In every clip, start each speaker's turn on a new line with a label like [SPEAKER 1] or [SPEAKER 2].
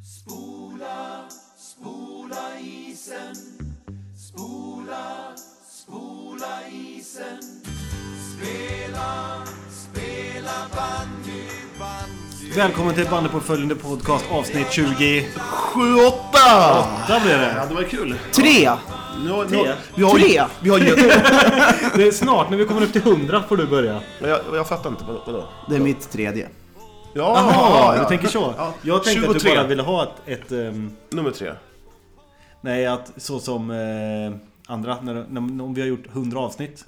[SPEAKER 1] Spola, spola isen. Spola, spola isen. Spela, spela bandy, bandy.
[SPEAKER 2] Välkommen till Bandyportföljen podcast avsnitt 28
[SPEAKER 3] 7, 8!
[SPEAKER 2] blir det.
[SPEAKER 3] Ja, det var kul.
[SPEAKER 4] Tre!
[SPEAKER 3] Nu, har- nu,
[SPEAKER 2] Tre.
[SPEAKER 3] har- vi har,
[SPEAKER 4] Tre!
[SPEAKER 3] Vi har, jag,
[SPEAKER 2] Det är snart, när vi kommer upp till 100 får du börja.
[SPEAKER 3] jag, jag fattar inte. Vadå? vadå?
[SPEAKER 4] Det är mitt tredje.
[SPEAKER 3] Ja,
[SPEAKER 2] Jaha,
[SPEAKER 3] ja,
[SPEAKER 2] du
[SPEAKER 3] ja.
[SPEAKER 2] tänker så.
[SPEAKER 3] Ja.
[SPEAKER 2] Jag tänkte att du
[SPEAKER 3] 23.
[SPEAKER 2] bara ville ha ett... ett ehm,
[SPEAKER 3] Nummer tre.
[SPEAKER 2] nej, att så som eh, andra, när, när, om vi har gjort 100 avsnitt.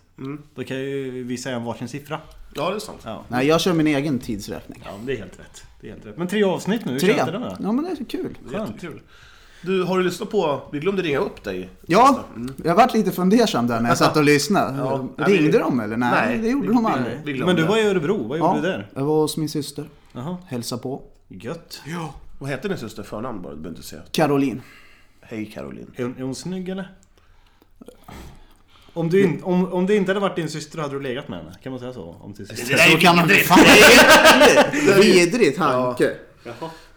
[SPEAKER 2] Då kan ju vi säga en varsin siffra.
[SPEAKER 3] Ja, det är sant.
[SPEAKER 2] Ja,
[SPEAKER 4] Nej, jag kör min egen tidsräkning.
[SPEAKER 2] ja men det är helt rätt. Det är helt rätt. Men tre avsnitt nu, hur
[SPEAKER 4] Tre!
[SPEAKER 2] känns det då?
[SPEAKER 4] Ja, men det är så kul.
[SPEAKER 2] Skönt.
[SPEAKER 3] Kul. Du, har du lyssnat på... Vi glömde ringa upp dig.
[SPEAKER 4] Ja, jag varit lite fundersam där när jag satt och lyssnade.
[SPEAKER 3] Ja.
[SPEAKER 4] Ringde de eller? Nej,
[SPEAKER 3] Nej,
[SPEAKER 4] det gjorde
[SPEAKER 3] vi-
[SPEAKER 4] de
[SPEAKER 3] vi-
[SPEAKER 4] aldrig.
[SPEAKER 3] vi glömde.
[SPEAKER 2] Men du var i Örebro, vad gjorde
[SPEAKER 4] Ja,
[SPEAKER 2] du där?
[SPEAKER 4] jag var hos min syster.
[SPEAKER 2] Jaha,
[SPEAKER 4] Hälsa på.
[SPEAKER 2] gött.
[SPEAKER 3] Vad heter din syster förnamn bara? Du behöver inte säga.
[SPEAKER 4] Caroline.
[SPEAKER 3] Hej Caroline.
[SPEAKER 2] Är hon, är hon snygg eller? Om, du in, om, om det inte hade varit din syster hade du legat med henne? Kan man säga så? Om din syster.
[SPEAKER 3] Nej,
[SPEAKER 4] så kan man
[SPEAKER 3] vidrigt.
[SPEAKER 4] Fan, det är Vidrig tanke.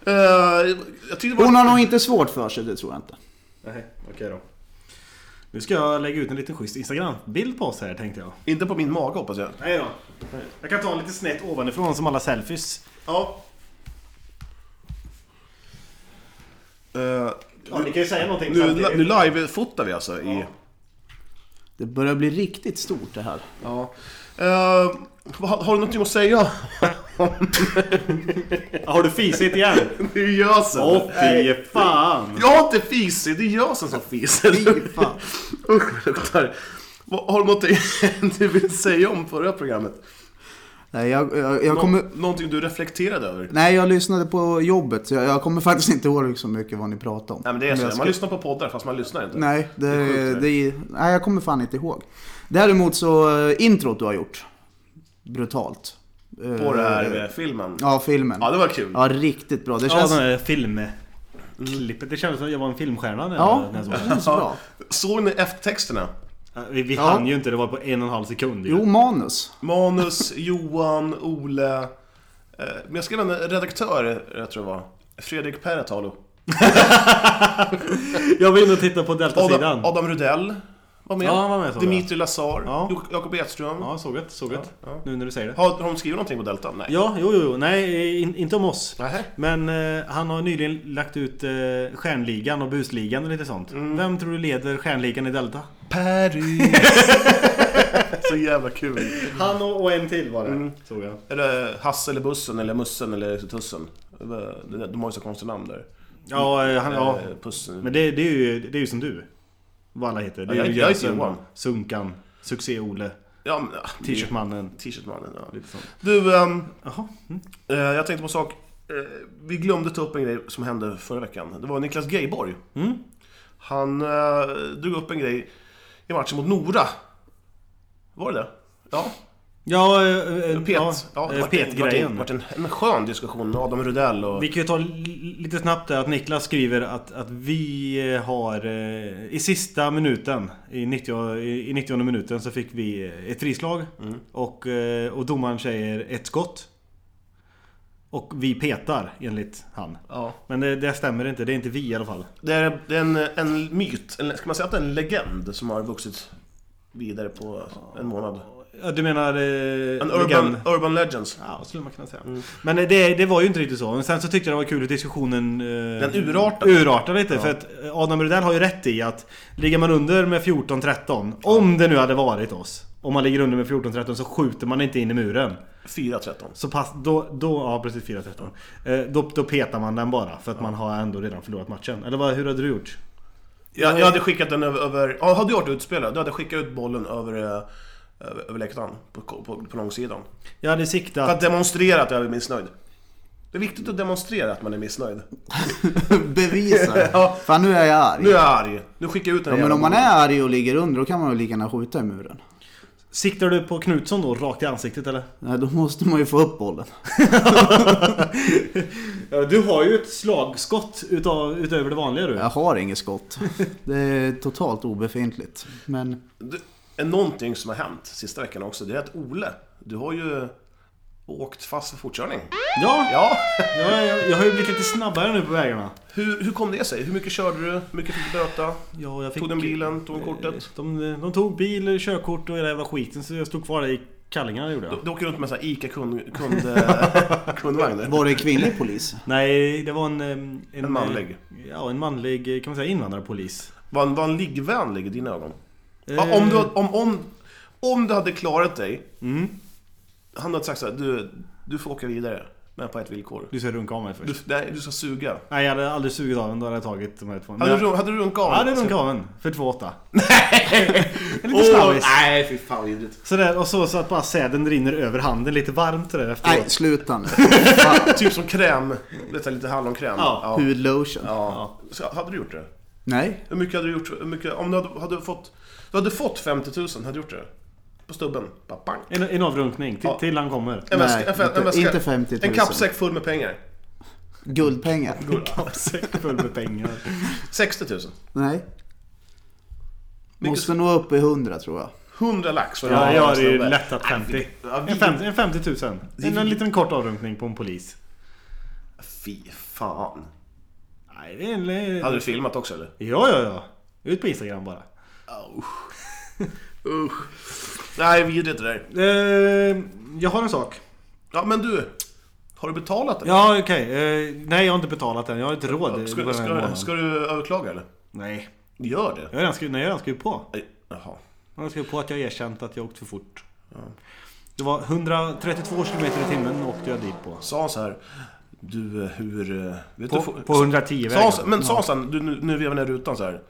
[SPEAKER 3] Eh, jag tyckte det var...
[SPEAKER 4] Hon har nog inte svårt för sig, det tror jag inte.
[SPEAKER 2] Nej, okej då. Nu ska jag lägga ut en liten schysst Instagram-bild på oss här tänkte jag.
[SPEAKER 3] Inte på min mage hoppas jag.
[SPEAKER 2] Nej då. Jag kan ta lite snett ovanifrån som alla selfies.
[SPEAKER 3] Ja. Eh,
[SPEAKER 2] Ja, ni kan ju säga någonting
[SPEAKER 3] nu
[SPEAKER 2] samtidigt.
[SPEAKER 3] nu live-fotar vi alltså i...
[SPEAKER 4] Det börjar bli riktigt stort det här.
[SPEAKER 3] Ja. Eh, vad- har du någonting att säga?
[SPEAKER 2] Ja, Har du fisit igen?
[SPEAKER 3] Det är gösen.
[SPEAKER 2] Åh fy fan!
[SPEAKER 3] Jag har inte fisit, det är gösen som fiser.
[SPEAKER 4] Fy fan.
[SPEAKER 3] Usch, det luktar. Vad- Har du någonting du vill säga om förra programmet?
[SPEAKER 4] Nej, jag, jag, jag
[SPEAKER 3] Nå-
[SPEAKER 4] kommer...
[SPEAKER 3] Någonting du reflekterade över?
[SPEAKER 4] Nej, jag lyssnade på jobbet. så Jag, jag kommer faktiskt inte ihåg så mycket vad ni pratade om.
[SPEAKER 3] Nej men det är
[SPEAKER 4] Men
[SPEAKER 3] så,
[SPEAKER 4] jag ska-
[SPEAKER 3] man lyssnar på poddar fast man lyssnar inte.
[SPEAKER 4] Nej, det,
[SPEAKER 3] är
[SPEAKER 4] det,
[SPEAKER 3] sjukt,
[SPEAKER 4] nej, jag kommer fan inte ihåg. Däremot så eh, introt du har gjort. Brutalt.
[SPEAKER 3] På den här eh, filmen. Ja.
[SPEAKER 4] Ja, filmen.
[SPEAKER 3] det var kul.
[SPEAKER 4] Ja, riktigt bra. Det
[SPEAKER 2] Ja,
[SPEAKER 4] känns,
[SPEAKER 2] den
[SPEAKER 4] ja,
[SPEAKER 2] där filmklippet. Det kändes som att jag var en filmstjärna när jag, när jag såg
[SPEAKER 4] det
[SPEAKER 2] det.
[SPEAKER 4] känns bra.
[SPEAKER 3] Såg ni eftertexterna?
[SPEAKER 2] Ja, Vi, vi
[SPEAKER 4] Ja.
[SPEAKER 2] hann ju inte, det var på en och en halv sekund ju.
[SPEAKER 4] Jo, manus.
[SPEAKER 3] Manus, Johan, Ole. eh, Men jag skrev en redaktör, jag tror det var. Fredrik Peretalo.
[SPEAKER 2] Jag var inne och tittade på Delta-sidan.
[SPEAKER 3] Adam, Adam Rudell var med.
[SPEAKER 2] Ja, han var med, såg jag.
[SPEAKER 3] Dimitri Lazar.
[SPEAKER 2] Ja.
[SPEAKER 3] Jo- Jakob Edström.
[SPEAKER 2] Ja, såg det, såg det.
[SPEAKER 3] Ja, ja.
[SPEAKER 2] Nu när du säger det.
[SPEAKER 3] Har, har de skrivit någonting på Delta? Nej.
[SPEAKER 2] Ja, jo, jo, jo. Nej, in, inte om oss.
[SPEAKER 3] Nähä.
[SPEAKER 2] Men eh, han har nyligen lagt ut eh, Stjärnligan och Busligan och lite sånt. Vem tror du leder Stjärnligan i Delta?
[SPEAKER 3] Paris. Så jävla kul.
[SPEAKER 2] Han och, och en till var det.
[SPEAKER 3] Mm.
[SPEAKER 2] Såg jag.
[SPEAKER 3] Eller Hasse eller Bussen eller Mussen eller Tussen. De de har ju så konstiga namn där.
[SPEAKER 2] Ja, eh, han, ja.
[SPEAKER 3] Eh, Pussen.
[SPEAKER 2] Men det, det, är ju, det är ju som du. Vad alla heter. Det är
[SPEAKER 3] Ja,
[SPEAKER 2] ju
[SPEAKER 3] jag- jag
[SPEAKER 2] Gösen,
[SPEAKER 3] heter Johan.
[SPEAKER 2] Sunkan, Succé-Ole,
[SPEAKER 3] Ja, men, ah,
[SPEAKER 2] T-shirtmannen.
[SPEAKER 3] T-shirtmannen. Ja.
[SPEAKER 2] Lite sånt.
[SPEAKER 3] Du, ehm,
[SPEAKER 2] Jaha. Mm.
[SPEAKER 3] eh, jag tänkte på en sak. Eh, Vi glömde ta upp en grej som hände förra veckan. Det var Niklas Geiborg.
[SPEAKER 2] Mm.
[SPEAKER 3] Han eh, drog upp en grej i matchen mot Nora. Var det det? Ja.
[SPEAKER 2] Ja, eh, eh,
[SPEAKER 3] Pet.
[SPEAKER 2] ja,
[SPEAKER 3] ja, det
[SPEAKER 2] eh,
[SPEAKER 3] vart en-
[SPEAKER 2] Pet-grejen.
[SPEAKER 3] vart en, vart en, en skön diskussion med Adam Rudell och...
[SPEAKER 2] Vi kan ju ta li- lite snabbt där att Niklas skriver att, att vi eh, har eh, i sista minuten, i 90, i 90 minuten så fick vi eh, ett frislag. Och, eh, och domaren säger ett skott. Och vi petar enligt han.
[SPEAKER 3] Ja.
[SPEAKER 2] Men det, det stämmer inte, det är inte vi i alla fall.
[SPEAKER 3] Det är, det är en, en myt, en, ska man säga att det är en legend som har vuxit vidare på en månad?
[SPEAKER 2] Ja, du menar... Eh,
[SPEAKER 3] En
[SPEAKER 2] legend?
[SPEAKER 3] urban, urban legends.
[SPEAKER 2] Ja, skulle man kunna säga. Men eh, det, det var ju inte riktigt så. Men sen så tyckte jag det var kul att diskussionen... Eh,
[SPEAKER 3] Den urartade.
[SPEAKER 2] urartade lite. För att eh, Adam Rudell har ju rätt i att ligger man under med 14-13, om det nu hade varit oss. Om man ligger under med 14-13 så skjuter man inte in i muren.
[SPEAKER 3] 4-13.
[SPEAKER 2] Så pass, då, då, ja precis 4-13. Eh, då, då petar man den bara för att man har ändå redan förlorat matchen. Eller vad, hur hade du gjort?
[SPEAKER 3] Jag, jag hade skickat den över... över ja, hade jag varit utspelare, då hade jag skickat ut bollen över, eh, över, över läktaren. På, på, på långsidan.
[SPEAKER 2] Jag hade
[SPEAKER 3] För
[SPEAKER 2] siktat...
[SPEAKER 3] att demonstrera att jag är missnöjd. Det är viktigt att demonstrera att man är missnöjd.
[SPEAKER 4] Bevisa
[SPEAKER 3] Ja.
[SPEAKER 4] Fan, nu är jag arg.
[SPEAKER 3] Nu är jag arg. Nu skickar jag ut den
[SPEAKER 4] Ja, men
[SPEAKER 3] jävla
[SPEAKER 4] om man
[SPEAKER 3] bollen.
[SPEAKER 4] är arg och ligger under, då kan man väl lika gärna skjuta i muren.
[SPEAKER 2] Siktar du på Knutsson då, rakt i ansiktet eller?
[SPEAKER 4] Nej, då måste man ju få upp bollen.
[SPEAKER 2] Ja, du har ju ett slagskott utav, utöver det vanliga du.
[SPEAKER 4] Jag har inget skott. Det är totalt obefintligt. Men...
[SPEAKER 3] Det är någonting som har hänt sista veckan också, det är att Ole, du har ju åkt fast för fortkörning.
[SPEAKER 2] Ja,
[SPEAKER 3] Ja.
[SPEAKER 2] jag, jag, jag har ju blivit lite snabbare nu på vägarna.
[SPEAKER 3] Hur, hur kom det sig? Hur mycket körde du? Hur mycket fick du böta?
[SPEAKER 2] Ja, jag fick,
[SPEAKER 3] Tog den bilen? Tog den
[SPEAKER 2] Eh,
[SPEAKER 3] kortet?
[SPEAKER 2] De, de tog bil, körkort och hela jävla skiten så jag stod kvar där i kallingarna gjorde jag.
[SPEAKER 3] Du, du åker runt med en ICA-kundvagn? Kund, eh, kundvagn.
[SPEAKER 4] Var det kvinnlig polis?
[SPEAKER 2] Nej, det var en... eh, En,
[SPEAKER 3] En manlig.
[SPEAKER 2] eh, Ja, en manlig eh, kan man säga invandrarpolis.
[SPEAKER 3] Var han, var han liggvänlig i dina ögon?
[SPEAKER 2] Eh,
[SPEAKER 3] Ja, om, du, om, om, om du hade klarat dig,
[SPEAKER 2] Mm.
[SPEAKER 3] han hade sagt så här, du, du får åka vidare, men på ett villkor.
[SPEAKER 2] Du ska runka av mig först.
[SPEAKER 3] Du, nej, du ska suga.
[SPEAKER 2] Nej, jag hade aldrig sugit av den. Då hade jag tagit de här två.
[SPEAKER 3] Hade,
[SPEAKER 2] Men-
[SPEAKER 3] du, runk- hade du runkat av
[SPEAKER 2] Ja, det
[SPEAKER 3] honom?
[SPEAKER 2] runkade av en. För 2,8.
[SPEAKER 3] Åh,
[SPEAKER 2] Lite snabbis.
[SPEAKER 3] nej, fy fan vad vidrigt.
[SPEAKER 2] Sådär, och så, så att bara säden rinner över handen lite varmt sådär efteråt.
[SPEAKER 4] Nej, sluta nu. Fan,
[SPEAKER 3] Typ som kräm, vet du, lite hallonkräm.
[SPEAKER 2] Ja,
[SPEAKER 3] ja.
[SPEAKER 4] Hudlotion.
[SPEAKER 3] ja. Så, hade du gjort det?
[SPEAKER 4] Nej.
[SPEAKER 3] Hur mycket hade du gjort? Hur mycket, om du hade, hade fått, du hade fått 50 000, hade du gjort det? På stubben? Bara bang.
[SPEAKER 2] En, en avrunkning till,
[SPEAKER 3] Ja.
[SPEAKER 2] till han kommer.
[SPEAKER 3] En
[SPEAKER 4] Nej,
[SPEAKER 3] väska, en, fä-
[SPEAKER 4] inte-
[SPEAKER 3] en väska,
[SPEAKER 4] inte 50 000.
[SPEAKER 3] En kappsäck full med pengar.
[SPEAKER 4] Guldpengar.
[SPEAKER 2] Kappsäck full med pengar.
[SPEAKER 3] 60 000.
[SPEAKER 4] Nej.
[SPEAKER 3] Mycket-
[SPEAKER 4] Måste nå upp i 100 tror jag.
[SPEAKER 3] 100 lax. för en
[SPEAKER 2] Ja, jag har ju
[SPEAKER 3] snubbe.
[SPEAKER 2] lättat 50.
[SPEAKER 3] Ja, vi-
[SPEAKER 2] En 50, en 50 000. En, en liten kort avrunkning på en polis.
[SPEAKER 3] Fy fan.
[SPEAKER 2] Nej, det är en...
[SPEAKER 3] Hade du filmat också eller?
[SPEAKER 2] Ja, ja, ja. Ut på Instagram bara.
[SPEAKER 3] Usch. Usch. Nej, vidrigt det där.
[SPEAKER 2] Eh, jag har en sak.
[SPEAKER 3] Ja, men du. Har du betalat eller?
[SPEAKER 2] Ja, okej. Eh, nej, jag har inte betalat den. Jag har inte råd. eh,
[SPEAKER 3] Ska,
[SPEAKER 2] den här
[SPEAKER 3] ska,
[SPEAKER 2] månaden.
[SPEAKER 3] ska du överklaga eller?
[SPEAKER 2] Nej.
[SPEAKER 3] Gör det.
[SPEAKER 2] Jag har redan skrivit, nej, jag har redan skrivit på.
[SPEAKER 3] Nej, Jaha.
[SPEAKER 2] Jag har skrivit på att jag har erkänt att jag åkt för fort. Det var 132 km i timmen åkte jag dit på.
[SPEAKER 3] Sa han så här. Du, eh, hur... eh, Vet du,
[SPEAKER 2] På,
[SPEAKER 3] får-
[SPEAKER 2] på 110
[SPEAKER 3] sa han,
[SPEAKER 2] vägen.
[SPEAKER 3] så- men sa han så här, du, nu, nu vevar ner rutan så här.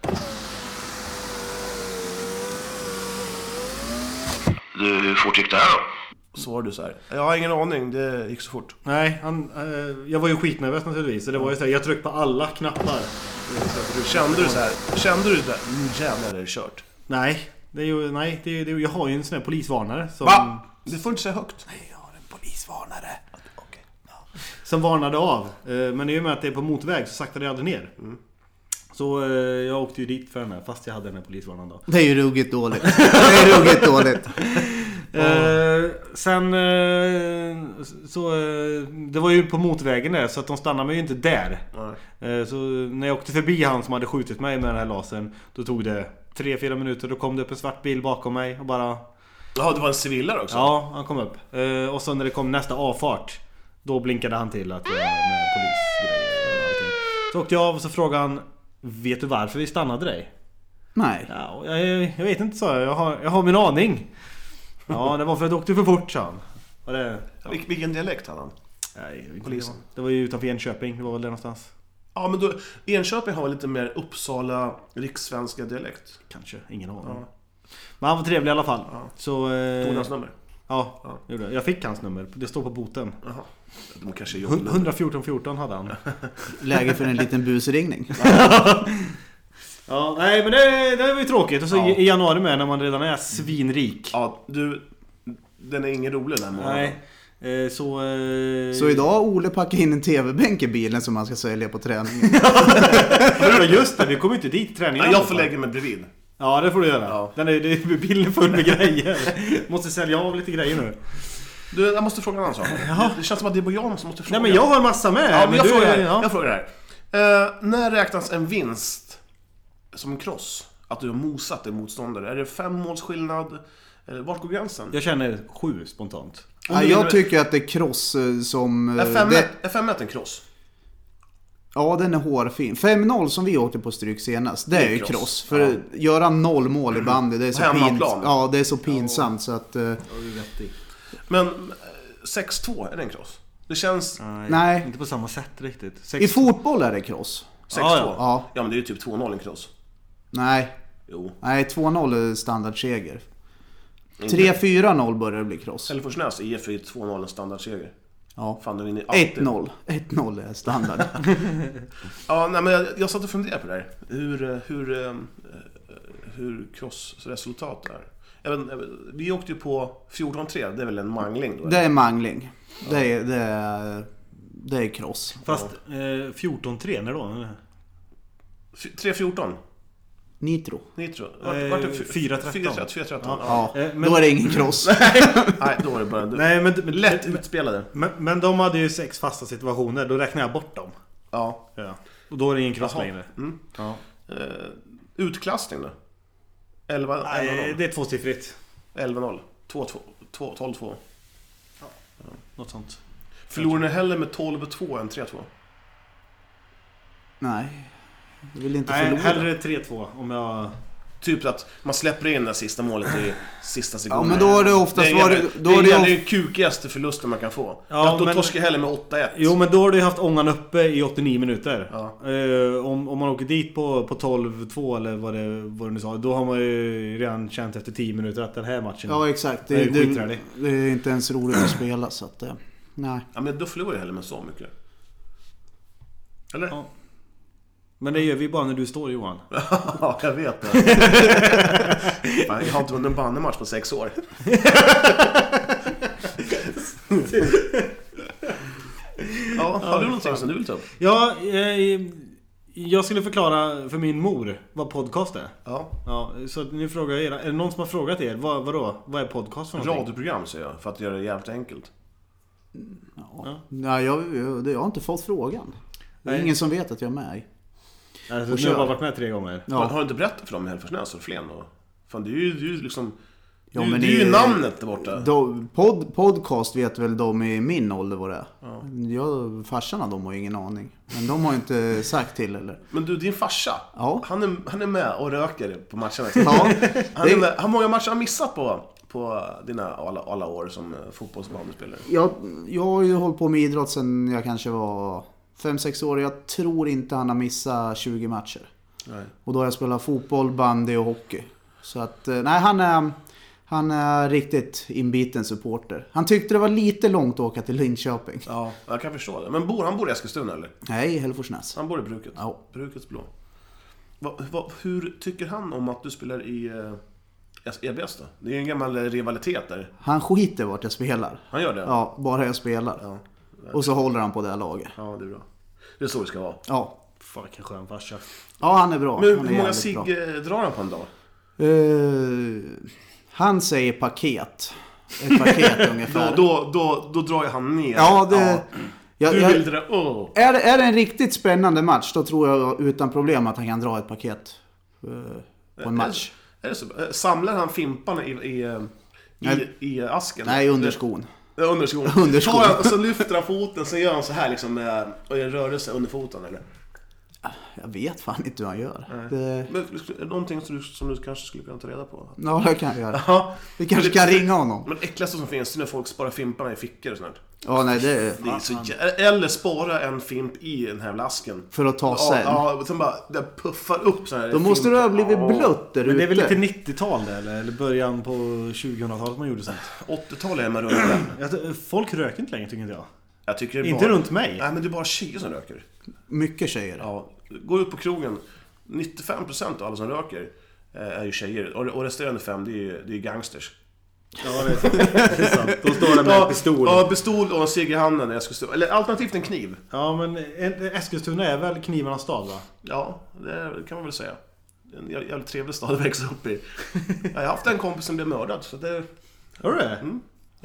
[SPEAKER 5] Du, hur fort gick det här då?
[SPEAKER 3] Svarade du så här. Jag har ingen aning, det gick så fort.
[SPEAKER 2] Nej, han, eh, jag var ju skitnervös naturligtvis. Så det var ju så här, jag tryckte på alla knappar.
[SPEAKER 3] Kände du så här? Kände du så här? Nu Mm, jävlar är det kört.
[SPEAKER 2] Nej, det är ju, nej, det är, det är, jag har ju en sån här polisvarnare. Som,
[SPEAKER 3] Va? Det får Mm. du inte säga högt.
[SPEAKER 2] Jag har en polisvarnare.
[SPEAKER 3] Okej.
[SPEAKER 2] Som varnade av. Eh, Men i och med att det är på motorväg så saktade jag aldrig ner. Så eh, jag åkte ju dit för den här fast jag hade den här polisvarnaren då.
[SPEAKER 4] Det är ju ruggigt dåligt. Det är ruggigt dåligt.
[SPEAKER 2] Eh, sen eh, så... Eh, det var ju på motorvägen där så att de stannade mig ju inte där. Eh, så när jag åkte förbi han som hade skjutit mig med den här lasern. Då tog det 3-4 minuter. Då kom det upp en svart bil bakom mig och bara...
[SPEAKER 3] Jaha, det var en civillare också?
[SPEAKER 2] Ja, han kom upp. Eh, och så när det kom nästa avfart. Då blinkade han till att jag var med polisgrejer och allting. Så åkte jag av och så frågade han Vet du varför vi stannade dig?
[SPEAKER 4] Nej.
[SPEAKER 2] Ja, och jag, jag vet inte sa jag. Jag har, jag har min aning. Ja, det var för att du åkte för fort sa han. Var det?
[SPEAKER 3] Vil- vilken dialekt hade han?
[SPEAKER 2] Nej, jag vet inte.
[SPEAKER 3] Polisen.
[SPEAKER 2] Det var ju utanför Enköping. Det var väl där någonstans.
[SPEAKER 3] Ja, men då, Enköping har väl lite mer Uppsala rikssvenska dialekt?
[SPEAKER 2] Kanske. Ingen aning.
[SPEAKER 3] Ja.
[SPEAKER 2] Men han var trevlig i alla fall.
[SPEAKER 3] Ja.
[SPEAKER 2] Så... Eh,
[SPEAKER 3] Tog du hans nummer?
[SPEAKER 2] Ja,
[SPEAKER 3] Ja.
[SPEAKER 2] gjorde jag. jag fick hans nummer. Det står på boten.
[SPEAKER 3] Jaha. De kanske är
[SPEAKER 2] Hun-
[SPEAKER 3] jobbigt.
[SPEAKER 2] 114 14 hade han.
[SPEAKER 4] Läge för en liten busringning.
[SPEAKER 2] Ja, nej men det, det var ju tråkigt. Och så
[SPEAKER 3] Ja.
[SPEAKER 2] i i januari med när man redan är svinrik.
[SPEAKER 3] Ja, du... Den är ingen rolig den här månaden.
[SPEAKER 2] Nej. eh, Så... eh,
[SPEAKER 4] Så idag har Ole packat in en TV-bänk i bilen som han ska sälja på träningen.
[SPEAKER 2] Ja, Just det, vi kommer inte dit träningen. alltså.
[SPEAKER 3] Ja, jag får lägga mig bredvid.
[SPEAKER 2] Ja, det får du göra.
[SPEAKER 3] Ja.
[SPEAKER 2] Den är, det är bilden full med grejer. Måste sälja av lite grejer nu.
[SPEAKER 3] Du, jag måste fråga en annan sak. Det, det känns som att det är bara jag som måste fråga.
[SPEAKER 2] Nej men jag har massa med.
[SPEAKER 3] Ja, men jag,
[SPEAKER 2] du,
[SPEAKER 3] frågar här.
[SPEAKER 2] ja.
[SPEAKER 3] jag frågar här. Eh, när räknas en vinst som en kross? Att du har mosat din motståndare? Är det fem måls skillnad? Eller vart går gränsen?
[SPEAKER 2] jag känner sju spontant.
[SPEAKER 4] Ja, jag tycker att det är kross eh, som... eh,
[SPEAKER 3] Är 5-1
[SPEAKER 4] det,
[SPEAKER 3] är 5-1 en kross?
[SPEAKER 4] ja, den är hårfin. 5-0 som vi åkte på stryk senast, det är ju kross. För göra noll mål i bandy, det är så, pin,
[SPEAKER 3] hemmaplan.
[SPEAKER 4] ja, det är så pinsamt så att... eh,
[SPEAKER 3] Men eh, 6-2, är det en kross? Det känns...
[SPEAKER 2] Mm.
[SPEAKER 3] 6-2?
[SPEAKER 4] Nej.
[SPEAKER 2] Inte på samma sätt riktigt. Sex...
[SPEAKER 4] I fotboll är det kross.
[SPEAKER 2] Ja,
[SPEAKER 4] ja.
[SPEAKER 3] men det är ju typ 2-0 en kross.
[SPEAKER 4] Nej,
[SPEAKER 3] Jo.
[SPEAKER 4] nej 2-0 är standardseger.
[SPEAKER 2] Mm.
[SPEAKER 4] 3-4-0 börjar det bli kross.
[SPEAKER 3] Hälleforsnäs IF är ju 2-0 en standardseger.
[SPEAKER 4] Ja.
[SPEAKER 3] Fan, de vinner alltid.
[SPEAKER 4] 1-0. 1-0 är standard.
[SPEAKER 3] Ja, nej men jag, jag satt och funderade på det här. Hur, eh, hur, eh, hur krossresultat är. Jag vet, inte, jag vet- vi åkte ju på 14-3, det är väl en mangling då?
[SPEAKER 4] Det
[SPEAKER 3] eller?
[SPEAKER 4] är mangling. Det är, det är, det är kross.
[SPEAKER 2] Fast eh, 14-3, när då?
[SPEAKER 3] F- 3-14?
[SPEAKER 4] Nitro.
[SPEAKER 3] Nitro. Vart, vart det fy-
[SPEAKER 2] 4-13?
[SPEAKER 3] 4-13, 4-13. Ja.
[SPEAKER 4] Ja,
[SPEAKER 2] Eh, men-
[SPEAKER 4] då är det ingen cross.
[SPEAKER 3] Nej, då var det bara... Du,
[SPEAKER 2] Nej men, men,
[SPEAKER 3] lätt
[SPEAKER 2] men,
[SPEAKER 3] utspelade.
[SPEAKER 2] men, men de hade ju sex fasta situationer, då räknar jag bort dem.
[SPEAKER 3] Ja.
[SPEAKER 2] Ja. Och då är det ingen cross
[SPEAKER 3] Jaha.
[SPEAKER 2] längre.
[SPEAKER 3] Mm.
[SPEAKER 2] Ja.
[SPEAKER 3] Eh, utklassning då? 11
[SPEAKER 2] Nej,
[SPEAKER 3] 11-0.
[SPEAKER 2] det är tvåsiffrigt.
[SPEAKER 3] 11-0. 2-2. 2 12-2.
[SPEAKER 2] Något sånt.
[SPEAKER 3] Förlorar ni hellre med 12-2 än 3-2?
[SPEAKER 4] Nej. Du vill inte
[SPEAKER 2] Nej,
[SPEAKER 4] förlora.
[SPEAKER 2] hellre 3-2 om jag...
[SPEAKER 3] Typ att man släpper in det sista målet i sista
[SPEAKER 4] Ja,
[SPEAKER 3] sekunden.
[SPEAKER 4] men då har det oftast
[SPEAKER 3] det är
[SPEAKER 4] varit...
[SPEAKER 3] jävligt-
[SPEAKER 4] Då har
[SPEAKER 3] det är
[SPEAKER 4] det
[SPEAKER 3] den kukigaste förlusten man kan få.
[SPEAKER 2] Ja,
[SPEAKER 3] att då
[SPEAKER 2] men-
[SPEAKER 3] torskar jag hellre med 8-1.
[SPEAKER 2] Jo, men då har du ju haft ångan uppe i 89 minuter.
[SPEAKER 3] Ja.
[SPEAKER 2] Eh, om, om man åker dit på, på 12-2 eller vad det, vad det nu sa. Då har man ju redan känt efter 10 minuter att den här matchen...
[SPEAKER 4] Ja, exakt.
[SPEAKER 2] Det
[SPEAKER 4] Det,
[SPEAKER 2] är
[SPEAKER 4] det,
[SPEAKER 2] skitträligt.
[SPEAKER 4] det är inte ens roligt att spela, så att... eh, Nej.
[SPEAKER 3] Ja, men då förlorar jag hellre med så mycket. Eller?
[SPEAKER 2] Ja. Men det gör vi bara när du står Johan.
[SPEAKER 3] Ja, jag vet det. Fan, jag har inte vunnit en bannematch på sex år. ja, har du någonting som du vill ta upp?
[SPEAKER 2] Ja, eh, jag skulle förklara för min mor vad podcast är.
[SPEAKER 3] Ja.
[SPEAKER 2] Ja, så att nu frågar jag er. Är det någon som har frågat er? Vad, vadå? Vad är podcast för någonting?
[SPEAKER 3] Radioprogram säger jag, för att göra det jävligt enkelt.
[SPEAKER 4] Ja. Nej, jag, jag, det- jag har inte fått frågan. Det är
[SPEAKER 2] Nej.
[SPEAKER 4] ingen som vet att jag är med.
[SPEAKER 2] Alltså,
[SPEAKER 4] Och
[SPEAKER 2] nu har jag
[SPEAKER 4] kör.
[SPEAKER 2] bara varit med tre gånger.
[SPEAKER 4] Ja.
[SPEAKER 3] Har, har du inte berättat för dem i Hälleforsnäs och Flen då? Fan, det är ju, det är ju liksom...
[SPEAKER 4] Ja,
[SPEAKER 3] det, är ju-
[SPEAKER 4] men
[SPEAKER 3] det är ju
[SPEAKER 4] det-
[SPEAKER 3] namnet där borta.
[SPEAKER 4] Då, pod, podcast vet väl de i min ålder vad det är. Jag, farsan och de har ju ingen aning. Men de har ju inte sagt till heller.
[SPEAKER 3] Men du, din farsa.
[SPEAKER 4] Ja.
[SPEAKER 3] Han, är, han är med och röker på matcherna.
[SPEAKER 4] Ja,
[SPEAKER 3] Han är
[SPEAKER 4] det-
[SPEAKER 3] med, hur många matcher har han missat på, på dina alla, alla år som eh, fotbollsbandyspelare?
[SPEAKER 4] Jag, jag har ju hållit på med idrott sedan jag kanske var 5-6 år. Jag tror inte han har missat 20 matcher.
[SPEAKER 3] Nej.
[SPEAKER 4] Och då har jag spelat fotboll, bandy och hockey. Så att, eh, nej han är, han är riktigt inbiten supporter. Han tyckte det var lite långt att åka till Linköping.
[SPEAKER 3] Ja, jag kan förstå det. Men bor, han bor i Eskilstuna eller?
[SPEAKER 4] Nej, Hälleforsnäs.
[SPEAKER 3] Han bor i Bruket?
[SPEAKER 4] Ja.
[SPEAKER 3] Brukets blå. Va, va, hur tycker han om att du spelar i eh, S- EBS då? Det är ju en gammal eh, rivalitet där.
[SPEAKER 4] Han skiter vart jag spelar.
[SPEAKER 3] Han gör det?
[SPEAKER 4] Ja, bara jag spelar.
[SPEAKER 3] Ja,
[SPEAKER 4] Och så håller han på det här laget.
[SPEAKER 3] ja det är bra. Det är så det ska vara.
[SPEAKER 4] Ja.
[SPEAKER 2] Fan vilken skön farsa.
[SPEAKER 4] Ja, han är bra.
[SPEAKER 3] Men
[SPEAKER 4] han är
[SPEAKER 3] hur många
[SPEAKER 4] jävligt
[SPEAKER 3] cigg
[SPEAKER 4] bra.
[SPEAKER 3] eh, drar han på en dag?
[SPEAKER 4] Eh, han säger paket. Ett paket
[SPEAKER 3] Då,
[SPEAKER 4] ungefär.
[SPEAKER 3] då, då, då drar ju han ner.
[SPEAKER 4] Ja, det... Jag,
[SPEAKER 3] Du
[SPEAKER 4] jag,
[SPEAKER 3] vill dra upp.
[SPEAKER 4] är, det- är det en riktigt spännande match, då tror jag utan problem att han kan dra ett paket eh, på en match.
[SPEAKER 3] Är det så? Eh, Samlar han fimparna i, i, eh, i,
[SPEAKER 4] Nej.
[SPEAKER 3] i asken?
[SPEAKER 4] Nej, under skon.
[SPEAKER 3] Ja, Under skon.
[SPEAKER 4] Under skon.
[SPEAKER 3] Tar han, och så lyfter han foten, så gör han så här liksom med och gör en rörelse under foten eller?
[SPEAKER 4] Jag vet fan inte hur han gör. Det,
[SPEAKER 3] Men, är det någonting som du, som du kanske skulle kunna ta reda på?
[SPEAKER 4] ja, det kan jag göra.
[SPEAKER 3] Ja.
[SPEAKER 4] Vi kanske kan ringa honom.
[SPEAKER 3] Men det äckligaste som finns är när folk sparar fimparna i fickor och sånt där.
[SPEAKER 4] Ja, nej, det är...
[SPEAKER 3] Det är så jä- Eller spara en fimp i den här asken.
[SPEAKER 4] För att ta sen.
[SPEAKER 3] Ja, ja sen bara den puffar upp så här.
[SPEAKER 4] Då måste
[SPEAKER 3] fimp.
[SPEAKER 4] du ha blivit blött där
[SPEAKER 2] Men det är väl lite
[SPEAKER 4] ute.
[SPEAKER 2] 90-tal det, eller? Eller början på 2000-talet man gjorde sånt.
[SPEAKER 3] 80-talet är man runt den.
[SPEAKER 2] Jag t- Folk röker inte längre tycker inte jag.
[SPEAKER 3] Jag tycker det är
[SPEAKER 2] Inte
[SPEAKER 3] bara...
[SPEAKER 2] runt mig.
[SPEAKER 3] Nej, men det är bara tjejer som röker.
[SPEAKER 4] Mycket tjejer.
[SPEAKER 3] Ja, går ut på krogen, 95% av alla som röker eh, är ju tjejer. Och, och resterande fem, det är ju det är gangsters.
[SPEAKER 2] Ja, det är sant. Det är sant. Då står det med en pistol.
[SPEAKER 3] Ja, pistol och en cigg i handen. Jag skulle stå, eller alternativt en kniv.
[SPEAKER 2] Ja, men en- Eskilstuna är väl knivarnas stad va?
[SPEAKER 3] Ja, det kan man väl säga. En jä- jävligt trevlig stad att växa upp i. Jag har haft en kompis som blev mördad, så det...
[SPEAKER 2] Har du det?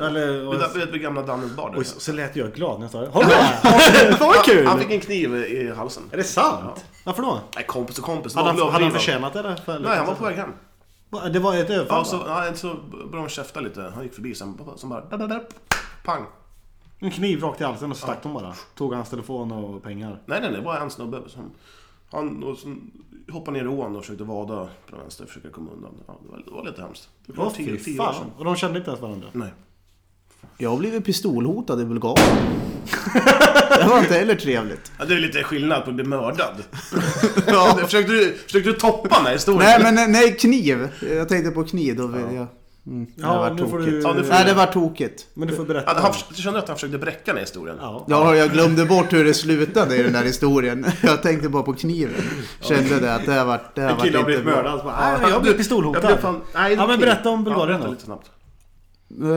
[SPEAKER 2] Eller... Och,
[SPEAKER 3] Vid, vid, vid gamla Dannes bar där.
[SPEAKER 2] och så så lät jag glad när jag sa det. Har du det? Fan vad
[SPEAKER 3] Han fick
[SPEAKER 2] kul!
[SPEAKER 3] en kniv i halsen.
[SPEAKER 2] Är det sant? Varför då?
[SPEAKER 3] Nej, kompis och kompis.
[SPEAKER 2] Hade han,
[SPEAKER 3] var
[SPEAKER 2] hade han
[SPEAKER 3] överdriven.
[SPEAKER 2] förtjänat det? Där,
[SPEAKER 3] Nej, han var på väg hem.
[SPEAKER 2] Va, Det var ett överfall
[SPEAKER 3] Ja, så,
[SPEAKER 2] va?
[SPEAKER 3] ja, så började de käfta lite. Han gick förbi sen, som bara... Där, där, där, pang!
[SPEAKER 2] En kniv rakt i halsen och så stack de bara. Tog hans telefon och pengar.
[SPEAKER 3] Nej, nej, nej, det var en snubbe som... Han och så hoppade ner i ån och försökte vada på den vänster, försöka komma undan. Ja, det, var, det var lite hemskt. Det var
[SPEAKER 2] Åh
[SPEAKER 3] tio,
[SPEAKER 2] fy
[SPEAKER 3] tio år sedan.
[SPEAKER 2] fan. Och de kände inte ens varandra.
[SPEAKER 3] Nej.
[SPEAKER 4] Jag har blivit pistolhotad i Bulgarien. Det var inte heller trevligt.
[SPEAKER 3] Ja, det är lite skillnad på att bli mördad. försökte, du, försökte du toppa den här historien?
[SPEAKER 4] Nej, men eh, nej, kniv. Jag tänkte på kniv. Då vill jag... Mm, det
[SPEAKER 2] Ja,
[SPEAKER 4] var
[SPEAKER 2] nu får
[SPEAKER 4] tokigt.
[SPEAKER 2] du-
[SPEAKER 3] Ja, nu får
[SPEAKER 4] Nej,
[SPEAKER 3] du-
[SPEAKER 4] det var tokigt.
[SPEAKER 2] Men du får
[SPEAKER 3] Ja,
[SPEAKER 2] berätta.
[SPEAKER 3] han, förs- du kände att han försökte bräcka den här historien?
[SPEAKER 2] Ja.
[SPEAKER 4] Ja, jag glömde bort hur det slutade i den där historien. Jag tänkte bara på kniven. Kände det att det här vart, det här
[SPEAKER 2] En
[SPEAKER 4] vart
[SPEAKER 2] kille har
[SPEAKER 4] inte
[SPEAKER 2] blivit
[SPEAKER 4] bra.
[SPEAKER 2] mördad. så bara,
[SPEAKER 3] han-
[SPEAKER 2] Nej, jag blev pistolhotad.
[SPEAKER 3] jag "Ah, blev fan- nej, det
[SPEAKER 2] ja, men
[SPEAKER 3] kniv.
[SPEAKER 2] berätta om Bulgarien
[SPEAKER 3] ja,
[SPEAKER 2] då.
[SPEAKER 3] lite snabbt.
[SPEAKER 4] Eh,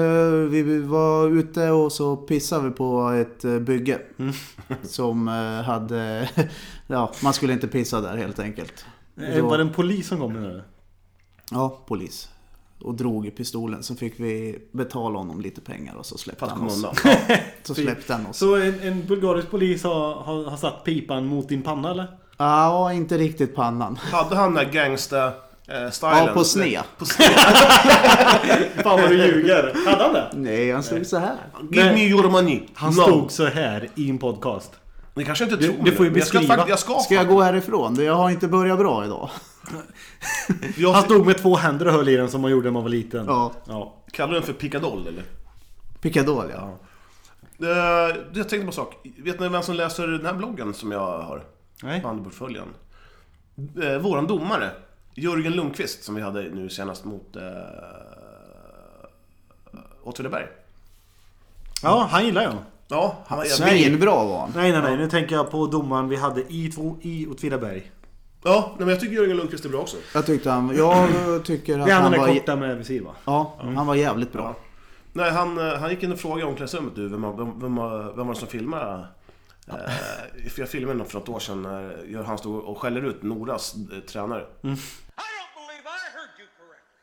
[SPEAKER 4] Vi vi var ute och så pissade vi på ett eh, bygge. Som eh, hade... Ja, man skulle inte pissa där helt enkelt.
[SPEAKER 2] Eh, Var det en polis som kom nu? eller?
[SPEAKER 4] Ja, polis. Och drog i pistolen. Så fick vi betala honom lite pengar och så släppte
[SPEAKER 3] För att
[SPEAKER 4] han
[SPEAKER 3] komma
[SPEAKER 4] oss.
[SPEAKER 3] undan.
[SPEAKER 4] Så släppte han oss.
[SPEAKER 2] Så en, en bulgarisk polis har, har, har satt pipan mot din panna eller?
[SPEAKER 4] Ja, inte riktigt pannan.
[SPEAKER 3] Hade han den där gangsta-stilen?
[SPEAKER 4] Ja, på sned.
[SPEAKER 3] På sned.
[SPEAKER 2] Fan vad du ljuger! Hade han det?
[SPEAKER 4] Nej, han stod så här.
[SPEAKER 3] Give me your money.
[SPEAKER 2] Han
[SPEAKER 3] No.
[SPEAKER 2] stod så här i en podcast.
[SPEAKER 3] Ni kanske inte
[SPEAKER 2] Du-
[SPEAKER 3] tror
[SPEAKER 2] du får ju
[SPEAKER 3] men jag ska
[SPEAKER 2] beskriva.
[SPEAKER 3] fakt- Jag ska,
[SPEAKER 4] Ska jag gå härifrån? Jag har inte börjat bra idag.
[SPEAKER 3] jag
[SPEAKER 2] Han stod med två händer och höll i den som man gjorde när man var liten.
[SPEAKER 4] Ja.
[SPEAKER 2] ja.
[SPEAKER 3] Kallar du den för pickadoll eller?
[SPEAKER 4] Picadoll, ja.
[SPEAKER 3] Eh, jag tänkte på en sak. Vet ni vem som läser den här bloggen som jag har?
[SPEAKER 2] Nej.
[SPEAKER 3] Bandyportföljen. Eh, våran domare, Jörgen Lundqvist, som vi hade nu senast mot eh, Åtvidaberg.
[SPEAKER 2] ja, han gillar jag.
[SPEAKER 3] Ja, han var jävligt...
[SPEAKER 4] Svinbra var han.
[SPEAKER 2] Nej, nej, nej. Nu tänker jag på domaren vi hade i, två- i Åtvidaberg.
[SPEAKER 3] Ja, nej, men jag tycker Jörgen Lundqvist är bra också.
[SPEAKER 4] Jag tyckte han... Jag tycker att
[SPEAKER 2] Det är han
[SPEAKER 4] han
[SPEAKER 2] den där
[SPEAKER 4] var...
[SPEAKER 2] korta med visir va?
[SPEAKER 4] Ja, han var jävligt bra.
[SPEAKER 3] Nej, han, eh, han gick in och frågade i omklädningsrummet du, vem, har- vem, vem, har- vem var det som filmade? Eh, för jag filmade något för något år sedan när Gör- han stod och skäller ut Noras eh, tränare.
[SPEAKER 4] Mm.
[SPEAKER 6] I don't believe I heard you correctly.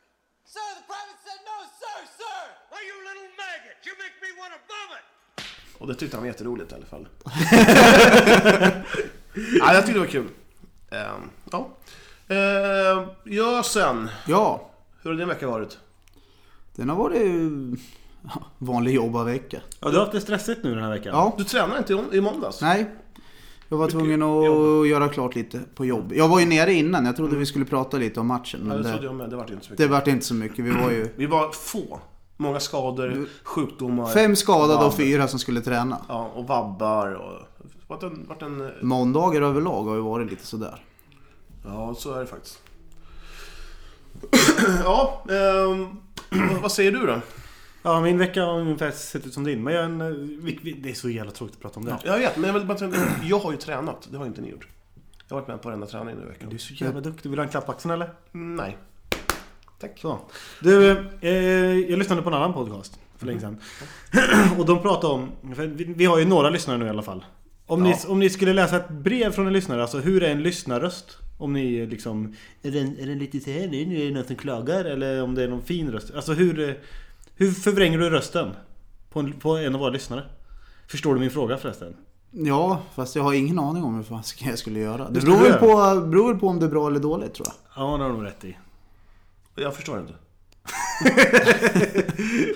[SPEAKER 6] Sir, the private said no, sir, sir. Why, you little maggot. You make me want to vomit.
[SPEAKER 3] Och det tyckte han var jätteroligt i alla fall. ja, jag tyckte det var kul. Ehm, ja. Uh, ja, sen.
[SPEAKER 4] Ja,
[SPEAKER 3] Hur har din vecka varit?
[SPEAKER 4] den har varit... eh, Vanlig jobbarvecka.
[SPEAKER 2] Ja, du har haft det stressigt nu den här veckan.
[SPEAKER 4] Ja.
[SPEAKER 3] Du tränade inte i- i måndags?
[SPEAKER 4] Nej. Jag var tvungen att göra klart lite på jobb. Jag var ju nere innan. Jag trodde vi skulle prata lite om matchen.
[SPEAKER 3] Ja,
[SPEAKER 4] Men
[SPEAKER 3] det trodde
[SPEAKER 4] det,
[SPEAKER 3] jag med. Det vart inte så mycket.
[SPEAKER 4] det vart inte så mycket. Vi var ju
[SPEAKER 3] Vi var få. Många skador, sjukdomar.
[SPEAKER 4] Mm. fem skadade
[SPEAKER 3] vabb.
[SPEAKER 4] och fyra som skulle träna.
[SPEAKER 3] Ja, och vabbar och... Vart en, vart en... eh,
[SPEAKER 4] Måndagar överlag har ju varit lite sådär.
[SPEAKER 3] Ja, så är det faktiskt. ja, ehm, vad säger du då?
[SPEAKER 2] Ja, min vecka har ungefär sett ut som din. Men jag, är en, eh, vi, vi, det är så jävla tråkigt att prata om det.
[SPEAKER 3] Jag vet, men jag vill bara tänka, jag har ju tränat. Det har inte ni gjort. Jag har varit med på varenda träning nu i veckan.
[SPEAKER 2] Du är så jävla duktig. Vill du ha en klapp på axeln eller?
[SPEAKER 3] Nej. Tack.
[SPEAKER 2] Så. Du, eh, jag lyssnade på en annan podcast för länge sedan. Och de pratade om, för vi, vi har ju några lyssnare nu i alla fall. Om, ni, om ni skulle läsa ett brev från en lyssnare, alltså hur är en lyssnarröst? Om ni liksom... Är den, är den lite så här nu? Nu är det någon som klagar. Eller om det är någon fin röst. Alltså hur... eh, Hur förvränger du rösten? På en, på en av våra lyssnare? Förstår du min fråga förresten?
[SPEAKER 4] Ja, fast jag har ingen aning om hur fan ska- jag skulle göra. Det
[SPEAKER 2] skulle
[SPEAKER 4] beror väl
[SPEAKER 2] göra.
[SPEAKER 4] på, beror väl på om det är bra eller dåligt tror jag.
[SPEAKER 2] Ja, det har du nog rätt i.
[SPEAKER 3] Jag förstår inte.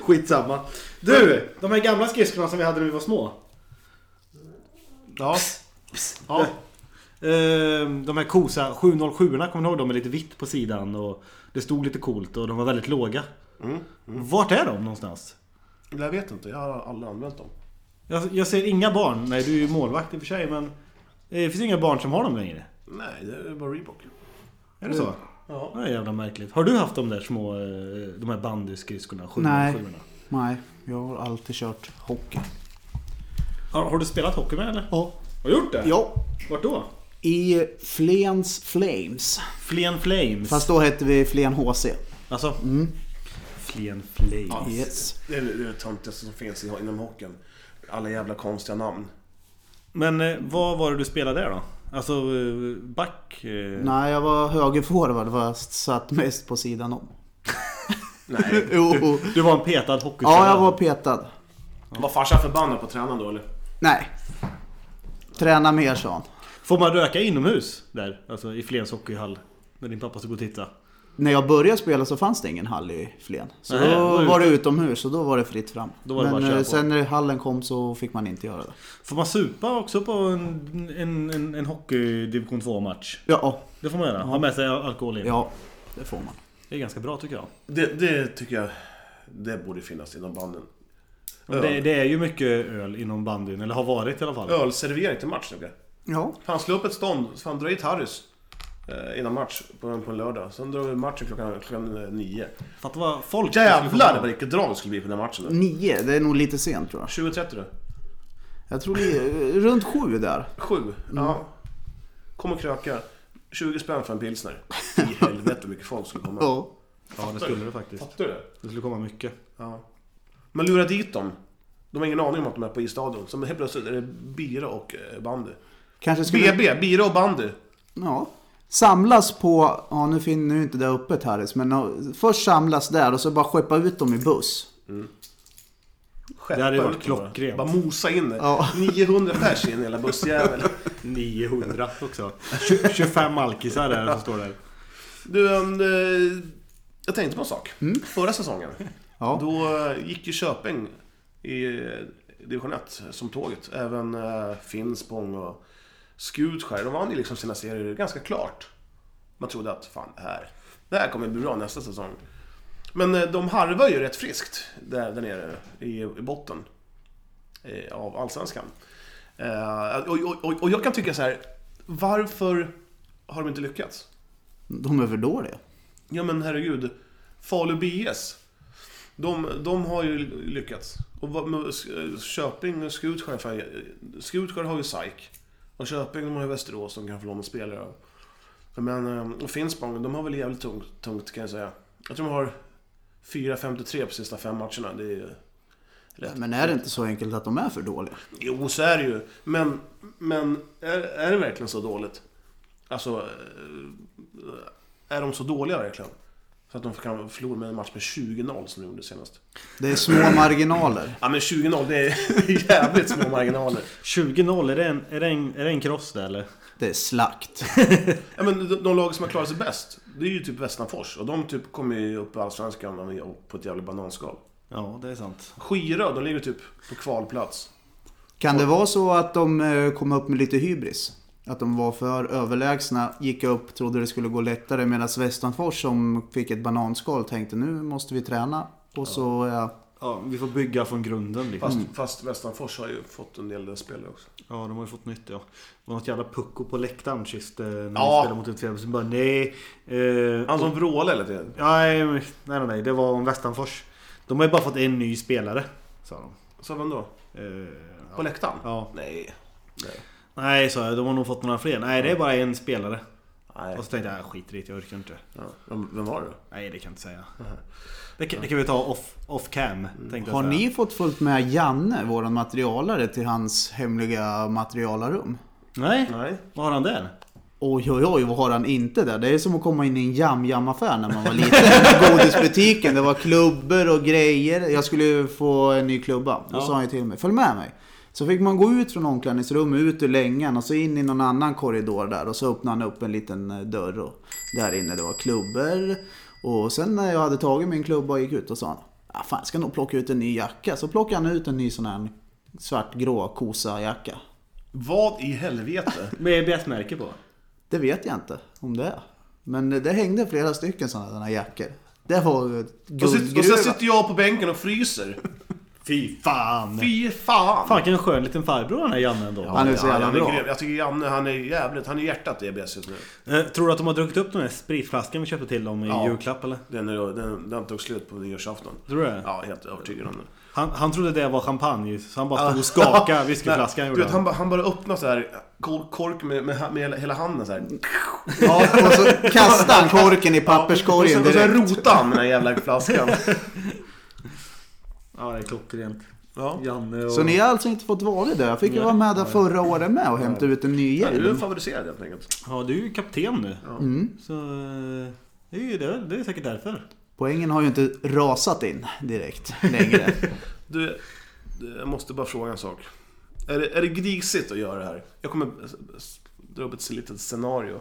[SPEAKER 2] Skitsamma. Du! De här gamla skridskorna som vi hade när vi var små.
[SPEAKER 3] Ja.
[SPEAKER 2] Ja. Ehm, De här kosa 707 kommer ni ihåg dem med lite vitt på sidan och det stod lite coolt och de var väldigt låga. Vart är de någonstans?
[SPEAKER 3] Jag vet inte, jag har aldrig använt dem.
[SPEAKER 2] Jag, jag ser inga barn. Nej, du är ju målvakt i och för sig men eh, det finns inga barn som har dem längre.
[SPEAKER 3] Nej, det är bara Reebok.
[SPEAKER 2] Är det så?
[SPEAKER 3] Ja.
[SPEAKER 2] Det är jävla märkligt. Har du haft de där små, eh, de här bandyskridskorna? 707
[SPEAKER 4] Nej. Nej, jag har alltid kört hockey.
[SPEAKER 2] Har, har du spelat hockey med eller?
[SPEAKER 4] Ja.
[SPEAKER 2] Har du gjort det?
[SPEAKER 4] Ja.
[SPEAKER 2] Vart då?
[SPEAKER 4] I Flens Flames.
[SPEAKER 2] Flen Flames.
[SPEAKER 4] Fast Mm. då hette vi Flen HC.
[SPEAKER 2] Alltså? Flen Flames.
[SPEAKER 4] Yes.
[SPEAKER 3] Det är det töntigaste som finns inom hockeyn. Alla jävla konstiga namn.
[SPEAKER 2] Men eh, vad var det du spelade där då? Alltså eh, back? eh,
[SPEAKER 4] Nej, jag var högerforward fast satt mest på sidan om.
[SPEAKER 3] Nej.
[SPEAKER 4] Jo.
[SPEAKER 2] Du var en petad hockeyspelare?
[SPEAKER 4] Ja, jag var petad.
[SPEAKER 3] Var farsan förbannad på tränaren då eller?
[SPEAKER 4] Nej. Träna mer sa han.
[SPEAKER 2] Får man röka inomhus där? Alltså i Flens hockeyhall? När din pappa stod och tittade?
[SPEAKER 4] När jag började spela så fanns det ingen hall i Flen. Så
[SPEAKER 2] Nej,
[SPEAKER 4] då
[SPEAKER 2] då var
[SPEAKER 4] var,
[SPEAKER 2] det
[SPEAKER 4] det utomhus och då var det fritt fram.
[SPEAKER 2] Då var det bara
[SPEAKER 4] Men
[SPEAKER 2] att köra
[SPEAKER 4] eh,
[SPEAKER 2] på.
[SPEAKER 4] sen när hallen kom så fick man inte göra det.
[SPEAKER 2] Får man supa också på en, en, en, en hockeydivision 2-match?
[SPEAKER 4] Ja,
[SPEAKER 2] Det får man göra. Ha med sig alkohol in.
[SPEAKER 4] ja det får man.
[SPEAKER 2] Det är ganska bra tycker jag.
[SPEAKER 3] Det, det tycker jag, det borde finnas inom banden.
[SPEAKER 2] Men Det, det är ju mycket öl inom bandyn, eller har varit i alla fall.
[SPEAKER 3] Ölservering till match tycker jag.
[SPEAKER 4] Ja,
[SPEAKER 3] Fan, slå upp ett stånd, fan dra hit Harrys. eh, Innan match på en, på en lördag. Sen drar vi matchen klockan, klockan eh, nio.
[SPEAKER 2] Fatta vad folk...
[SPEAKER 3] Jävlar vilket drag det skulle bli på den här matchen. då.
[SPEAKER 4] nio. Det är nog lite sent tror jag.
[SPEAKER 3] 20.30 då?
[SPEAKER 4] Jag tror det är runt sju där.
[SPEAKER 3] Sju? Ja. Kom och kröka. 20 spänn för en pilsner. I helvete hur mycket folk skulle komma.
[SPEAKER 4] Ja.
[SPEAKER 2] Ja, det skulle det faktiskt.
[SPEAKER 3] Fattar du det?
[SPEAKER 2] Det skulle komma mycket.
[SPEAKER 3] Ja. Man lurar dit dem. De har ingen aning om att de är på isstadion. Så helt plötsligt är det bira och eh, bandy.
[SPEAKER 4] Kanske skulle...
[SPEAKER 3] BB, bira och bandy.
[SPEAKER 4] Ja. samlas på, ja nu finner ju inte det öppet Harris, men ja, först samlas där och så bara skeppa ut dem i buss.
[SPEAKER 3] Skeppa
[SPEAKER 2] Det hade ju
[SPEAKER 3] ut
[SPEAKER 2] varit
[SPEAKER 3] dem bara.
[SPEAKER 2] klockrent.
[SPEAKER 3] Bara mosa in det.
[SPEAKER 4] Ja.
[SPEAKER 3] 900 pers in i hela bussjäveln.
[SPEAKER 2] 900 också. Tju- 25 alkisar där som står där.
[SPEAKER 3] Du, ehm, eh, jag tänkte på en sak. Förra säsongen,
[SPEAKER 4] Ja.
[SPEAKER 3] då eh, gick ju Köping i eh, division 1 som tåget. Även eh, Finspång och Skutskär. De vann ju liksom sina serier ganska klart. Man trodde att fan, det här, det här kommer bli bra nästa säsong. Men eh, de harvar ju rätt friskt där, där nere i, i botten eh, av Allsvenskan. Eh, och, och, och, och jag kan tycka så här, varför har de inte lyckats?
[SPEAKER 4] De är för dåliga.
[SPEAKER 3] Ja men herregud. Falu BS. De, de har ju lyckats. Och vad- med Sk- Köping och Skutskär. fan, Skutskär har ju SAIK. Och Köping de har ju Västerås som kan få låna spelare av. Men, eh, och Finspång, de har väl jävligt tungt, tungt kan jag säga. Jag tror de har 4-53 på sista fem matcherna. Det är ju rätt.
[SPEAKER 4] Men är det inte så enkelt att de är för dåliga?
[SPEAKER 3] Jo, så är det ju. Men, men är, är det verkligen så dåligt? Alltså, eh, är de så dåliga verkligen? Så att de kan förlora med en match med 20-0 som de gjorde senast.
[SPEAKER 4] Det är små marginaler.
[SPEAKER 3] Ja, men 20-0, det är jävligt små marginaler.
[SPEAKER 2] 20-0, är det en, är det en, är det en kross där eller?
[SPEAKER 4] Det är slakt.
[SPEAKER 3] Ja, men de, de lag som har klarat sig bäst, det är ju typ Västmanfors. Och de typ kommer ju upp i Allsvenskan på ett jävla bananskal.
[SPEAKER 2] Ja, det är sant.
[SPEAKER 3] Skirö, de ligger typ på kvalplats.
[SPEAKER 4] Kan det vara så att de eh, kom upp med lite hybris? Att de var för överlägsna, gick upp, trodde det skulle gå lättare medan Västanfors som fick ett bananskal tänkte nu måste vi träna. Och så, ja,
[SPEAKER 2] Ja, vi får bygga från grunden liksom.
[SPEAKER 3] Fast, fast Västmanfors har ju fått en del spelare också.
[SPEAKER 2] Ja, de har ju fått nytt ja. Det var något jävla pucko på läktaren sist eh, när
[SPEAKER 3] Ja.
[SPEAKER 2] vi spelade mot Utfjärden. Så bara nej. Eh,
[SPEAKER 3] Han som vrålade hela tiden.
[SPEAKER 2] nej, nej, nej, nej. Det var om Västanfors. De har ju bara fått en ny spelare, sa de.
[SPEAKER 3] Så vem då?
[SPEAKER 2] Eh,
[SPEAKER 3] På läktaren?
[SPEAKER 2] Ja.
[SPEAKER 3] Nej. Nej.
[SPEAKER 2] nej, sa jag. De har nog fått några fler. Nej, det är bara en spelare.
[SPEAKER 3] Nej.
[SPEAKER 2] Och så tänkte jag, "Ah, skit i det. Jag orkar inte.
[SPEAKER 3] Ja. Vem vem var det då?
[SPEAKER 2] Nej, det kan jag inte säga. Det kan, det kan vi ta off, off cam.
[SPEAKER 3] Mm.
[SPEAKER 2] Tänkte
[SPEAKER 4] har
[SPEAKER 2] jag säga.
[SPEAKER 4] ni fått fullt med Janne, våran materialare, till hans hemliga materialarum?
[SPEAKER 2] Nej.
[SPEAKER 3] Nej.
[SPEAKER 2] Vad har han där?
[SPEAKER 4] Oj, oj, oj, vad har han inte där? Det är som att komma in i en jam-jam-affär när man var liten. Godisbutiken, det var klubbor och grejer. Jag skulle ju få en ny klubba. Då sa han ju till mig, följ med mig. Så fick man gå ut från omklädningsrummet, ut ur längan och så in i någon annan korridor där. Och så öppnade han upp en liten eh, dörr och där inne det var klubbor. Och sen när jag hade tagit min klubba och gick ut och sa han, ah, fan jag ska nog plocka ut en ny jacka. Så plockade han ut en ny sån här svartgrå kosa-jacka.
[SPEAKER 3] Vad i helvete?
[SPEAKER 2] Med bjässmärke på.
[SPEAKER 4] Det vet jag inte om det är. Men det hängde flera stycken sådana här jackor. Det var ju ett
[SPEAKER 3] och, sit, och sen
[SPEAKER 4] guldgruva.
[SPEAKER 3] sitter jag på bänken och fryser.
[SPEAKER 2] Fy fan!
[SPEAKER 3] Fy fan!
[SPEAKER 2] Fan vilken skön liten farbror den här Janne ändå.
[SPEAKER 4] Han är så jävla
[SPEAKER 3] han är
[SPEAKER 4] bra.
[SPEAKER 3] grym. Jag tycker Janne, han är jävligt... Han är hjärtat i EBS just nu.
[SPEAKER 2] Eh, tror du att de har druckit upp den här spritflaskan vi köpte till dem i
[SPEAKER 3] Ja.
[SPEAKER 2] julklapp eller?
[SPEAKER 3] Den, är- den, den tog slut på nyårsafton.
[SPEAKER 2] Tror du det?
[SPEAKER 3] Ja, helt övertygad om det.
[SPEAKER 2] Han, han trodde det var champagne så han bara stod och skakade whiskyflaskan.
[SPEAKER 3] Ah. Nej,
[SPEAKER 2] gjorde
[SPEAKER 3] Du vet, han, bara- han bara öppnar så här kor- kork med, med, ha- med hela, hela handen så här.
[SPEAKER 4] Ja, och så kastade han korken i
[SPEAKER 3] och sen,
[SPEAKER 4] papperskorgen
[SPEAKER 3] och sen
[SPEAKER 4] direkt.
[SPEAKER 3] rotar han med den här jävla flaskan.
[SPEAKER 2] Ja, det är klockrent.
[SPEAKER 3] Ja.
[SPEAKER 2] Janne och...
[SPEAKER 4] Så ni har alltså inte fått vara där? Jag fick ju vara med där förra året med och hämta ut en ny
[SPEAKER 3] Ja, Du är
[SPEAKER 4] hjälm.
[SPEAKER 3] favoriserad helt enkelt.
[SPEAKER 2] Ja, du är ju kapten nu. Mm.
[SPEAKER 3] Mm.
[SPEAKER 2] Så... eh, Det är ju det, det är säkert därför.
[SPEAKER 4] Poängen har ju inte rasat in direkt längre.
[SPEAKER 3] Du, jag måste bara fråga en sak. Är det, är det grisigt att göra det här? Jag kommer s- s- dra upp ett litet scenario.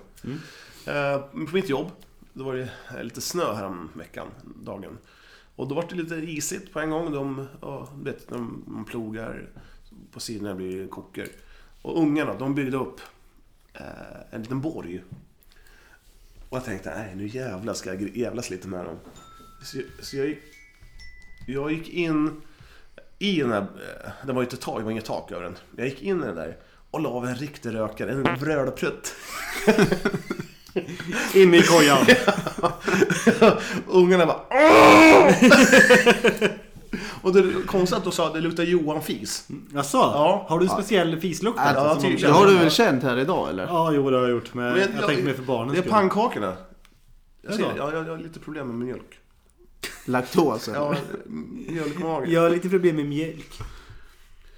[SPEAKER 3] Eh, på mitt jobb, då var det eh, lite snö här om veckan, dagen. Och då var det lite isigt på en gång. De, ja, du vet, de, man plogar, på sidorna blir det koker. Och ungarna, de byggde upp eh, en liten borg. Och jag tänkte, nej nu jävlar ska jag gr- jävlas lite med dem. Så, så jag, gick, jag gick in i den här, eh, den var ju inte tak, det var inget tak över den. Jag gick in i den där och la av en riktig rökare, en brödprutt.
[SPEAKER 2] In i kojan!
[SPEAKER 3] Ungarna bara "Åh!" Och det är konstigt att de sa att det luktar Johan fis.
[SPEAKER 2] Jaså?
[SPEAKER 3] Ja.
[SPEAKER 2] Har du en speciell fislukt? alltså,
[SPEAKER 3] ja,
[SPEAKER 2] som
[SPEAKER 3] typ.
[SPEAKER 2] man-
[SPEAKER 4] Det har du väl känt här idag eller?
[SPEAKER 2] Ja, jo det har jag gjort. Men, jag, tänkte mer för barnens
[SPEAKER 3] Det är
[SPEAKER 2] skull.
[SPEAKER 3] pannkakorna. Jag,
[SPEAKER 2] Jaså?
[SPEAKER 3] ser, jag, jag, jag har lite problem med mjölk.
[SPEAKER 4] Laktos
[SPEAKER 3] Ja,
[SPEAKER 4] eller?
[SPEAKER 3] mjölkmage.
[SPEAKER 2] Jag har lite problem med mjölk.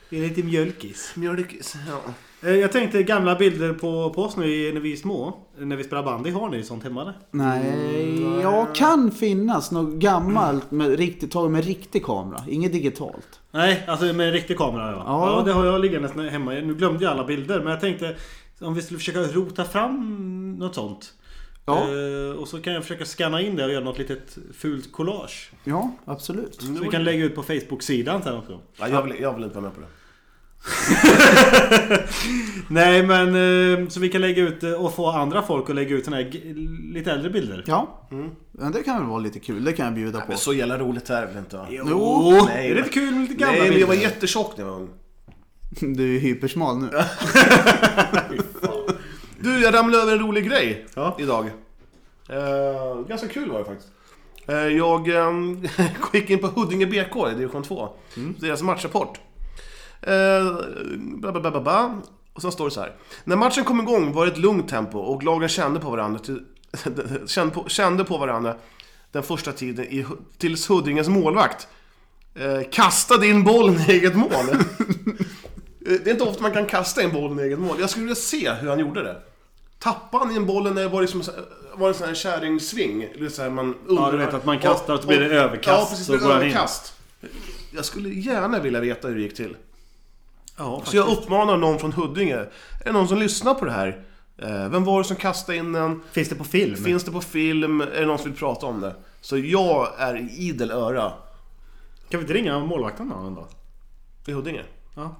[SPEAKER 2] Jag är lite mjölkis.
[SPEAKER 3] Mjölkis, ja.
[SPEAKER 2] Eh, Jag tänkte gamla bilder på, på oss nu i- när vi är små. När vi spelar bandy. Har ni sånt hemma eller?
[SPEAKER 4] Nej, jag kan finnas något gammalt med riktigt, taget med riktig kamera. Inget digitalt.
[SPEAKER 2] Nej, alltså med en riktig kamera ja.
[SPEAKER 4] Ja.
[SPEAKER 2] ja. det har jag liggandes nä- hemma. Nu glömde jag alla bilder men jag tänkte om vi skulle försöka rota fram något sånt.
[SPEAKER 4] Ja.
[SPEAKER 2] Eh, och så kan jag försöka scanna in det och göra något litet fult collage.
[SPEAKER 4] Ja, absolut.
[SPEAKER 2] Så vi kan lägga ut på Facebook-sidan sen också.
[SPEAKER 3] Ja, jag, vill, jag vill inte vara med på det.
[SPEAKER 2] Nej men eh, så vi kan lägga ut eh, och få andra folk att lägga ut såna här g- lite äldre bilder.
[SPEAKER 4] Ja, men det kan väl vara lite kul. Det kan jag bjuda på.
[SPEAKER 3] Mm. Men så jävla roligt är det väl inte? Va?
[SPEAKER 4] Jo,
[SPEAKER 2] det är lite kul med lite gamla
[SPEAKER 3] Nej, men jag
[SPEAKER 2] bilder.
[SPEAKER 3] var jättetjock när jag var ung.
[SPEAKER 4] du är hypersmal nu.
[SPEAKER 3] Du, jag ramlade över en rolig grej
[SPEAKER 2] Ja.
[SPEAKER 3] idag. Eh, ganska kul var det faktiskt. Eh, jag eh, gick in på Huddinge BK i division 2. Deras matchrapport. Eh, ba, ba, ba, ba, ba. Och sen står det så här. När matchen kom igång var det ett lugnt tempo och lagen kände på varandra, till, kände på, kände på varandra den första tiden i, Hu- tills Huddinges målvakt eh, kastade in bollen i eget mål. Eh, det är inte ofta man kan kasta in bollen i eget mål. Jag skulle vilja se hur han gjorde det. Tappade han in bollen när det var, liksom, så- var det en sån här kärringsving? Eller så här man
[SPEAKER 2] du vet att man kastar och så blir det överkast,
[SPEAKER 3] Ja, precis.
[SPEAKER 2] så
[SPEAKER 3] Så
[SPEAKER 2] går han in.
[SPEAKER 3] överkast. Jag skulle gärna vilja veta hur det gick till.
[SPEAKER 2] Ja,
[SPEAKER 3] Så jag uppmanar någon från Huddinge. Är det någon som lyssnar på det här? Eh, Vem var det som kastade in den?
[SPEAKER 2] Finns det på film?
[SPEAKER 3] Finns det på film? Är det någon som vill prata om det? Så jag är i idel öra
[SPEAKER 2] Kan vi inte ringa målvakten då? en dag?
[SPEAKER 3] i Huddinge.
[SPEAKER 2] Ja.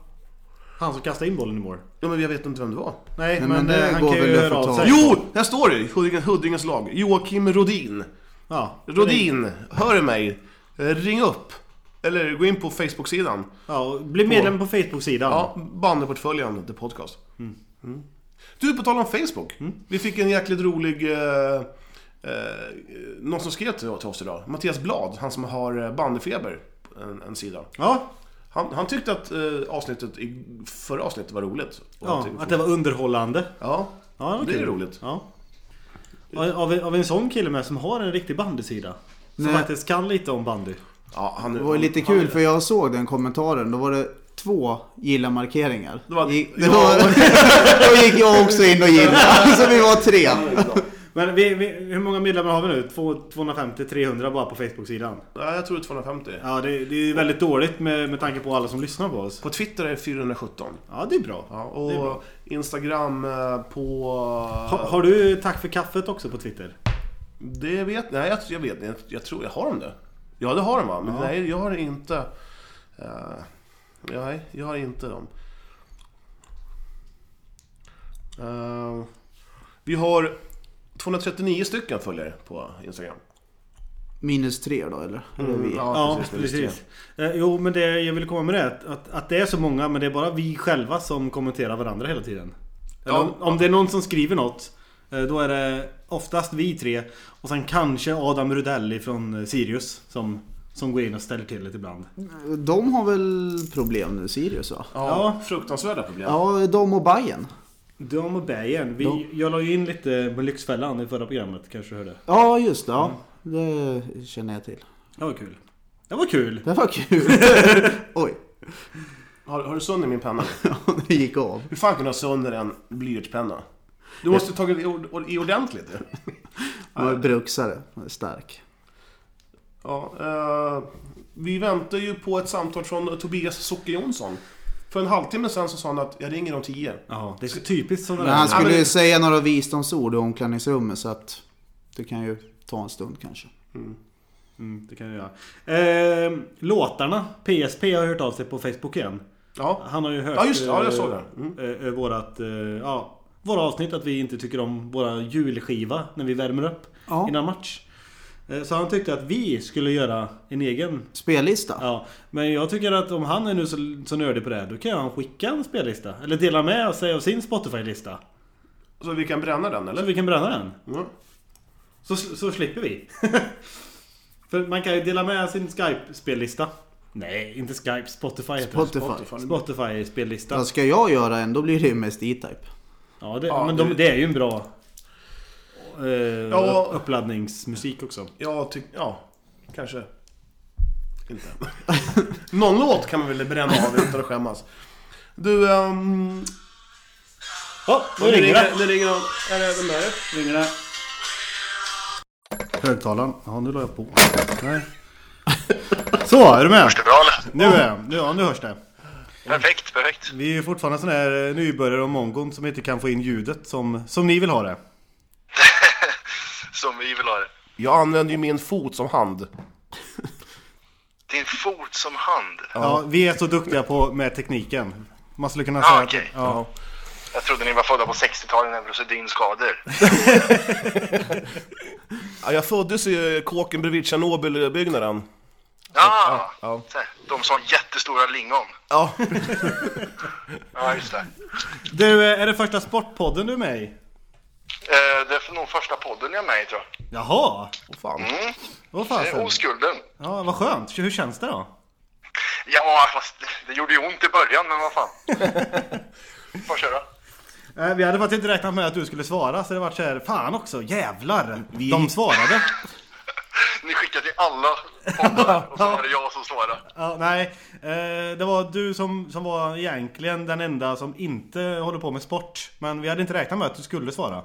[SPEAKER 2] Han som kastade in bollen i mål.
[SPEAKER 3] Ja, men jag vet inte vem det var.
[SPEAKER 2] Nej,
[SPEAKER 4] men
[SPEAKER 2] men,
[SPEAKER 4] det
[SPEAKER 2] eh, han
[SPEAKER 4] går
[SPEAKER 2] kan ju
[SPEAKER 4] väl att
[SPEAKER 2] höra
[SPEAKER 4] få
[SPEAKER 2] av
[SPEAKER 4] tag
[SPEAKER 2] sig.
[SPEAKER 4] i.
[SPEAKER 3] Jo! Här står det! Huddinge, Huddinges lag. Joakim Rodin.
[SPEAKER 2] Ja,
[SPEAKER 3] Rodin, hör du mig? Eh, Ring upp. Eller gå in på Facebook-sidan.
[SPEAKER 2] Ja, och bli medlem på Facebook-sidan.
[SPEAKER 3] Ja, bandyportföljen, The Podcast. Mm. Du, på tal om Facebook. Vi fick en jäkligt rolig... Eh, eh, någon som skrev till till oss idag. Mattias Blad, han som har eh, bandyfeber. En, en sida.
[SPEAKER 2] Ja,
[SPEAKER 3] Han, han tyckte att eh, avsnittet i förra avsnittet var roligt. Och han
[SPEAKER 2] ja
[SPEAKER 3] tyckte-
[SPEAKER 2] att det var underhållande.
[SPEAKER 3] ja,
[SPEAKER 2] Ja, var
[SPEAKER 3] det är
[SPEAKER 2] kul.
[SPEAKER 3] roligt.
[SPEAKER 2] Ja. Av, av, av en sån kille med som har en riktig bandysida. Som
[SPEAKER 4] Nej.
[SPEAKER 2] faktiskt kan lite om bandy.
[SPEAKER 3] Ja, han,
[SPEAKER 4] Det var ju lite kul för jag såg den kommentaren. Då var det två gilla-markeringar.
[SPEAKER 3] Det var-
[SPEAKER 4] Gick- det var- Då gick jag också in och gillade. Så vi var tre.
[SPEAKER 2] Men vi, vi, hur många medlemmar har vi nu? Två- 250-300 bara på Facebook-sidan.
[SPEAKER 3] Ja, jag tror det är 250.
[SPEAKER 2] Ja, det, det är väldigt dåligt med, med tanke på alla som lyssnar på oss.
[SPEAKER 3] På Twitter är det 417.
[SPEAKER 2] Ja, det är bra.
[SPEAKER 3] Ja,
[SPEAKER 2] Det är
[SPEAKER 3] och
[SPEAKER 2] bra.
[SPEAKER 3] Instagram eh, på...
[SPEAKER 2] Ha, har du Tack för kaffet också på Twitter?
[SPEAKER 3] Det vet Nej, jag, jag vet jag, jag tror... Jag har dem det. Ja, det har de va? Men nej, jag har inte... eh, nej, jag har inte dem. Eh, vi har 239 stycken följare på Instagram.
[SPEAKER 4] Minus tre då eller? Eller
[SPEAKER 3] Mm,
[SPEAKER 4] vi.
[SPEAKER 2] Ja,
[SPEAKER 3] minus
[SPEAKER 2] precis. Eh, jo, men det jag vill komma med det är att, att det är så många, men det är bara vi själva som kommenterar varandra hela tiden. Eller
[SPEAKER 3] Ja.
[SPEAKER 2] om, om det är någon som skriver något, eh, då är det oftast vi tre och sen kanske Adam Rudelli från eh, Sirius som, som går in och ställer till det ibland.
[SPEAKER 4] De har väl problem nu, Sirius va?
[SPEAKER 3] Ja,
[SPEAKER 2] Ja.
[SPEAKER 3] fruktansvärda problem.
[SPEAKER 4] Ja, de och Bayern.
[SPEAKER 2] De och Bergen. Vi,
[SPEAKER 4] De-
[SPEAKER 2] Jag la ju in lite på Lyxfällan i förra programmet, kanske du hörde?
[SPEAKER 4] Ja, just det. Ja.
[SPEAKER 3] Mm.
[SPEAKER 4] Det känner jag till.
[SPEAKER 2] Det var kul. Det var kul!
[SPEAKER 4] Det var kul. Oj,
[SPEAKER 3] Har, har du sönder min penna?
[SPEAKER 4] det gick av.
[SPEAKER 3] Hur fan kan du ha sönder en blyertspenna? Du måste tagit i, ord- i ordentligt.
[SPEAKER 4] Han var bruksare. Han är Stark.
[SPEAKER 3] Ja, eh, vi väntar ju på ett samtal från Tobias Socke Jonsson. För en halvtimme sen så sa han att jag ringer om tio.
[SPEAKER 2] Ja, det är så typiskt sådana
[SPEAKER 4] Men han
[SPEAKER 2] där.
[SPEAKER 4] skulle
[SPEAKER 3] men-
[SPEAKER 4] ju säga några visdomsord i omklädningsrummet så att det kan ju ta en stund kanske.
[SPEAKER 2] Mm, det kan jag göra. Eh, låtarna. PSP har hört av sig på Facebook igen.
[SPEAKER 3] Ja,
[SPEAKER 2] Han har ju hört
[SPEAKER 3] Ja, just det. Ja, jag
[SPEAKER 2] eh,
[SPEAKER 3] såg det. Mm.
[SPEAKER 2] eh, eh, vårat, eh, ja, våra avsnitt att vi inte tycker om våra julskiva när vi värmer upp
[SPEAKER 4] Ja.
[SPEAKER 2] innan match. Eh, Så han tyckte att vi skulle göra en egen.
[SPEAKER 4] Spellista?
[SPEAKER 2] Ja, men jag tycker att om han är nu så, så nördig på det här, då kan han skicka en spellista. Eller dela med sig av sin Spotify-lista.
[SPEAKER 3] så vi kan bränna den
[SPEAKER 2] Så
[SPEAKER 3] eller?
[SPEAKER 2] vi kan bränna den.
[SPEAKER 3] Mm.
[SPEAKER 2] Så, så slipper vi. För man kan ju dela med sin Skype-spellista. Nej, inte Skype. Spotify heter det.
[SPEAKER 4] Spotify.
[SPEAKER 2] Spotify-spellista.
[SPEAKER 4] Vad ska jag göra än? Då blir det ju mest E-Type.
[SPEAKER 2] Ja, det,
[SPEAKER 3] Ja,
[SPEAKER 2] men
[SPEAKER 3] det-
[SPEAKER 2] de, det är ju en bra eh,
[SPEAKER 3] Ja.
[SPEAKER 2] upp- uppladdningsmusik också.
[SPEAKER 3] Jag tycker, ja, kanske. Inte. Någon låt kan man väl bränna av utan att skämmas. Du, ehm,
[SPEAKER 7] Ja, nu
[SPEAKER 3] Nu
[SPEAKER 7] ringer det.
[SPEAKER 3] ringer, nu ringer någon. Är det, vem är det?
[SPEAKER 7] Ringer det.
[SPEAKER 2] Högtalaren. Ja, nu la jag på. Nej. Så, är du med?
[SPEAKER 5] Det är bra eller?
[SPEAKER 2] Nu är jag. Nu, ja, nu hörs det.
[SPEAKER 5] Perfekt, perfekt.
[SPEAKER 2] Vi är ju fortfarande sån här eh, nybörjare och mongon som inte kan få in ljudet som, som ni vill ha det.
[SPEAKER 5] Som vi vill ha det.
[SPEAKER 3] Jag använder ju min fot som hand.
[SPEAKER 5] Din fot som hand.
[SPEAKER 2] Ja, vi är så duktiga på med tekniken. Man skulle kunna
[SPEAKER 5] Ja,
[SPEAKER 2] säga
[SPEAKER 5] okej.
[SPEAKER 2] att, ja.
[SPEAKER 5] Jag trodde ni var födda på 60-talet när Rosedin-skador.
[SPEAKER 3] Ja, jag föddes i kåken bredvid Tjernobylbyggnaden.
[SPEAKER 5] Ja,
[SPEAKER 3] ja.
[SPEAKER 5] Så här, de som har jättestora lingon.
[SPEAKER 3] Ja.
[SPEAKER 5] Ja, just det.
[SPEAKER 2] Du, eh, är det första sportpodden du är med i?
[SPEAKER 5] Eh, Det är nog första podden jag är med i tror jag.
[SPEAKER 2] Jaha!
[SPEAKER 3] Åh fan.
[SPEAKER 2] Vad
[SPEAKER 5] Det är
[SPEAKER 2] fasen?
[SPEAKER 5] oskulden.
[SPEAKER 2] Ja, vad skönt. Hur känns det då?
[SPEAKER 5] Ja, fast det gjorde ju ont i början, men vad fan. Får köra.
[SPEAKER 2] Eh, Vi hade faktiskt inte räknat med att du skulle svara så det vart såhär, fan också, jävlar! De svarade!
[SPEAKER 5] Ni skickade till alla poddar och så var det jag som svarade.
[SPEAKER 2] Ja, nej, eh, det var du som, som var egentligen den enda som inte håller på med sport. Men vi hade inte räknat med att du skulle svara.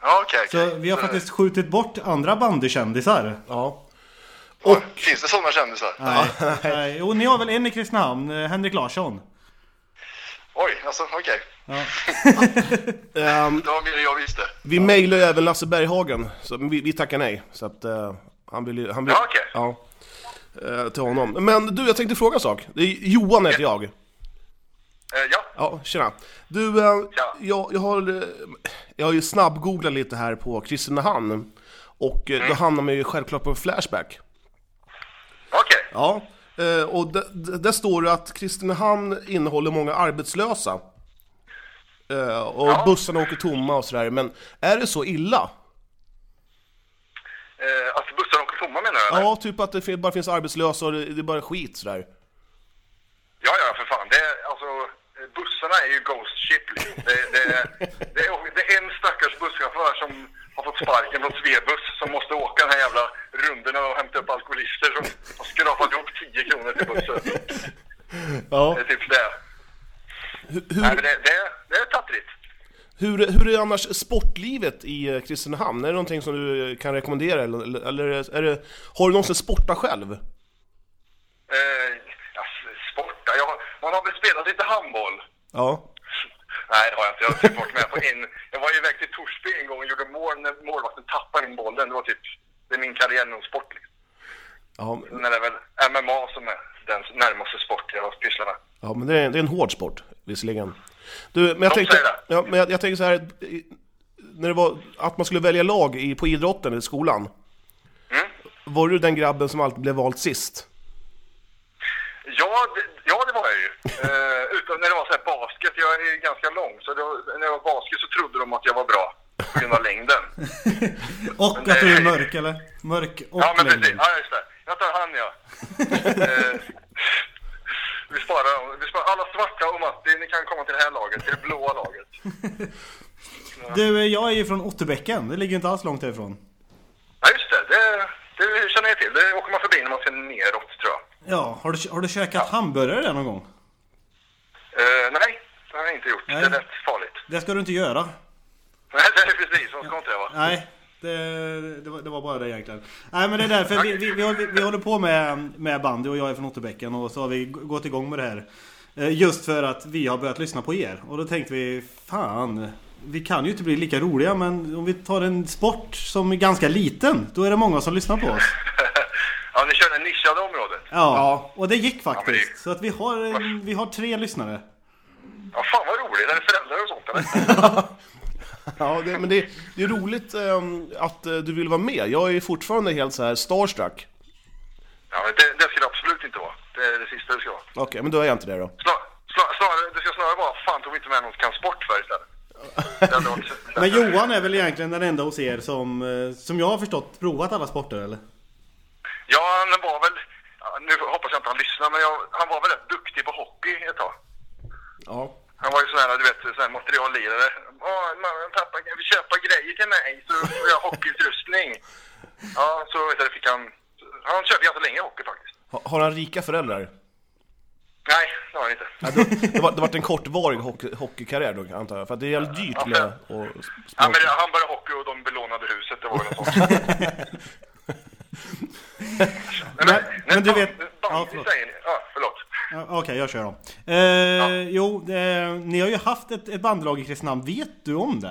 [SPEAKER 5] Ja, okej. okej.
[SPEAKER 2] Så vi har faktiskt skjutit bort andra bandykändisar.
[SPEAKER 3] Ja.
[SPEAKER 5] Finns det sådana kändisar?
[SPEAKER 2] Nej. nej. Eh, Jo, ni har väl en i Kristinehamn, eh, Henrik Larsson?
[SPEAKER 5] Oj, alltså okej.
[SPEAKER 3] Ehm,
[SPEAKER 5] Det var mer än jag visste.
[SPEAKER 3] vi mejlade ju även Lasse Berghagen, så vi, vi tackar nej. Så att eh, han vill ju... Han vill,
[SPEAKER 5] Ja, okej.
[SPEAKER 3] ja, Eh, till honom. Men du, jag tänkte fråga en sak. Det är Johan heter jag.
[SPEAKER 5] Eh, ja,
[SPEAKER 3] Ja, tjena. Du, eh,
[SPEAKER 5] Ja.
[SPEAKER 3] jag, jag, har, eh, jag har ju snabbgooglat lite här på Kristinehamn. Och eh,
[SPEAKER 5] Mm.
[SPEAKER 3] då hamnar man ju självklart på Flashback.
[SPEAKER 5] okej.
[SPEAKER 3] Ja, eh, och d- d- där står det att Kristinehamn innehåller många arbetslösa. Eh, Och bussarna åker tomma och sådär, men är det så illa?
[SPEAKER 5] Eh, att bussarna åker tomma menar du? eller?
[SPEAKER 3] Ja, typ att det fin- bara finns arbetslösa och det det är bara skit sådär.
[SPEAKER 5] ja, ja, för fan. Det är, alltså, eh, bussarna är ju ghost ship. liksom. Det, det, det, är, det är en stackars busschaufför som har fått sparken från Svebuss som måste åka den här jävla rundorna och hämta upp alkoholister som har skrapat ihop 10 kronor till bussen.
[SPEAKER 3] Ja.
[SPEAKER 5] Det är typ det.
[SPEAKER 3] Hur,
[SPEAKER 5] Nej, men
[SPEAKER 3] hur,
[SPEAKER 5] det, det, det är tattrigt.
[SPEAKER 3] hur, hur är annars sportlivet i eh, Kristinehamn? Är det någonting som du eh, kan rekommendera? Eller, eller- eller är det, har du någonsin sportat själv?
[SPEAKER 5] Eh, alltså, sporta. Jag, har- man har väl spelat lite handboll.
[SPEAKER 3] Ja.
[SPEAKER 5] Nej, det har jag inte. Jag har typ varit med på en... Jag var iväg till Torsby en gång och gjorde mål när målvakten tappade in bollen. Det var typ... Det är min karriär inom sport. Liksom.
[SPEAKER 3] Ja,
[SPEAKER 5] Men det är väl MMA som är den närmaste sport jag har pysslat med.
[SPEAKER 3] Ja, men det är, det är en hård sport, visserligen. Du, men jag
[SPEAKER 5] De
[SPEAKER 3] tänkte,
[SPEAKER 5] säger det.
[SPEAKER 3] ja, men jag, jag tänkte så här, att, eh, när det var att man skulle välja lag i, på idrotten i skolan. Var du den grabben som alltid blev vald sist?
[SPEAKER 5] Ja, det, ja, det var jag ju. Eh, utan när det var så här basket. Jag är ju ganska lång, så då, när jag var basket så trodde de att jag var bra på grund av längden.
[SPEAKER 2] Och att du är mörk eller? Mörk och
[SPEAKER 5] Ja, men
[SPEAKER 2] längden.
[SPEAKER 5] precis. Ja, just det. Jag tar han, ja. Eh, vi, sparar, vi sparar alla svarta och Matti. Ni kan komma till det här laget, till det blåa laget.
[SPEAKER 2] Du, eh, jag är ju från Otterbäcken. Det ligger ju inte alls långt härifrån.
[SPEAKER 5] Ja, just det. Det, det känner jag till. Det åker man förbi när man ser neråt, tror jag.
[SPEAKER 2] Ja, har du, har du käkat hamburgare där någon gång?
[SPEAKER 5] Eh, nej, det har jag inte gjort.
[SPEAKER 2] Nej.
[SPEAKER 5] Det är rätt farligt.
[SPEAKER 2] Det ska du inte göra.
[SPEAKER 5] Nej, det är precis. Man ska inte det, va?
[SPEAKER 2] Nej, det, det, var, det var bara det egentligen. Nej men det är därför vi, vi, vi, håller- vi håller på med, med bandy och jag är från Otterbäcken och så har vi g- gått igång med det här. Eh, Just för att vi har börjat lyssna på er. Och då tänkte vi, fan. Vi kan ju inte bli lika roliga men om vi tar en sport som är ganska liten. Då är det många som lyssnar på oss.
[SPEAKER 5] ja, ni kör det nischade området.
[SPEAKER 2] Ja,
[SPEAKER 3] Ja.
[SPEAKER 2] och det gick
[SPEAKER 5] Ja, men
[SPEAKER 2] faktiskt.
[SPEAKER 5] det-
[SPEAKER 2] Så att vi har, en- vi har tre lyssnare.
[SPEAKER 5] Ja, fan vad roligt. Är det föräldrar och sånt, eller?
[SPEAKER 3] Ja, det, men det, det är roligt ehm, att eh, du vill vara med. Jag är fortfarande helt så här starstruck.
[SPEAKER 5] Ja, men det, det ska det absolut inte vara. Det är det sista det ska vara.
[SPEAKER 3] Okej, men då är jag inte det då.
[SPEAKER 5] Snar, snar, snarare, det ska snarare vara, fan tog vi inte med någon som kan sport för istället? Det hade varit-
[SPEAKER 2] Men Johan är väl egentligen den enda hos er som, eh, som jag har förstått, provat alla sporter eller?
[SPEAKER 5] Ja, han var väl... ja, Nu hoppas jag inte han lyssnar, men jag, han var väl rätt duktig på hockey ett tag.
[SPEAKER 3] Ja.
[SPEAKER 5] Han var ju sån här, du vet, sån här materiallirare. Åh, mamma och pappa, kan vi köpa grejer till mig så får jag hockeyutrustning? Ja, så vet jag, det fick han... Han körde ganska länge hockey faktiskt.
[SPEAKER 3] Ha, har han rika föräldrar?
[SPEAKER 5] Nej, det har han inte.
[SPEAKER 3] Ja, det, det, var, det var en kortvarig hockey, hockeykarriär då antar jag, för att det är jävligt dyrt med att spela
[SPEAKER 5] Ja, men
[SPEAKER 3] hockey.
[SPEAKER 5] det- han började hockey och de belånade huset. Det var väl något sånt. Nej,
[SPEAKER 2] Men- men du
[SPEAKER 5] ban-
[SPEAKER 2] vet- ja,
[SPEAKER 5] Bandy
[SPEAKER 2] förlåt.
[SPEAKER 5] säger ni. Ja, förlåt.
[SPEAKER 2] Ja, Okej, jag kör då. Eh, Jo, eh, ni har ju haft ett, ett bandlag i Kristinehamn. Vet du om det?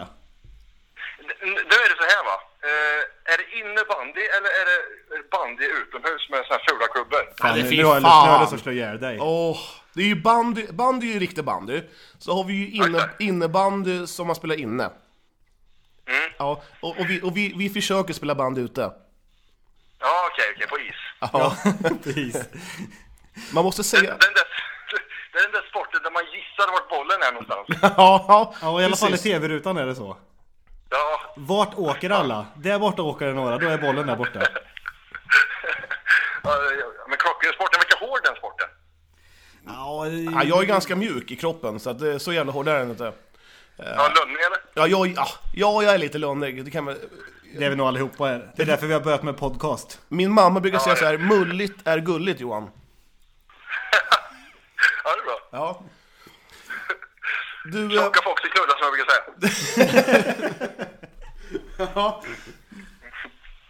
[SPEAKER 5] N- Nu är det så här va. Eh, är det innebandy eller är det bandy utomhus med såna här fula kubbor?
[SPEAKER 2] Fan,
[SPEAKER 7] det-
[SPEAKER 2] nu-
[SPEAKER 7] fy
[SPEAKER 2] nu har jag
[SPEAKER 7] fan.
[SPEAKER 2] nu har jag lust att slå ihjäl dig.
[SPEAKER 3] Åh, det är ju bandy, bandy är ju riktig bandy. Så har vi ju inne, innebandy som man spelar inne.
[SPEAKER 5] Mm.
[SPEAKER 3] Ja, och, och, vi, och vi, vi försöker spela bandy ute.
[SPEAKER 5] Ja, okej, okej, på is.
[SPEAKER 3] Ja.
[SPEAKER 2] Precis.
[SPEAKER 3] Man måste säga...
[SPEAKER 5] Den där, det är den där sporten där man gissar vart bollen är någonstans.
[SPEAKER 3] Ja,
[SPEAKER 2] Ja, och i alla fall i
[SPEAKER 3] precis.
[SPEAKER 2] tv-rutan är det så.
[SPEAKER 5] Ja,
[SPEAKER 2] Vart åker alla? Där borta åker det några, då är bollen där borta.
[SPEAKER 5] ja, ja, men klockren sporten, verkar hård den sporten.
[SPEAKER 2] Ja,
[SPEAKER 3] Ja, jag är ganska mjuk i kroppen, så att det är så jävla hård är den inte.
[SPEAKER 5] Ja, Lönning eller?
[SPEAKER 3] Ja, jag, ja, ja, jag är lite lönnig. Det kan man...
[SPEAKER 2] det är vi nog allihopa. Här. Det är därför vi har börjat med podcast.
[SPEAKER 3] Min mamma brukar
[SPEAKER 5] Ja,
[SPEAKER 3] säga
[SPEAKER 5] det-
[SPEAKER 3] så här, mulligt är gulligt Johan.
[SPEAKER 5] Ja, det är bra.
[SPEAKER 3] Ja. Du, eh,
[SPEAKER 5] Tjocka folk till knullar som jag brukar säga.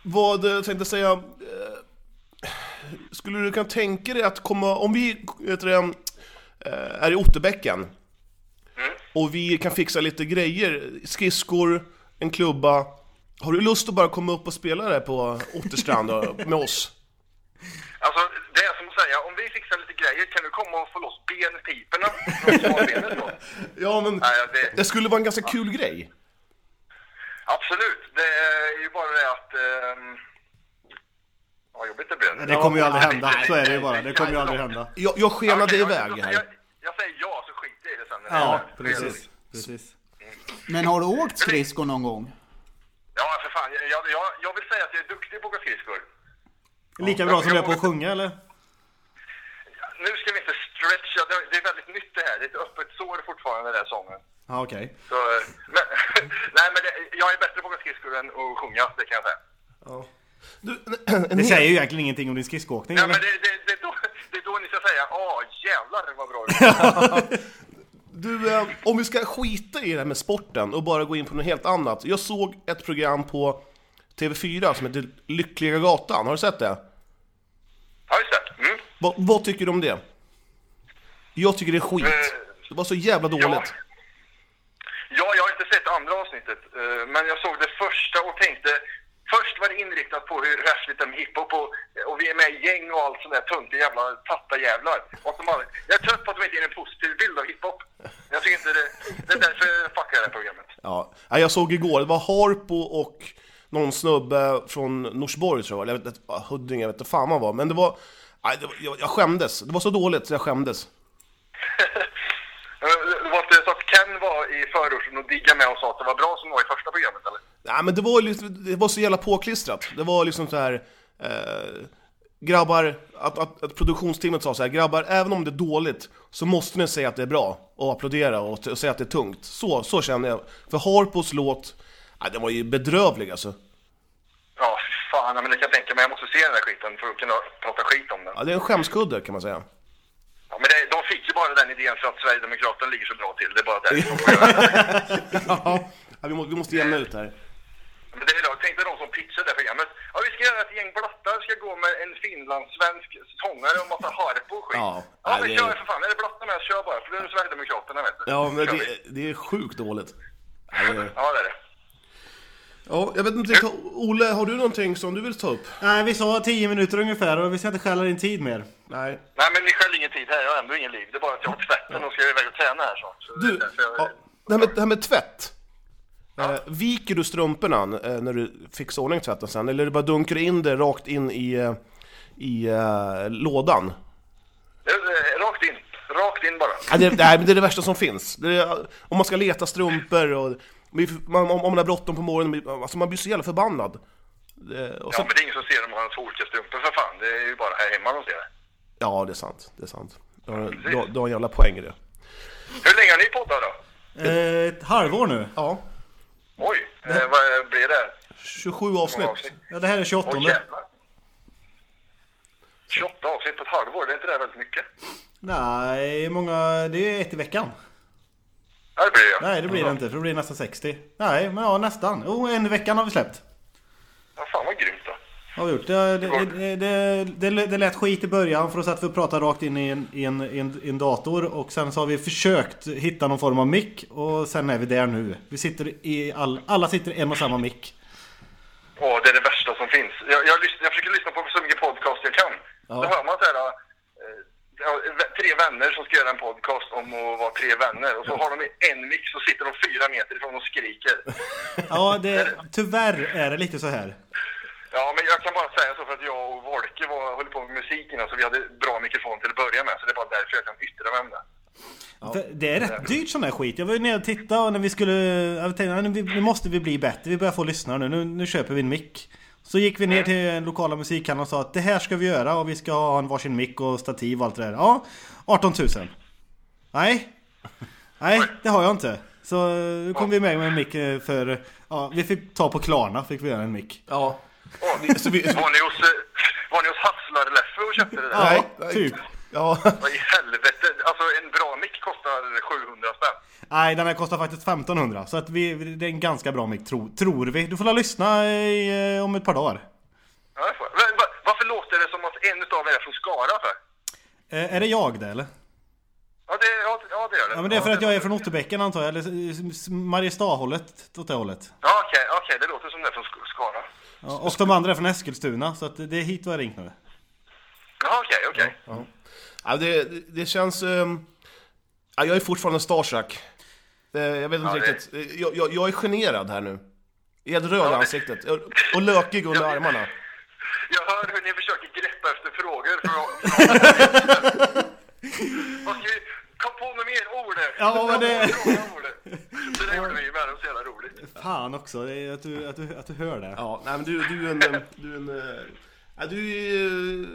[SPEAKER 3] vad eh, tänkte jag säga? eh, Skulle du kunna tänka dig att komma, om vi vet du, det, eh, är i Otterbäcken och vi kan fixa lite grejer, skridskor, en klubba. Har du lust att bara komma upp och spela där på Otterstrand då, med oss?
[SPEAKER 5] Alltså, det är som att säga, om vi fixar lite grejer, kan du komma och få loss benpiporna?
[SPEAKER 3] Ja, men
[SPEAKER 5] Nej, det-
[SPEAKER 3] det skulle vara en ganska kul grej.
[SPEAKER 5] Absolut, det är ju bara det att... ehm, Ja, jobbigt det blev.
[SPEAKER 2] Det kommer ju aldrig hända. Så är det ju bara. Det kommer ju aldrig hända.
[SPEAKER 3] Jag, jag skenade
[SPEAKER 5] Okej,
[SPEAKER 3] iväg
[SPEAKER 5] jag,
[SPEAKER 3] här.
[SPEAKER 5] Jag, jag säger ja, så skiter jag i det sen. när det
[SPEAKER 2] Ja,
[SPEAKER 5] händer.
[SPEAKER 2] precis. precis.
[SPEAKER 4] Men har du åkt skridskor någon gång?
[SPEAKER 5] Ja, för fan. Jag, jag, jag- jag vill säga att jag är duktig på att åka skridskor.
[SPEAKER 2] Lika bra som jag är på att sjunga eller?
[SPEAKER 5] Nu ska vi inte stretcha. Det, det är väldigt nytt det här. Det är ett öppet sår fortfarande, den här sången.
[SPEAKER 2] Ja, okej.
[SPEAKER 5] Så, eh, men, nej, men det, jag är bättre på att åka skridskor än att sjunga, det kan jag säga.
[SPEAKER 3] Du, en,
[SPEAKER 2] Det
[SPEAKER 3] hel-
[SPEAKER 2] säger ju egentligen ingenting om din skridskoåkning
[SPEAKER 5] Ja,
[SPEAKER 2] eller?
[SPEAKER 5] men det, det, det, är då, det är då ni ska säga åh jävlar vad bra du är."
[SPEAKER 3] Du, eh, om vi ska skita i det här med sporten och bara gå in på något helt annat. Jag såg ett program på TV4 som heter Lyckliga Gatan, har du sett det?
[SPEAKER 5] Ja, just det. Mm.
[SPEAKER 3] Va, vad tycker du om det? Jag tycker det är skit. Det var så jävla
[SPEAKER 5] Eh, Ja.
[SPEAKER 3] dåligt.
[SPEAKER 5] ja, jag har inte sett andra avsnittet, eh, men jag såg det första och tänkte Först var det inriktat på hur rättsligt det är med hiphop och, och vi är med i gäng och allt sånt där töntiga jävla tattarjävlar. Och att de aldrig- Jag är trött på att de inte ger en positiv bild av hiphop. Jag tycker inte det... Det är därför jag fuckar det här programmet.
[SPEAKER 3] Ja. Ja, jag såg igår, det var Harpo och någon snubbe från Norsborg tror jag det var, eller jag vet inte, Huddinge, jag vet inte fan vad han var. Men det var, nej, det var jag, jag skämdes. Det var så dåligt så jag skämdes.
[SPEAKER 5] Eh, Det var inte så att Ken var i förorten och diggade med och sa att det var bra som var i första programmet eller?
[SPEAKER 3] Nej men det var, liksom, det var så jävla påklistrat. Det var liksom så här... Eh, grabbar, att, att, att produktionsteamet sa så här, grabbar, även om det är dåligt så måste ni säga att det är bra och applådera och, t- och säga att det är tungt. Så, så känner jag. För Harpos låt, nej, den var ju bedrövlig alltså.
[SPEAKER 5] Ja, fan, men det kan jag tänka mig. Jag måste se den där skiten för att kunna prata skit om den.
[SPEAKER 3] Ja, det är en skämskudde kan man säga.
[SPEAKER 5] Ja, men det, de fick ju bara den idén för att Sverigedemokraterna ligger så bra till. Det är bara därför.
[SPEAKER 3] ja, vi, må, vi måste jämna ut här.
[SPEAKER 5] Men det är då, tänk dig de som pitchade det här programmet. Ja, vi ska göra ett gäng blattar, ska gå med en finlandssvensk sångare och massa harpo och skit.
[SPEAKER 3] Ja,
[SPEAKER 5] Ja,
[SPEAKER 3] nej,
[SPEAKER 5] men
[SPEAKER 3] det-
[SPEAKER 5] kör för fan. Är det blattar med, kör bara. För det är Sverigedemokraterna, vet du.
[SPEAKER 3] Ja, men
[SPEAKER 5] Kör
[SPEAKER 3] det,
[SPEAKER 5] vi.
[SPEAKER 3] det är sjukt dåligt. Ja, det är-
[SPEAKER 5] Ja, det är det.
[SPEAKER 3] Ja, jag vet inte, Ole, har du någonting som du vill ta upp?
[SPEAKER 2] Nej, vi sa 10 minuter ungefär och vi ska inte stjäla din tid mer.
[SPEAKER 3] Nej.
[SPEAKER 5] Nej, men ni skäller ingen tid här. Jag har ändå ingen liv. Det är bara att jag har tvätten och ska iväg och träna här snart. Så
[SPEAKER 3] Du,
[SPEAKER 5] det är därför jag-
[SPEAKER 3] ja, det, här med, det här med tvätt. Eh, viker du strumporna eh, när du fixar ordning tvätten sen, eller är det bara dunkar du in det rakt in i, eh, i eh, lådan?
[SPEAKER 5] Eh, Rakt in. Rakt in bara.
[SPEAKER 3] Ja, det, nej, men det är det värsta som finns. Det är, om man ska leta strumpor och man, om, om man har bråttom på morgonen, alltså man blir så jävla förbannad. Eh, och
[SPEAKER 5] Ja,
[SPEAKER 3] sen,
[SPEAKER 5] men det är ingen som ser dem ha två olika strumpor för fan. Det är ju bara här hemma de ser det.
[SPEAKER 3] ja, det är sant. Det är sant. Du har, du, har- du har en jävla poäng i det.
[SPEAKER 5] Hur länge har ni poddat då?
[SPEAKER 2] Eh, ett halvår nu.
[SPEAKER 3] Ja,
[SPEAKER 5] Oj, eh, vad blir det?
[SPEAKER 3] 27 avsnitt.
[SPEAKER 5] avsnitt.
[SPEAKER 2] Ja, det här är 28.
[SPEAKER 5] Oj jävlar. 28 avsnitt på ett halvår, det är inte det väldigt mycket?
[SPEAKER 2] Nej, många... Det är ett i veckan.
[SPEAKER 5] Ja, det blir det.
[SPEAKER 2] Nej, det blir det inte. För det blir nästan 60. Nej, men ja nästan. Jo, en i veckan har vi släppt.
[SPEAKER 5] Ja, fan vad grymt då.
[SPEAKER 2] Har vi gjort. Det, det, det, det, det, det lät skit i början för då satt vi och pratade rakt in i en, i, en, i, en, i en dator. Och sen så har vi försökt hitta någon form av mick. Och sen är vi där nu. Vi sitter i all, alla sitter i en och samma mick.
[SPEAKER 5] Åh, det är det värsta som finns. Jag, jag, lys- jag försöker lyssna på så mycket podcast jag kan. Då hör man så här, eh, ja, vä- tre vänner som ska göra en podcast om att vara tre vänner. Och så har de en mix och sitter de fyra meter ifrån och skriker.
[SPEAKER 2] Ja, det, tyvärr är det lite så här.
[SPEAKER 5] Ja, men jag kan bara säga så för att jag och Volke var, höll på med musiken. Alltså vi hade bra mikrofon till att börja med. Så det är bara därför jag kan yttra mig om det.
[SPEAKER 2] För Det är rätt dyrt sån här skit. Jag var ju nere och tittade och när vi skulle... Jag tänkte "Nej, nu- vi- nu måste vi bli bättre. Vi börjar få lyssnare nu. nu. Nu köper vi en mick. Så gick vi ner till den lokala musikhandeln och sa att det här ska vi göra och vi ska ha en varsin mick och stativ och allt det där. Ja, 18 000. Nej. Nej, det har jag inte. Så eh, då kom vi med med en mick eh, för... Ja, vi fick ta på Klarna fick vi göra en mick.
[SPEAKER 3] Ja.
[SPEAKER 5] Åh,
[SPEAKER 3] Så vi, så,
[SPEAKER 5] var ni hos, eh, var ni hos Hasslar-Leffe och köpte det där?
[SPEAKER 2] Ja, typ.
[SPEAKER 3] ja.
[SPEAKER 5] Vad i helvete? Alltså en bra mick kostar 700 spänn.
[SPEAKER 2] Nej, den här kostar faktiskt 1500. Så att vi, det är en ganska bra mick, tro, tror vi. Du får la lyssna i, eh, om ett par dagar.
[SPEAKER 5] Ja, det får jag. Men va- Varför låter det som att en utav er är från Skara för?
[SPEAKER 2] Eh, Är det jag det eller?
[SPEAKER 5] Ja, det, ja, ja, det gör det.
[SPEAKER 2] Ja men det är för att jag är från Otterbäcken antar jag, eller s- s- Mariestad-hållet, åt det hållet.
[SPEAKER 5] Ja, okej, okej, det låter som det är från Sk- Skara.
[SPEAKER 2] Ja, och de andra är från Eskilstuna, så att det är hit vi har ringt nu.
[SPEAKER 5] Ja, okej, okej.
[SPEAKER 3] Ja, det, det- det känns... ehm, ja, jag är fortfarande starstruck. Eh, jag vet inte
[SPEAKER 5] Ja, det-
[SPEAKER 3] riktigt. Eh, Jag, jag, jag är generad här nu. Helt röd i
[SPEAKER 5] det-
[SPEAKER 3] ansiktet. Och- Och lökig under armarna.
[SPEAKER 5] Jag hör hur ni försöker greppa efter frågor för att... Vad ska vi... Kom på med mer ord nu!
[SPEAKER 2] Ja, men det-
[SPEAKER 5] Fråga ord. Så det gjorde vi ju med, det var så jävla roligt.
[SPEAKER 2] Fan också, det är att, du, att, du, att du hör det.
[SPEAKER 3] Ja, nej men du, du är en... eh, Du är en... eh, Ja, du är... eh,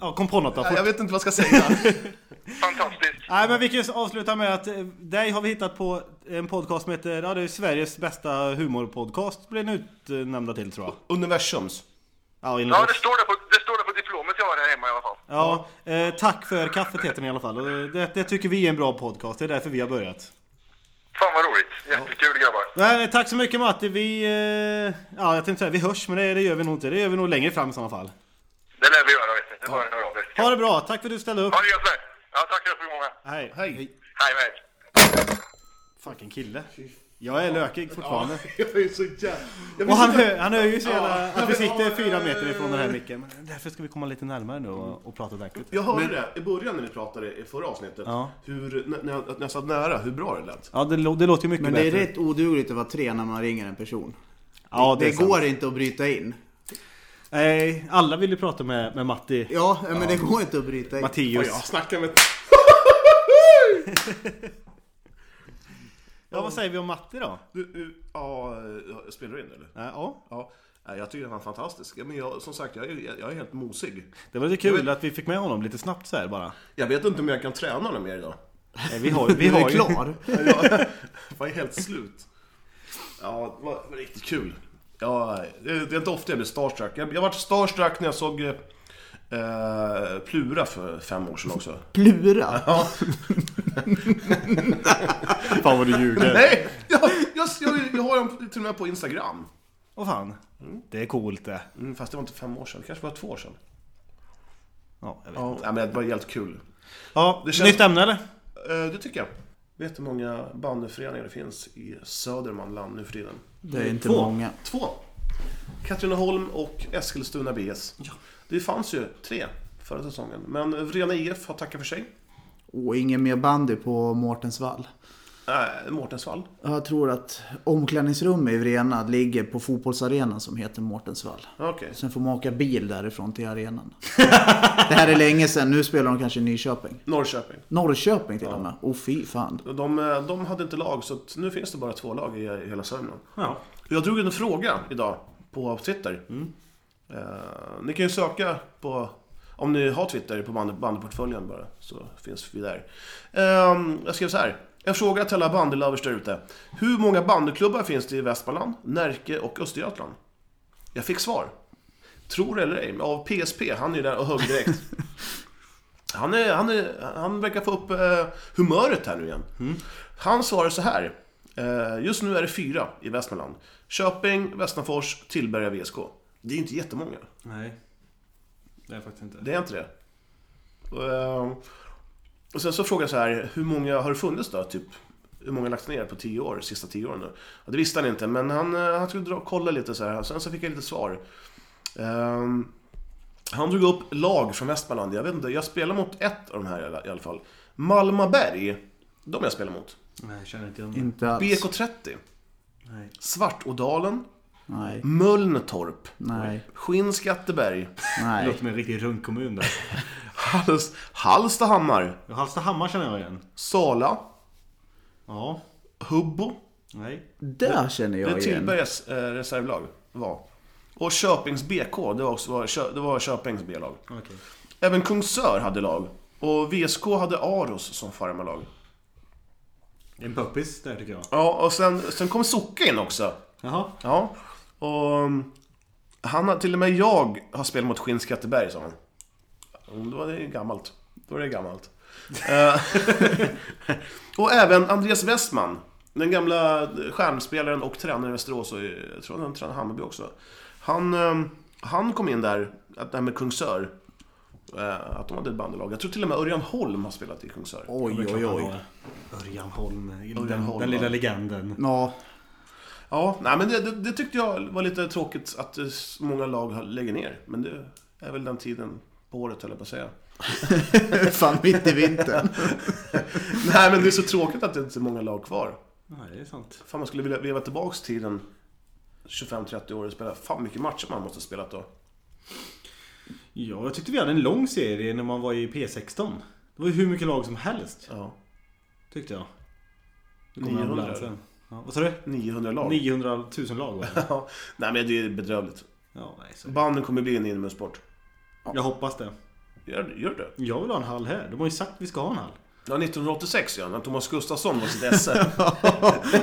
[SPEAKER 2] Ja, kom på något då.
[SPEAKER 3] ja,
[SPEAKER 2] fort.
[SPEAKER 3] Jag vet inte vad jag ska säga.
[SPEAKER 5] Fantastiskt!
[SPEAKER 2] Nej men vi kan ju avsluta med att eh, dig har vi hittat på en podcast som heter, ja det är Sveriges bästa humorpodcast, blev den utnämnda till tror jag.
[SPEAKER 3] Universums.
[SPEAKER 2] Ja, enligt
[SPEAKER 5] Ja, det
[SPEAKER 2] oss.
[SPEAKER 5] står det på, det står det på diplomet jag har här hemma i alla fall.
[SPEAKER 2] ja eh, tack för kaffet heter den i alla fall. Och Det, det tycker vi är en bra podcast, det är därför vi har börjat.
[SPEAKER 5] Fan vad roligt! Jättekul grabbar!
[SPEAKER 2] Nej, tack så mycket Matti. Vi, eh, ja, jag tänkte säga vi hörs, men det, det gör vi nog inte. Det gör vi nog längre fram i sådana fall.
[SPEAKER 5] Det lär vi göra vet ni. Det är bara några av er.
[SPEAKER 2] Ha det bra, tack för att du ställde upp.
[SPEAKER 5] Ha det gött med! Ja, tack för att du var med.
[SPEAKER 2] Hej.
[SPEAKER 3] Hej.
[SPEAKER 5] Hej med er.
[SPEAKER 2] Fucking kille. Jag är lökig fortfarande.
[SPEAKER 3] Jag är så jävla...
[SPEAKER 2] Och han hör, han hör ju så jävla att vi sitter fyra meter ifrån den här micken. Men Därför ska vi komma lite närmare nu och, och prata ordentligt.
[SPEAKER 3] Jag hörde det i början när ni pratade i förra avsnittet.
[SPEAKER 2] Ja.
[SPEAKER 3] Hur, när, när, jag, när jag satt nära, hur bra det lät.
[SPEAKER 2] Ja, det, lå- det låter ju mycket
[SPEAKER 4] Men det
[SPEAKER 2] bättre.
[SPEAKER 4] är rätt odugligt att vara tre när man ringer en person.
[SPEAKER 2] ja,
[SPEAKER 4] Det
[SPEAKER 2] sant.
[SPEAKER 4] går inte att bryta in.
[SPEAKER 2] Nej, alla vill ju prata med, med Matti.
[SPEAKER 4] Ja, men det går inte att bryta in.
[SPEAKER 2] Mattias.
[SPEAKER 3] Jag snackar med...
[SPEAKER 2] Ja, vad säger vi om Matti då?
[SPEAKER 3] Du, du, ja, eh, spelar du in eller?
[SPEAKER 2] Ja, Ja,
[SPEAKER 3] Ja, nej, jag tycker han är fantastisk. Ja, Men jag, som sagt, jag är, jag jag är helt mosig.
[SPEAKER 2] det var lite kul att vi fick med honom lite snabbt så här bara.
[SPEAKER 3] Jag vet inte om jag kan träna honom mer idag.
[SPEAKER 2] Nej, Vi har, vi
[SPEAKER 4] Du är
[SPEAKER 2] har ju...
[SPEAKER 4] klar.
[SPEAKER 3] Jag är helt slut. Ja, det var, det var riktigt kul. Ja, det, det är inte ofta jag blir starstruck. Jag, jag var starstruck när jag såg eh, eh, Plura för fem år sedan också.
[SPEAKER 4] Plura.
[SPEAKER 2] Fan vad du ljuger.
[SPEAKER 3] Nej! Jag, jag, jag, jag har dem till och med på Instagram.
[SPEAKER 2] Åh fan. Det är coolt det.
[SPEAKER 3] Mm, Fast det var inte fem år sedan, det kanske var två år sedan.
[SPEAKER 2] Ja, jag vet.
[SPEAKER 3] Ja, nej, men det var helt kul.
[SPEAKER 2] Ja,
[SPEAKER 3] Det känns-
[SPEAKER 2] nytt ämne eller?
[SPEAKER 3] Eh, det tycker jag. Vet hur många bandyföreningar det finns i Södermanland nu för tiden?
[SPEAKER 4] Det är inte
[SPEAKER 3] Två.
[SPEAKER 4] många.
[SPEAKER 3] Två. Katrineholm och Eskilstuna BS. Det fanns ju tre förra säsongen. Men Vrena IF har tackat för sig.
[SPEAKER 4] Och ingen mer bandy på Mårtensvall.
[SPEAKER 3] Äh, Mårtensvall.
[SPEAKER 4] Jag tror att omklädningsrummet i Vrena ligger på fotbollsarenan som heter Mårtensvall.
[SPEAKER 3] Okej.
[SPEAKER 4] Sen får man åka bil därifrån till arenan. Det här är länge sedan, nu spelar de kanske i Nyköping.
[SPEAKER 3] Norrköping.
[SPEAKER 4] Norrköping till och med. Åh fy fan.
[SPEAKER 3] De, eh, de hade inte lag, så att nu finns det bara två lag i, i hela Sörmland.
[SPEAKER 2] Ja.
[SPEAKER 3] Jag drog en fråga idag på Twitter. Eh, ni kan ju söka på, om ni har Twitter, på band- bandyportföljen bara. Så finns vi där. Ehm, jag skrev så här. En fråga till alla bandylovers där ute. Hur många bandyklubbar finns det i Västmanland, Närke och Östergötland? Jag fick svar. tror eller ej, av PSP. Han är ju där och högg direkt. Han, är, han, är, han verkar få upp eh, humöret här nu igen.
[SPEAKER 2] Mm.
[SPEAKER 3] Han svarar så här. Eh, just nu är det fyra i Västmanland. Köping, Västmanfors, Tillberga, VSK. Det är ju inte jättemånga.
[SPEAKER 2] Nej. Det är faktiskt inte.
[SPEAKER 3] Det är inte det. Och, eh, och sen så frågar jag så här, hur många har det funnits då? Typ, hur många har lagts ner på tio år, sista tio åren nu? Ja, det visste han inte, men han, eh, han skulle dra, kolla lite så här. Sen så fick jag lite svar. Ehm, han drog upp lag från Västmanland. Jag vet inte, jag spelar mot ett av de här i alla- i alla fall. Malmaberg, de jag spelar mot.
[SPEAKER 2] Nej, jag känner inte igen det.
[SPEAKER 4] Inte alls.
[SPEAKER 3] BK30.
[SPEAKER 2] Nej.
[SPEAKER 3] Svartådalen.
[SPEAKER 4] Nej,
[SPEAKER 3] Mölntorp.
[SPEAKER 4] nej,
[SPEAKER 3] Skinnskatteberg.
[SPEAKER 2] Det
[SPEAKER 4] nej.
[SPEAKER 2] låter som en riktig runkkommun där.
[SPEAKER 3] Hals- Hallstahammar.
[SPEAKER 2] Ja, Hallstahammar känner jag igen.
[SPEAKER 3] Sala.
[SPEAKER 2] Ja.
[SPEAKER 3] Hubbo.
[SPEAKER 2] Nej.
[SPEAKER 4] Där känner
[SPEAKER 3] Det
[SPEAKER 4] jag
[SPEAKER 3] är
[SPEAKER 4] igen.
[SPEAKER 3] Tillbergas eh, reservlag var. Och Köpings BK, det var, också, var Kö- det var Köpings B-lag.
[SPEAKER 2] Okej.
[SPEAKER 3] Även Kungsör hade lag. Och VSK hade Aros som farmarlag.
[SPEAKER 2] En puppis där tycker jag.
[SPEAKER 3] Ja, och sen, sen kom Socke in också.
[SPEAKER 2] Jaha.
[SPEAKER 3] Ja. Och um, han har, till och med jag har spelat mot Skinnskatteberg, sa han. Mm, Då var det gammalt. Då var det gammalt. Eh, och även Andreas Westman. Den gamla stjärnspelaren och tränaren i Västerås och i- jag tror han tränar Hammarby också. Han, um, han kom in där, att det här med Kungsör. eh, Att de hade ett bandelag. Jag tror till och med Örjan Holm har spelat i Kungsör.
[SPEAKER 4] Oj, oj, oj.
[SPEAKER 2] Örjan Holm. den,
[SPEAKER 3] Örjan Holm,
[SPEAKER 2] den
[SPEAKER 3] ja.
[SPEAKER 2] lilla legenden.
[SPEAKER 4] Ja,
[SPEAKER 3] Ja, nej, men det, det, det tyckte jag var lite tråkigt att eh, så många lag har- lägger ner. Men det är väl den tiden på året, höll jag på att säga.
[SPEAKER 4] fan mitt i vintern.
[SPEAKER 3] nej, men det är så tråkigt att det inte är många lag kvar.
[SPEAKER 2] Nej, det är sant.
[SPEAKER 3] Fan, man skulle vilja veva tillbaks tiden 25-30 år och spela. Fan, mycket matcher man måste ha spelat då.
[SPEAKER 2] Ja, jag tyckte vi hade en lång serie när man var i P16. Det var ju hur mycket lag som helst.
[SPEAKER 3] Ja,
[SPEAKER 2] Tyckte jag.
[SPEAKER 3] 900.
[SPEAKER 2] ambulansen. Ja, vad sa du?
[SPEAKER 3] 900 lag.
[SPEAKER 2] 900 000 lag var det.
[SPEAKER 3] Ja, nej, men det är bedrövligt.
[SPEAKER 2] Ja, nej, så.
[SPEAKER 3] Banden kommer bli en inomhussport.
[SPEAKER 2] Jag hoppas det.
[SPEAKER 3] Gör, gör det?
[SPEAKER 2] Jag vill ha en hall här. De har ju sagt att vi ska ha en hall.
[SPEAKER 3] Ja, 1986 ja, när Thomas Gustafsson var sitt esse.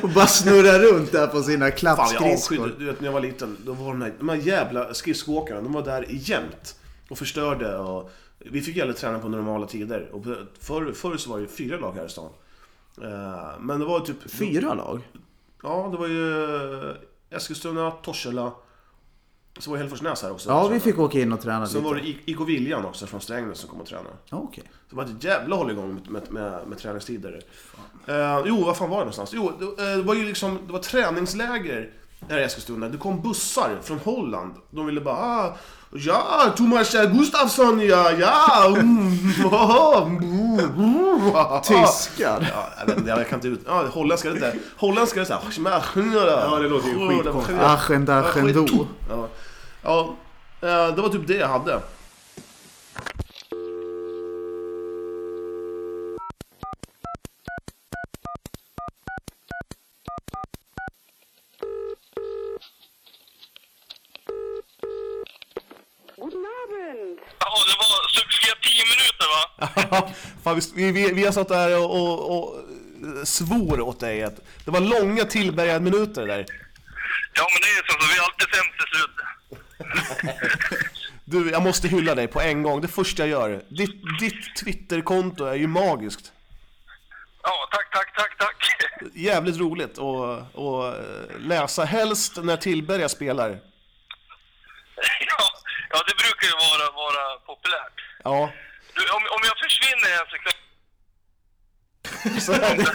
[SPEAKER 4] Och bara snurra runt där på sina
[SPEAKER 3] Fan, jag avskydde,
[SPEAKER 4] klappskridskor.
[SPEAKER 3] du vet när jag var liten, då var de här, de här jävla skridskoåkarna, de var där jämt och förstörde och vi fick ju aldrig träna på normala tider. Och på- förr, förr så var det ju fyra lag här i stan. Eh, Men det var ju typ...
[SPEAKER 4] Fyra lag?
[SPEAKER 3] Ja, det var ju eh, Eskilstuna, Torshälla, så var ju Hälleforsnäs här också.
[SPEAKER 4] Ja, vi fick åka in och träna
[SPEAKER 3] Sen var
[SPEAKER 4] lite.
[SPEAKER 3] det Ah! I- IK Viljan också från Strängnäs som kom och tränade.
[SPEAKER 4] Ja, Okej.
[SPEAKER 3] Så Det var ett jävla hålligång med, med, med, med träningstider. Eh, jo, vad fan var det någonstans? Jo, det, eh, det var ju liksom, det var träningsläger här i Eskilstuna. Det kom bussar från Holland. De ville bara ah, Ja, Thomas Gustafsson, ja, ja! Mm, aha, mm, mm, aha."
[SPEAKER 4] Tyskar.
[SPEAKER 3] Ja, jag, vet, inte, jag kan inte ut... Ja, holländska är det inte. Holländska är det såhär... Ja, det låter ju skitkonstigt.
[SPEAKER 4] Aschen daschen do.
[SPEAKER 3] Ja, ja eh, det var typ det jag hade.
[SPEAKER 7] Guten Abend.
[SPEAKER 5] Ja, det var succé 10 minuter va?
[SPEAKER 3] Fan, vi, vi, vi har satt där och, och, och svor åt dig att det var långa tillbergade minuter där.
[SPEAKER 5] Ja, men det är ju så. så Vi är alltid sämst till slut.
[SPEAKER 3] Du, jag måste hylla dig på en gång. Det första jag gör. Ditt, ditt Twitterkonto är ju magiskt.
[SPEAKER 5] Ja, tack, tack, tack, tack.
[SPEAKER 3] Jävligt roligt att att läsa. Helst när Tillberga spelar.
[SPEAKER 5] Ja, ja det brukar ju vara, vara populärt.
[SPEAKER 3] Ja.
[SPEAKER 5] Du, om, om jag försvinner en sekund...
[SPEAKER 3] Så,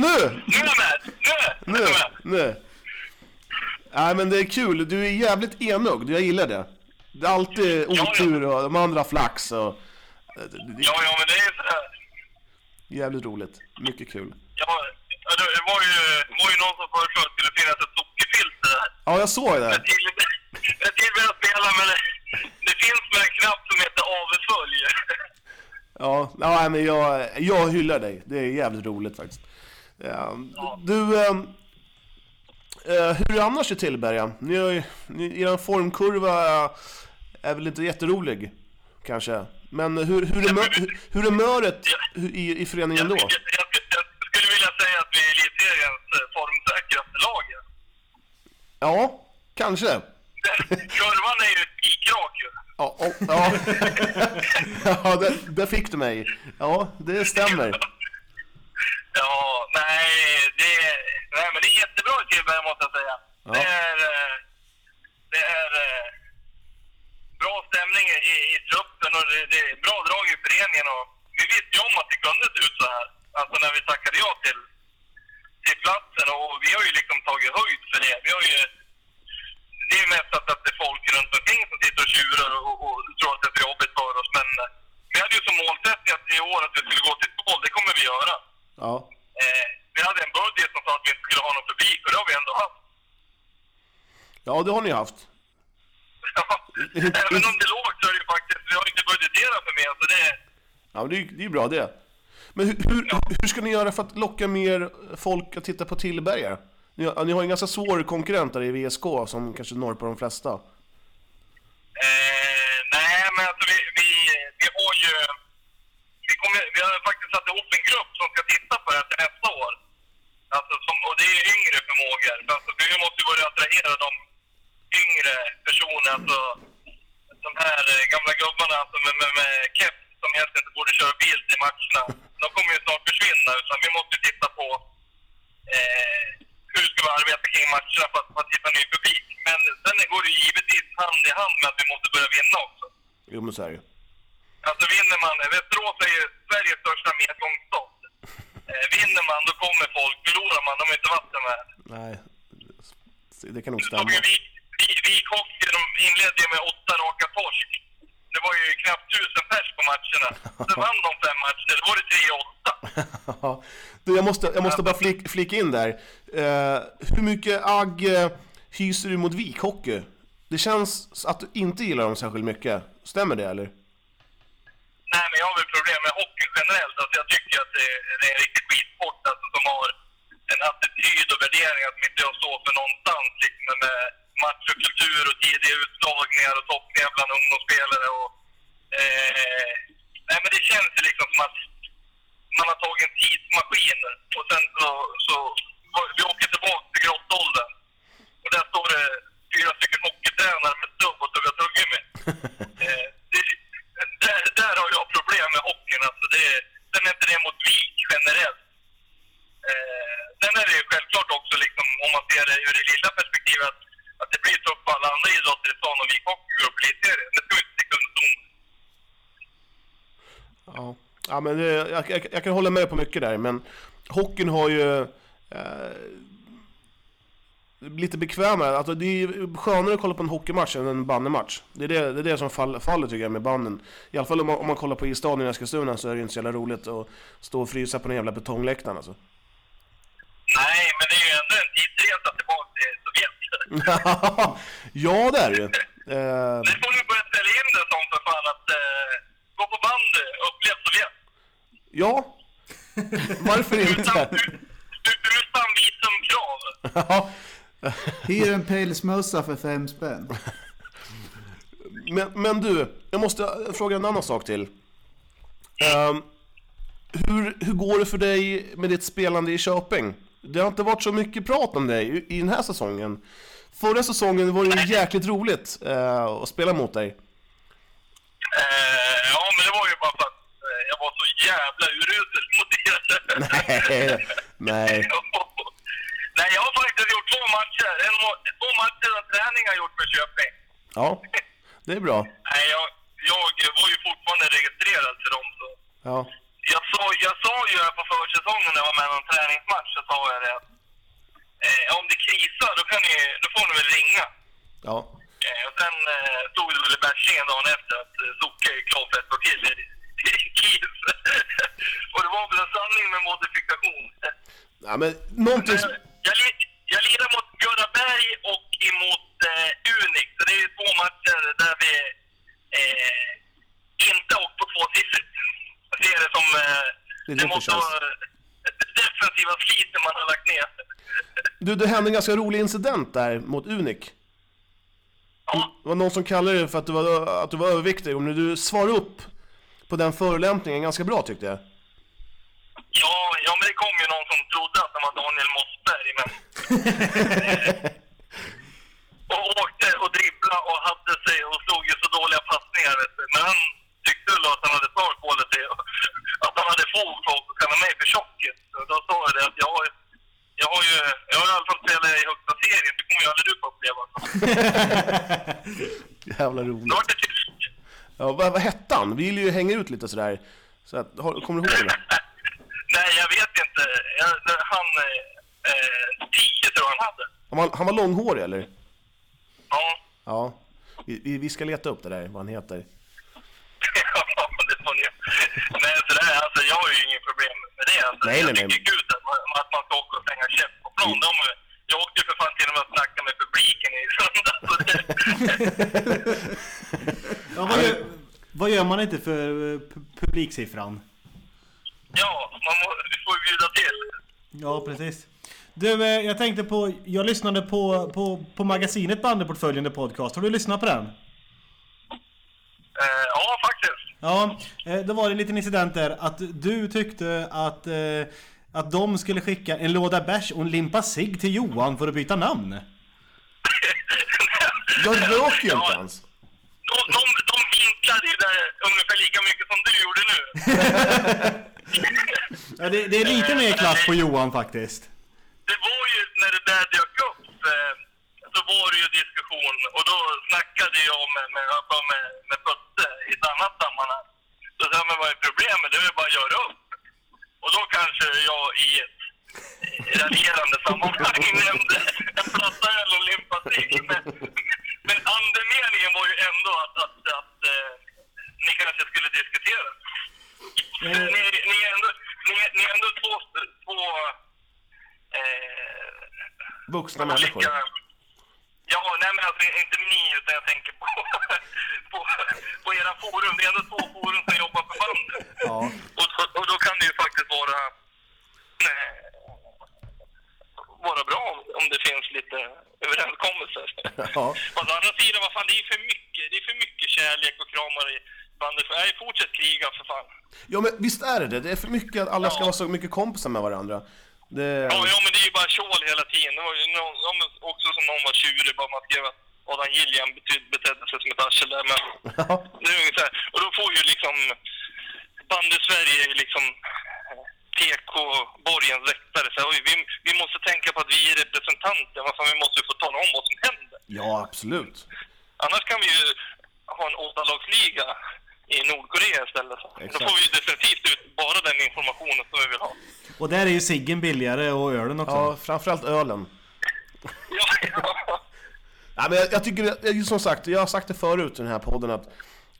[SPEAKER 3] nu!
[SPEAKER 5] Nu är jag med! Nu! Nu!
[SPEAKER 3] Nu!
[SPEAKER 5] är jag med.
[SPEAKER 3] Nu! Nej men det är kul. Du är jävligt enögd. Jag gillar det. Det är alltid
[SPEAKER 5] ja.
[SPEAKER 3] otur och de andra har flax och...
[SPEAKER 5] Ja, ja, men det är sådär.
[SPEAKER 3] Jävligt roligt. Mycket kul.
[SPEAKER 5] Ja, ja, det det var ju, det var ju någon som föreslog att det skulle finnas ett sockerfilter där.
[SPEAKER 3] Ja, jag såg det.
[SPEAKER 5] Jag tillbörjar spela, men det, det finns med en knapp som heter avfölj.
[SPEAKER 3] Ja, nej, men jag, jag hyllar dig. Det är jävligt roligt faktiskt. Ja, Du, ehm, eh, hur är det annars i Tillberga? Ni har ju, ni, er formkurva är väl inte jätterolig, kanske. Men hur, hur, är, mö, hur, hur är möret i, i föreningen då?
[SPEAKER 5] Jag, jag, jag skulle vilja säga att vi är elitseriens eh, formsäkraste lag.
[SPEAKER 3] Ja, kanske.
[SPEAKER 5] Kurvan är ju spikrad. sak ju.
[SPEAKER 3] Ja, och, ja. ja där, där fick du mig. Ja, det stämmer.
[SPEAKER 5] Ja, nej, det, nej, men det är jättebra gubbar måste jag säga. Det är, eh, det är eh, bra stämning i, i truppen och det, det är bra drag i föreningen. Och vi visste ju om att det kunde se ut så här, alltså när vi tackade ja till, till platsen. Och vi har ju liksom tagit höjd för det. Vi har ju, det är ju mest att, att det är folk runt omkring som sitter och tjurar och, och tror att det är för jobbigt för oss. Men eh, vi hade ju som målsättning att i år att vi skulle gå till tvål. Det kommer vi göra.
[SPEAKER 3] Ja,
[SPEAKER 5] Eh, vi hade en budget som sa att vi inte skulle ha någon publik och det har vi ändå haft.
[SPEAKER 3] ja det har ni haft.
[SPEAKER 5] Även om det är lågt så är det ju faktiskt, vi har inte budgeterat för mer så det...
[SPEAKER 3] Ja, men det är ju det är ju bra det. Men hur, hur, hur ska ni göra för att locka mer folk att titta på Tillberga? Ni, har- ni har ju en ganska svår konkurrent där i VSK som kanske når på de flesta.
[SPEAKER 5] Eh, nej men alltså vi, vi, vi har ju... Vi, kommer, vi har faktiskt satt ihop en grupp som ska titta på det här till nästa år. Alltså som, och det är yngre förmågor. För Alltså, vi måste ju börja attrahera de yngre personerna. Alltså, de här eh, gamla gubbarna alltså, med, med, med keps som egentligen inte borde köra bil till matcherna. De kommer ju snart försvinna. Utan vi måste ju titta på eh, hur ska vi arbeta kring matcherna för att, för att hitta ny publik. Men sen går det ju givetvis hand i hand med att vi måste börja vinna också.
[SPEAKER 3] Jo, men så är det ju.
[SPEAKER 5] Alltså vinner man, Västerås är ju Sveriges största medgångsstad. Eh, vinner man då kommer folk, förlorar man de är inte vatten värd.
[SPEAKER 3] Nej, det kan nog
[SPEAKER 5] Ja,
[SPEAKER 3] stämma.
[SPEAKER 5] men vi, vi, vi hockey, de inledde ju med åtta raka torsk. Det var ju knappt tusen pers på matcherna. Sen vann de fem matcher, då var det 3-8.
[SPEAKER 3] Ja. Du, jag måste, jag måste bara flik, flika in där. Eh, hur mycket agg eh, hyser du mot Vikhockey? Det känns att du inte gillar dem särskilt mycket. Stämmer det eller?
[SPEAKER 5] Nej, men jag har väl problem med hockey generellt. Alltså, jag tycker att det, det är en riktig skitsport alltså, som har en attityd och värderingar som inte jag står för någonstans. Liksom, med match och kultur och tidiga utslagningar och toppningar bland ungdomsspelare. Och, eh, nej, men det känns ju liksom som att man har tagit en tidsmaskin och sen så, så vi åker tillbaka till grottåldern. Och där står det fyra stycken hockeytränare med stubb och tuggar tuggummi. Eh, det- där, där har jag problem med hockeyn. Alltså det, sen är inte det mot Vik generellt. Eh, sen är det ju självklart också, liksom, om man ser det ur det lilla perspektivet, att, att det blir tufft på alla andra idrotter i stan om Vik Hockey går upp i elitserien. Det ska vi inte sticka under stol med.
[SPEAKER 3] Ja, ja men det, jag, jag, jag kan hålla med på mycket där, men hockeyn har ju eh, lite bekvämare, alltså det är ju skönare att kolla på en hockeymatch än en bandymatch. Det är det, det, är det som fall, faller tycker jag med banden. I alla fall om man, om man kollar på isstadion i Eskilstuna så är det ju inte så jävla roligt att stå och frysa på den jävla betongläktaren alltså.
[SPEAKER 5] Nej, men det är ju ändå en tidsresa tillbaka till Sovjet.
[SPEAKER 3] ja, det är det ju. Eh,
[SPEAKER 5] Det får ni börja ställa in det som för fan att eh, gå på bandy, upplev Sovjet.
[SPEAKER 3] ja, varför
[SPEAKER 5] Utan,
[SPEAKER 3] inte?
[SPEAKER 5] utan visumkrav.
[SPEAKER 3] Ja.
[SPEAKER 4] Hyr en pälsmössa för fem spänn.
[SPEAKER 3] Men, men du, jag måste fråga en annan sak till. Ehm, hur, hur går det för dig med ditt spelande i Köping? Det har inte varit så mycket prat om dig i, i den här säsongen. Förra säsongen var det ju jäkligt roligt eh, att spela mot dig.
[SPEAKER 5] Eh, ja, men det var ju bara för att eh, jag var så jävla urusel mot er.
[SPEAKER 3] Nej, nej.
[SPEAKER 5] Nej, jag har faktiskt gjort två matcher. En, må- två matcher och träning har jag gjort för Köping.
[SPEAKER 3] Ja, det är bra.
[SPEAKER 5] Nej, jag, jag var ju fortfarande registrerad för dem. Så.
[SPEAKER 3] Ja,
[SPEAKER 5] Jag sa, jag sa ju här på försäsongen när jag var med i någon träningsmatch, så sa jag det att eh, om det krisar, då, kan ni, då får ni väl ringa.
[SPEAKER 3] ja.
[SPEAKER 5] Eh, och sen eh, stod det väl i bärsingen dagen efter att eh, Socke är klar för ett par till i i Kiev. och det var väl en sanning med modifikation.
[SPEAKER 3] ja men någonting... som-
[SPEAKER 5] Men jag, li- jag lirar mot Göra Berg och emot eh, Unix. Så det är två matcher där vi eh, inte har åkt på tvåsiffrigt. Jag ser det som... Eh,
[SPEAKER 3] Det
[SPEAKER 5] det,
[SPEAKER 3] låter
[SPEAKER 5] måste
[SPEAKER 3] chans.
[SPEAKER 5] vara eh, det defensiva sliten man har lagt ner.
[SPEAKER 3] Du, det hände en ganska rolig incident där mot Unik.
[SPEAKER 5] Ja.
[SPEAKER 3] Det var någon som kallade dig för att du var, att du var överviktig, och nu du svarade upp på den förolämpningen ganska bra tyckte jag.
[SPEAKER 5] Ja, ja, men det kom ju någon som trodde att han var Daniel Mossberg, men... och åkte och dribblade och hade sig och slog ju så var det.
[SPEAKER 3] Jävla roligt.
[SPEAKER 5] Då var det tyst.
[SPEAKER 3] Ja, vad, vad hette han? Vi vill ju hänga ut lite sådär. Så att, har, kommer du ihåg det?
[SPEAKER 5] Nej, jag vet inte. Jag, han... Eh, tio tror jag han hade.
[SPEAKER 3] Han var, han var långhårig eller?
[SPEAKER 5] Ja.
[SPEAKER 3] Ja. Vi, vi, vi ska leta upp det där, vad han heter.
[SPEAKER 5] Ja, det får ni. Nej, så det här, alltså, jag har ju inget problem med det. Alltså,
[SPEAKER 3] Nej,
[SPEAKER 5] jag
[SPEAKER 3] nej, nej.
[SPEAKER 5] tycker gud att man, att man ska åka och slänga käft på plan. De, jag åkte ju för fan till och med och snackade med publiken i söndags. Så det,
[SPEAKER 2] Ja, vad, gör, vad gör man inte för eh, pu- publiksiffran?
[SPEAKER 5] ja, man må, vi får ju bjuda till.
[SPEAKER 2] Ja, precis. Du, eh, jag tänkte på... Jag lyssnade på, på, på magasinet Bandyportföljen, The Podcast. Har du lyssnat på den?
[SPEAKER 5] Eh, ja, faktiskt.
[SPEAKER 2] Ja, eh, det var en liten incident där att du tyckte att, eh, att de skulle skicka en låda bärs och en limpa cigg till Johan för att byta namn.
[SPEAKER 3] Jag röker ju
[SPEAKER 5] Ja.
[SPEAKER 3] inte ens!
[SPEAKER 5] De, de, de vinklade ju där ungefär lika mycket som du gjorde nu.
[SPEAKER 2] Ja, det, det är lite mer klass på Johan faktiskt.
[SPEAKER 5] det var ju när det där dök upp eh, så var det ju diskussion och då snackade jag med, med, jag var med, med Putte i ett annat sammanhang. Då sa jag, men vad är problemet? Det är väl bara att göra upp. Och då kanske jag i ett eh, raljerande sammanhang nämnde en plattaöl och limpa sig. Men, men andemeningen var ju ändå att, att, att eh, ni kanske skulle diskutera. Ni, ni, är ändå, ni, ni är ändå två, två eh,
[SPEAKER 3] Vuxna människor.
[SPEAKER 5] Ja, nej men alltså inte ni utan jag tänker på, på, på era forum. Det är ändå två forum som jobbar för bandet.
[SPEAKER 3] Ja.
[SPEAKER 5] Och, och- och då kan det ju faktiskt vara, eh, vara bra om- om det finns lite överenskommelser.
[SPEAKER 3] Ja.
[SPEAKER 5] Fast å andra sidan, vad fan, det är ju för mycket, det är för mycket kärlek och kramar i bandet. Nej, fortsätt kriga för fan.
[SPEAKER 3] ja, men visst är det det? Det är för mycket att alla ska
[SPEAKER 5] Ja.
[SPEAKER 3] vara så mycket kompisar med varandra. Det...
[SPEAKER 5] Ja, ja, men det är ju bara tjål hela tiden. Det var ju någon, ja, men också som någon var tjurig, bara man skrev att Adam Gillian betyd, betedde sig som ett arsel där. Men
[SPEAKER 3] Ja.
[SPEAKER 5] det är ungefär, och då får ju liksom bandy Sverige är ju liksom TK-borgens väktare. Så, oj, vi, vi måste tänka på att vi är representanter. Vad fan, vi måste ju få tala om vad som händer.
[SPEAKER 3] ja, absolut.
[SPEAKER 5] Annars kan vi ju ha en åttalagsliga i Nordkorea istället. Då
[SPEAKER 3] Exakt.
[SPEAKER 5] får vi ju definitivt ut bara den informationen som vi vill ha.
[SPEAKER 2] Och där är ju ciggen billigare och ölen också.
[SPEAKER 3] Ja, framförallt ölen.
[SPEAKER 5] Ja, ja.
[SPEAKER 3] Nej, men jag, jag tycker, jag, som sagt, jag har sagt det förut i den här podden att,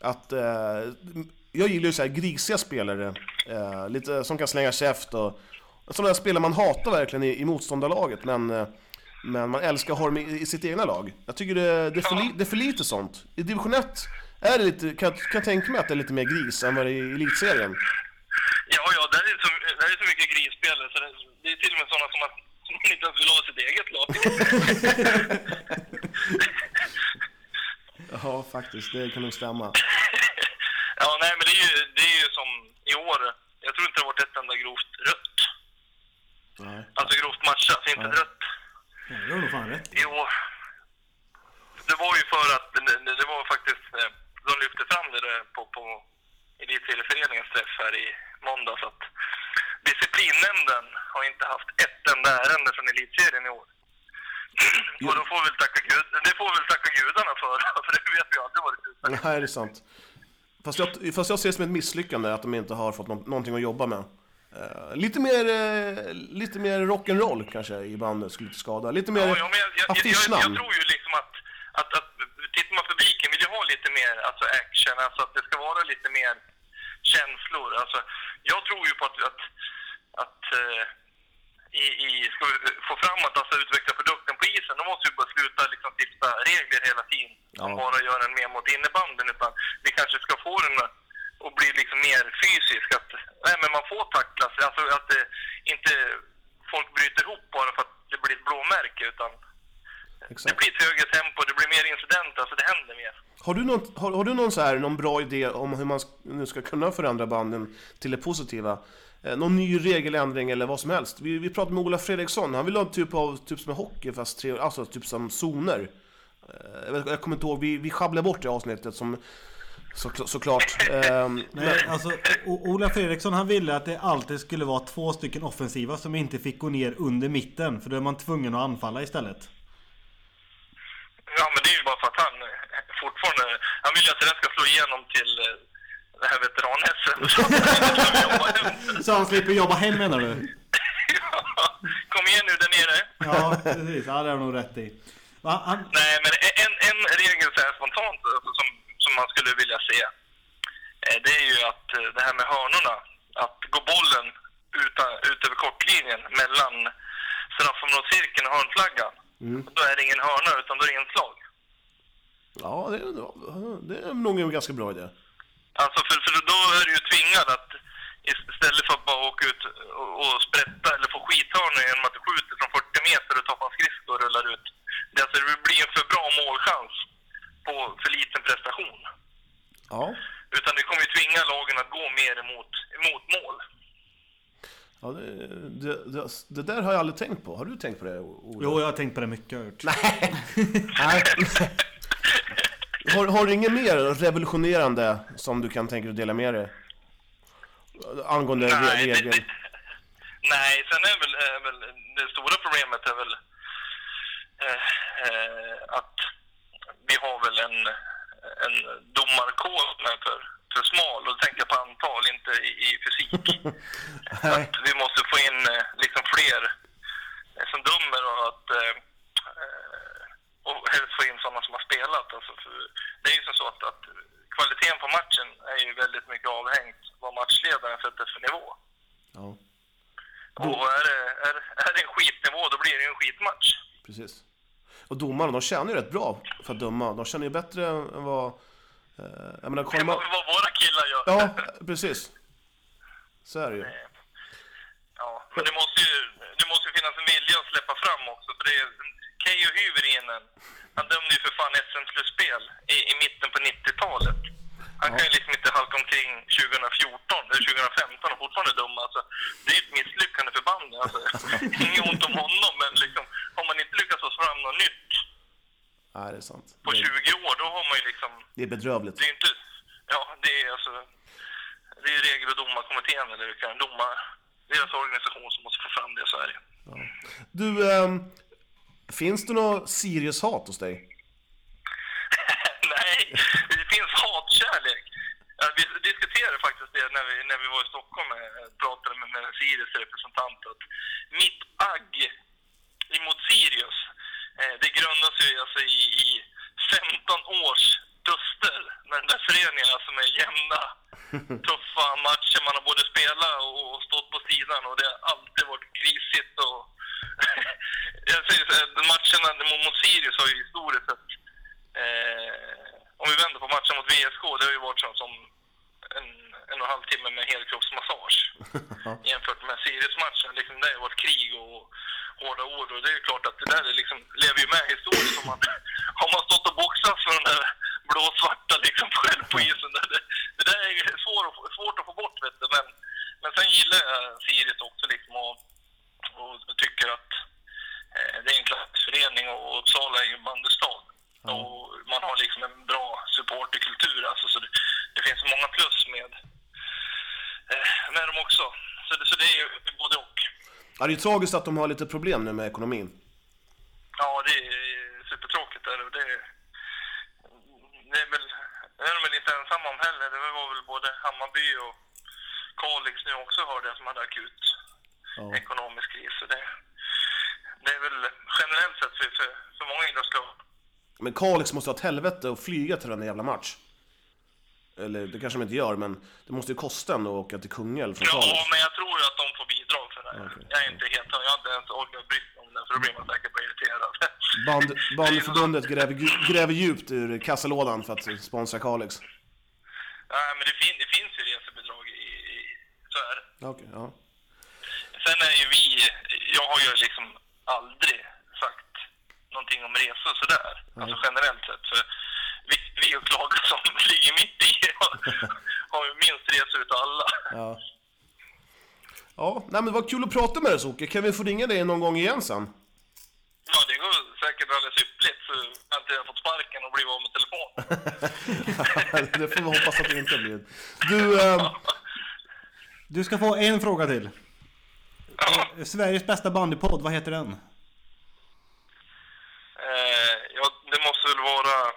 [SPEAKER 3] att eh, jag gillar ju så här grisiga spelare, eh, lite som kan slänga käft och sådana där spelare man hatar verkligen i, i motståndarlaget men, eh, men man älskar att ha dem i, i sitt egna lag. Jag tycker det, det, är för li, det är för lite sånt. I division 1 är det lite, kan, jag- kan jag tänka mig att det är lite mer gris än vad det är i elitserien.
[SPEAKER 5] Ja, ja, där är så, där är så mycket grisspelare så det, det är till och med sådana som, att, som man inte ens vill ha i sitt eget lag.
[SPEAKER 3] Ja, faktiskt, det kan nog stämma.
[SPEAKER 5] ja, nej, men det är, ju, det är ju som i år. Jag tror inte det har varit ett enda grovt rött.
[SPEAKER 3] Nej.
[SPEAKER 5] Alltså grovt matchat, så inte ett rött
[SPEAKER 2] Ja, det har du fan rätt i.
[SPEAKER 5] i år. Det var ju för att det- det, det var faktiskt, eh, de lyfte fram det där på, på elitserieföreningens träff här i måndags att disciplinnämnden har inte haft ett enda ärende från elitserien i år. Och de får väl tacka gud, det får väl tacka gudarna för, för det vet vi aldrig vad det är.
[SPEAKER 3] Nej, det är sant. Fast jag, fast jag ser det som ett misslyckande att de inte har fått nå- någonting att jobba med. Eh, lite mer, eh, lite mer rock'n'roll kanske i bandet skulle inte skada. Lite mer
[SPEAKER 5] Ja, ja, men jag, jag, jag, jag, jag
[SPEAKER 3] affischnamn.
[SPEAKER 5] tror ju liksom att, att, att tittar man publiken vill ju ha lite mer alltså action, alltså att det ska vara lite mer känslor. Alltså, jag tror ju på att, att, att eh, i, i, ska vi få fram att alltså, utveckla produkten på isen, då måste vi bara sluta liksom, stifta regler hela tiden som
[SPEAKER 3] Ja.
[SPEAKER 5] bara gör en mer mot innebanden utan vi kanske ska få den att- att bli liksom mer fysisk. Att, nej, men man får tacklas, alltså att det, inte folk bryter ihop bara för att det blir ett blåmärke utan det
[SPEAKER 3] Exakt.
[SPEAKER 5] blir ett högre tempo, det blir mer incidenter, alltså det händer mer.
[SPEAKER 3] Har du, någon, har, har du någon, så här, någon bra idé om hur man sk- nu ska kunna förändra banden till det positiva? Eh, någon ny regeländring eller vad som helst? Vi, vi pratade med Ola Fredriksson, han vill ha en typ av, typ som är hockey fast tre, alltså typ som zoner. Eh, jag, vet, jag kommer inte ihåg, vi, vi sjabblade bort det avsnittet som så, såklart. Ehm,
[SPEAKER 2] Nej, alltså O- Ola Fredriksson han ville att det alltid skulle vara två stycken offensiva som inte fick gå ner under mitten. För då är man tvungen att anfalla istället.
[SPEAKER 5] det är ju bara för att han eh, fortfarande... Han vill ju att det där ska slå igenom till eh, det här veteran-SM. Så att han kan jobba hem.
[SPEAKER 2] Så han slipper jobba hem menar du?
[SPEAKER 5] Kom igen nu där nere.
[SPEAKER 2] Ja, precis. Ja, det har du nog rätt i. Va, han,
[SPEAKER 5] Nej, men en, en regel så här spontant alltså, som, som man skulle vilja se. eh, Det är ju att eh, det här med hörnorna. Att gå bollen utan, ut över kortlinjen mellan straffområdescirkeln och hörnflaggan. Då är det ingen hörna utan då är det inslag.
[SPEAKER 3] Ja, det är, det är nog en ganska bra idé.
[SPEAKER 5] Alltså för, för då är du ju tvingad att istället för att bara åka ut och, och sprätta eller få skithörnor genom att du skjuter från 40 meter och tar på en skridsko och rullar ut. Det, alltså, det blir en för bra målchans på för liten prestation.
[SPEAKER 3] Ja,
[SPEAKER 5] Utan det kommer ju tvinga lagen att gå mer emot, emot mål.
[SPEAKER 3] ja det, det, det, det där har jag aldrig tänkt på. Har du tänkt på det, Ola?
[SPEAKER 2] jo, jag har tänkt på det mycket. har jag gjort.
[SPEAKER 3] Har, har du inget mer revolutionerande som du kan tänka dig att dela med dig? Angående re-
[SPEAKER 5] det,
[SPEAKER 3] regel?
[SPEAKER 5] det, nej, sen är väl, är väl det stora problemet är väl eh, eh, att vi har väl en, en domarkår som är för, för smal och då tänker jag på antal, inte i, i fysik. Så
[SPEAKER 3] Nej.
[SPEAKER 5] att vi måste få in eh, liksom fler eh, som dömer och att eh, eh, och helst få in sådana som har spelat. Alltså för, det är ju som så att, att kvaliteten på matchen är ju väldigt mycket avhängt vad matchledaren sätter för nivå.
[SPEAKER 3] Ja,
[SPEAKER 5] Och är det, är, är det en skitnivå, då blir det ju en skitmatch.
[SPEAKER 3] precis. Och domarna, de tjänar ju rätt bra för att döma. De tjänar ju bättre än vad... Eh, jag menar,
[SPEAKER 5] Det
[SPEAKER 3] kollar
[SPEAKER 5] är
[SPEAKER 3] man...
[SPEAKER 5] vad vad våra killar gör.
[SPEAKER 3] Ja, precis. Så är det ju.
[SPEAKER 5] Ja, men det måste ju det måste ju finnas en vilja att släppa fram också. För det är Keijo Hyvärinen, han dömde ju för fan SM-slutspel i, i mitten på 90-talet. Han kan ju liksom inte halka omkring 2014 eller 2015 och fortfarande döma. Alltså, det är ju ett misslyckande för bandet. Alltså, inget ont om honom, men liksom, har man inte lyckats få fram något nytt
[SPEAKER 3] Nej, det är sant.
[SPEAKER 5] på
[SPEAKER 3] Det är,
[SPEAKER 5] 20 år, då har man ju liksom
[SPEAKER 3] det är bedrövligt.
[SPEAKER 5] Det är inte... Ja, det är alltså... Det är regel och domarkommittén, eller vilka domar... Deras organisation som måste få fram det i Sverige.
[SPEAKER 3] Du, ehm, finns det något Sirius-hat hos dig?
[SPEAKER 5] Nej, det finns hatkärlek. Ja, Vi diskuterade faktiskt det när vi, när vi var i Stockholm och pratade med, med Sirius representant. Att mitt agg emot Sirius, eh, det grundas ju alltså i, i 15 års duster med den där föreningen, alltså med jämna, tuffa matcher. Man har både spelat och och stått på sidan och det har alltid varit grisigt. Och Jag säger så här, matcherna mot mot Sirius har ju historiskt sett Eh, om vi vänder på matchen mot VSK, det har ju varit som, som en, en och en halv timme med helkroppsmassage. Jämfört med Sirius-matchen, liksom, det har ju varit krig och hårda ord. Och det är ju klart att det där är liksom, lever ju med i historien. Om man, har man stått och boxats med den där blåsvarta liksom, själv på isen. Det, det, det där är ju svår att, få- svårt att få bort, vet du. Men, men sen gillar jag Sirius också liksom, och, och tycker att eh, det är en klassförening och och Uppsala är ju en bandystad. Och man har liksom en bra supporterkultur. Alltså, så det, det finns många plus med, eh, med dem också. Så det, så det är ju både och.
[SPEAKER 3] Ja, det är ju tragiskt att de har lite problem nu med ekonomin.
[SPEAKER 5] Ja, det är supertråkigt. Där, och det, det är väl det är de väl inte ensamma om heller. Det var väl både Hammarby och Kalix nu också hörde jag som hade akut
[SPEAKER 3] Ja.
[SPEAKER 5] ekonomisk kris. Så det, det är väl generellt sett för, för, för många idrottslag
[SPEAKER 3] Men Kalix måste ha ett helvete att flyga till den jävla match. Eller det kanske de inte gör, men det måste ju kosta ändå att åka till Kungälv från
[SPEAKER 5] Ja,
[SPEAKER 3] Kalix.
[SPEAKER 5] men jag tror att de får bidrag för det här.
[SPEAKER 3] Okej.
[SPEAKER 5] Jag är inte helt jag har inte ens orkat bry mig om det, för då blir man säkert bara irriterad.
[SPEAKER 3] Band, bandförbundet gräver, gu- gräver djupt ur kassalådan för att sponsra Kalix.
[SPEAKER 5] Nej, men det, fin- det finns ju resebidrag i, i... Så är det.
[SPEAKER 3] Ja, Okej, ja.
[SPEAKER 5] Sen är ju vi... Jag har ju liksom aldrig sagt någonting om resor sådär. Alltså generellt sett. För vi, vi och Klaga som ligger mitt i har, har ju minst resor utav alla.
[SPEAKER 3] ja. Ja, nej men vad kul att prata med dig Soke. Kan vi få ringa dig någon gång igen sen?
[SPEAKER 5] Ja, det går säkert alldeles ypperligt. Så jag inte har fått sparken och blivit av med telefonen.
[SPEAKER 3] det får vi hoppas att det inte blir. Du, eh,
[SPEAKER 2] Du ska få en fråga till.
[SPEAKER 5] Ja.
[SPEAKER 2] Sveriges bästa bandypodd, vad heter den?
[SPEAKER 5] Eh, ja, det måste väl vara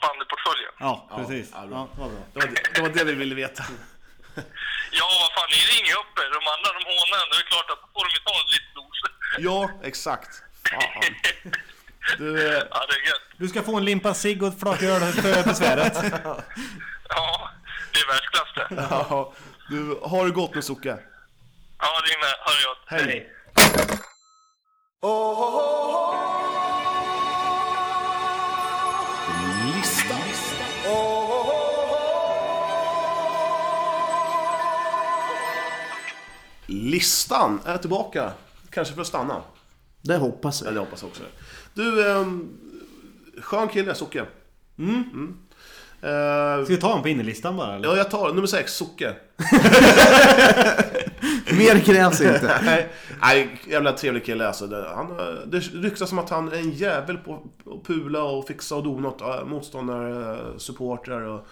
[SPEAKER 5] bandyportföljen.
[SPEAKER 2] Ja, precis.
[SPEAKER 3] ja,
[SPEAKER 2] Ja,
[SPEAKER 3] bra.
[SPEAKER 2] vad bra.
[SPEAKER 3] Det var det, det var det vi ville veta.
[SPEAKER 5] Ja, vad fan, ni ringer upp er. De andra de hånar en. Det är klart att då får de ju ta en liten dos.
[SPEAKER 3] Ja, exakt. Fan. Du, eh,
[SPEAKER 5] Ja, det är gött.
[SPEAKER 2] Du ska få en limpa cigg och ett flak öl för besväret.
[SPEAKER 5] Ja, det är världsklass det.
[SPEAKER 3] ja, du har det gott nu Socke.
[SPEAKER 5] Ja, det är med. Ha det gött.
[SPEAKER 3] Hej. Listan är tillbaka. Kanske för att stanna.
[SPEAKER 4] Det hoppas
[SPEAKER 3] Ja,
[SPEAKER 4] jag.
[SPEAKER 3] det hoppas jag också. Du, ehm, skön kille Socke. Mm.
[SPEAKER 2] Ska
[SPEAKER 3] Eh,
[SPEAKER 2] vi ta en på innerlistan bara eller?
[SPEAKER 3] ja, jag tar nummer sex, Socke.
[SPEAKER 4] Mer krävs inte.
[SPEAKER 3] Nej, nej, jävla trevlig kille alltså. Det, han, eh, det ryktas om att han är en jävel på att pula och fixa och dona åt eh, motståndare, eh, supportrar och...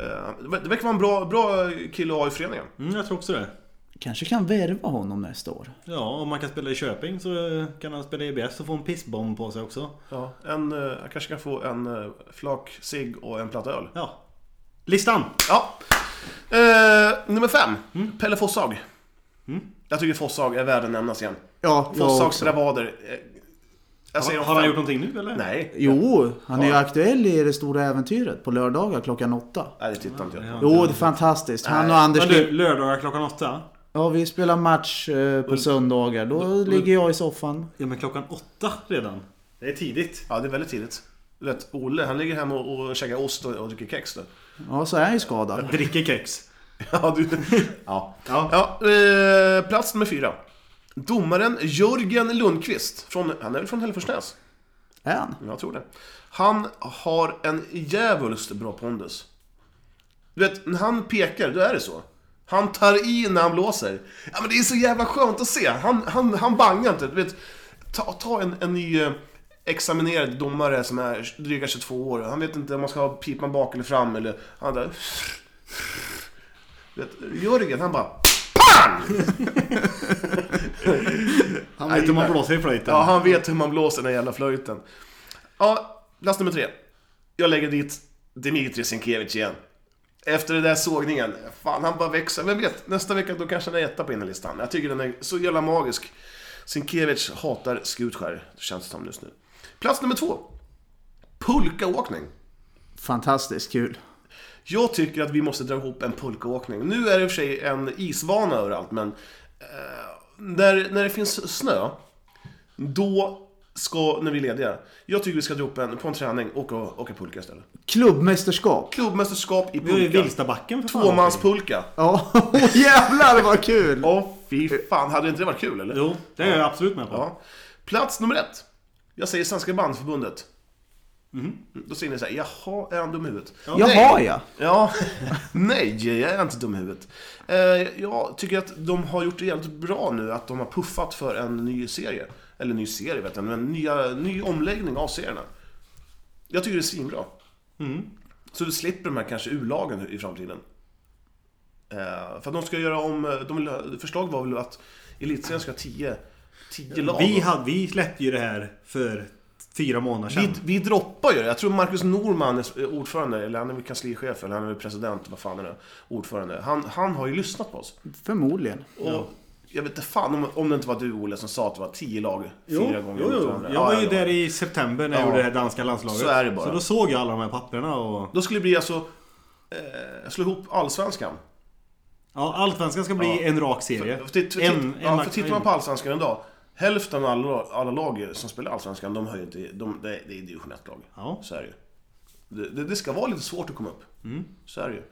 [SPEAKER 3] eh, Det verkar vara en bra, bra kille att ha i föreningen.
[SPEAKER 2] Mm, jag tror också det.
[SPEAKER 4] Kanske kan värva honom nästa år.
[SPEAKER 2] Ja, om man kan spela i Köping så eh, kan han spela i EBS och få en pissbomb på sig också.
[SPEAKER 3] Ja, en, eh, jag kanske kan få en eh, flak cigg och en platta öl.
[SPEAKER 2] Ja. Listan!
[SPEAKER 3] Ja. Eh, nummer fem,
[SPEAKER 2] Mm.
[SPEAKER 3] Pelle Fossag. Jag tycker Fossag är värd att nämnas igen.
[SPEAKER 4] Ja, jag
[SPEAKER 3] Fossags
[SPEAKER 4] också.
[SPEAKER 3] bravader. eh, Jag säger
[SPEAKER 2] Har,
[SPEAKER 3] om
[SPEAKER 2] har han
[SPEAKER 3] fem.
[SPEAKER 2] gjort någonting nu eller?
[SPEAKER 3] Nej,
[SPEAKER 4] Jo, han är ju aktuell i Det Stora Äventyret på lördagar klockan åtta.
[SPEAKER 3] nej det tittar inte jag på.
[SPEAKER 2] Ja.
[SPEAKER 4] Jo, det är fantastiskt. Han och Anders...
[SPEAKER 2] Men du, lördagar klockan åtta?
[SPEAKER 4] Ja, vi spelar match eh,
[SPEAKER 2] Mm.
[SPEAKER 4] på söndagar. Då ligger jag i soffan.
[SPEAKER 2] Ja men klockan åtta redan. Det är tidigt.
[SPEAKER 3] Ja, det är väldigt tidigt. Du vet, Olle, han ligger hemma och, och käkar ost och, och dricker kex nu.
[SPEAKER 4] Ja, så är han ju skadad.
[SPEAKER 2] Dricker kex.
[SPEAKER 3] Ja, du... ja.
[SPEAKER 2] Ja.
[SPEAKER 3] ja eh, plats nummer fyra. Domaren Jörgen Lundqvist. Från, han är väl från Hälleforsnäs?
[SPEAKER 4] Är han?
[SPEAKER 3] Jag tror det. Han har en djävulskt bra pondus. Du vet, när han pekar, då är det så. Han tar i när han blåser. Ja, men det är så jävla skönt att se. Han, han, han bangar inte. Du vet, ta, ta en, en ny eh, examinerad domare som är dryga 22 år. Han vet inte om man ska ha pipan bak eller fram eller... Han där... Du vet, Jörgen, han bara...
[SPEAKER 2] Han vet hur man
[SPEAKER 3] gillar-
[SPEAKER 2] blåser i flöjten.
[SPEAKER 3] Ja, han vet hur man blåser den här jävla flöjten. Ja, plats nummer tre. Jag lägger dit Dimitri Sinkevich igen. Efter den där sågningen. Fan, han bara växer. Vem vet, nästa vecka då kanske han är etta på innerlistan. Jag tycker den är så jävla magisk. Sinkevich hatar Skutskär, det känns det som just nu. Plats nummer två. Pulkaåkning.
[SPEAKER 4] Fantastiskt kul.
[SPEAKER 3] Jag tycker att vi måste dra ihop en pulkaåkning. Nu är det i och för sig en isbana överallt, men eh, när, när det finns snö, då ska, när vi är lediga, jag tycker vi ska dra ihop en, på en träning och åka, åka pulka istället.
[SPEAKER 4] Klubbmästerskap.
[SPEAKER 3] Klubbmästerskap i
[SPEAKER 2] Vi har ju
[SPEAKER 3] pulka.
[SPEAKER 2] Vilstabacken för fan.
[SPEAKER 3] Tvåmanspulka.
[SPEAKER 4] Ja, oh, jävlar vad kul!
[SPEAKER 3] Åh fy fan, hade inte det varit kul eller?
[SPEAKER 2] Jo, det är jag absolut med på.
[SPEAKER 3] Ja. Plats nummer ett. Jag säger Svenska bandförbundet. Mm. Då säger ni såhär, jaha, är han dum i huvudet?
[SPEAKER 4] Mhm. Jaha ja.
[SPEAKER 3] Ja, nej, jag är inte dum i huvudet. Eh, Jag tycker att de har gjort det jävligt bra nu, att de har puffat för en ny serie. Eller ny serie vet jag men en nya, ny omläggning av serierna. Jag tycker det är svinbra. Så du slipper de här kanske U-lagen i framtiden. Eh, För att de ska göra om, de vill, förslag var väl att elitserien ska ha 10 tio lag.
[SPEAKER 2] Vi, hade, vi släppte ju det här för fyra månader sedan.
[SPEAKER 3] Vi, vi droppar ju det. Jag tror Marcus Norman är ordförande, eller han är väl kanslichef, eller han är väl president, vad fan är det? Ordförande. Han, han har ju lyssnat på oss.
[SPEAKER 4] Förmodligen.
[SPEAKER 3] Och jag vet inte fan om, om det inte var du, Olle, som sa att det var tio lag
[SPEAKER 2] Jo,
[SPEAKER 3] fyra gånger
[SPEAKER 2] jo,
[SPEAKER 3] mot
[SPEAKER 2] jo.
[SPEAKER 3] varandra.
[SPEAKER 2] Jag var
[SPEAKER 3] Ja,
[SPEAKER 2] ju
[SPEAKER 3] ja,
[SPEAKER 2] där i september när jag
[SPEAKER 3] Ja.
[SPEAKER 2] gjorde det här danska landslaget.
[SPEAKER 3] Så är det bara.
[SPEAKER 2] Så då såg jag alla de här papperna och...
[SPEAKER 3] Då skulle det bli alltså... Eh, slå ihop Allsvenskan.
[SPEAKER 2] Ja, Allsvenskan ska bli
[SPEAKER 3] Ja.
[SPEAKER 2] en rak serie.
[SPEAKER 3] För, titt- för, titt- ja, för tittar man på Allsvenskan idag, hälften av alla, alla lag som spelar Allsvenskan, de har ju inte... De, det, är- det är division 1-lag.
[SPEAKER 2] Ja.
[SPEAKER 3] Så är det ju. Det, det, det ska vara lite svårt att komma upp.
[SPEAKER 2] Mm.
[SPEAKER 3] Så är det ju.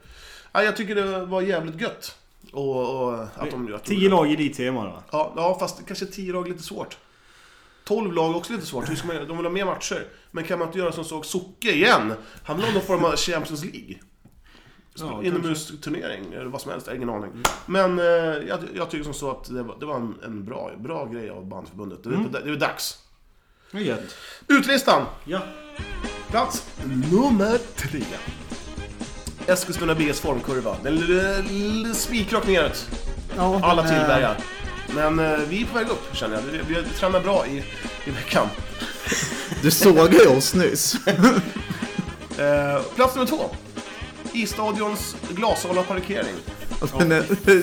[SPEAKER 3] Ja, jag tycker det var jävligt gött. Och, och att de... Att de-
[SPEAKER 2] Tio lag i elitserien var det va?
[SPEAKER 3] Ja, ja, fast kanske 10 lag är lite svårt. 12 lag är också lite svårt. Hur ska man, göra? de vill ha mer matcher. Men kan man inte göra som såg Socke igen? Han vill ha någon form av Champions League.
[SPEAKER 2] Ja,
[SPEAKER 3] Inomhusturnering, eller vad som helst. Jag har ingen aning. Men eh, jag, jag tycker som så att det var, det var en, en bra, bra grej av bandförbundet. Det är, det är dags.
[SPEAKER 2] Det är gött.
[SPEAKER 3] Utlistan!
[SPEAKER 2] Ja.
[SPEAKER 3] Plats nummer tre. Eskilstuna BS formkurva. Den är spikrakt neråt.
[SPEAKER 4] Ja,
[SPEAKER 3] Alla
[SPEAKER 4] men, eh,
[SPEAKER 3] tillbergar. Men eh, vi är på väg upp känner jag. Vi, vi tränar bra i, i veckan.
[SPEAKER 4] Du såg ju oss nyss.
[SPEAKER 3] Eh, plats nummer två. I stadions glashala parkering.
[SPEAKER 4] Men, eh, det,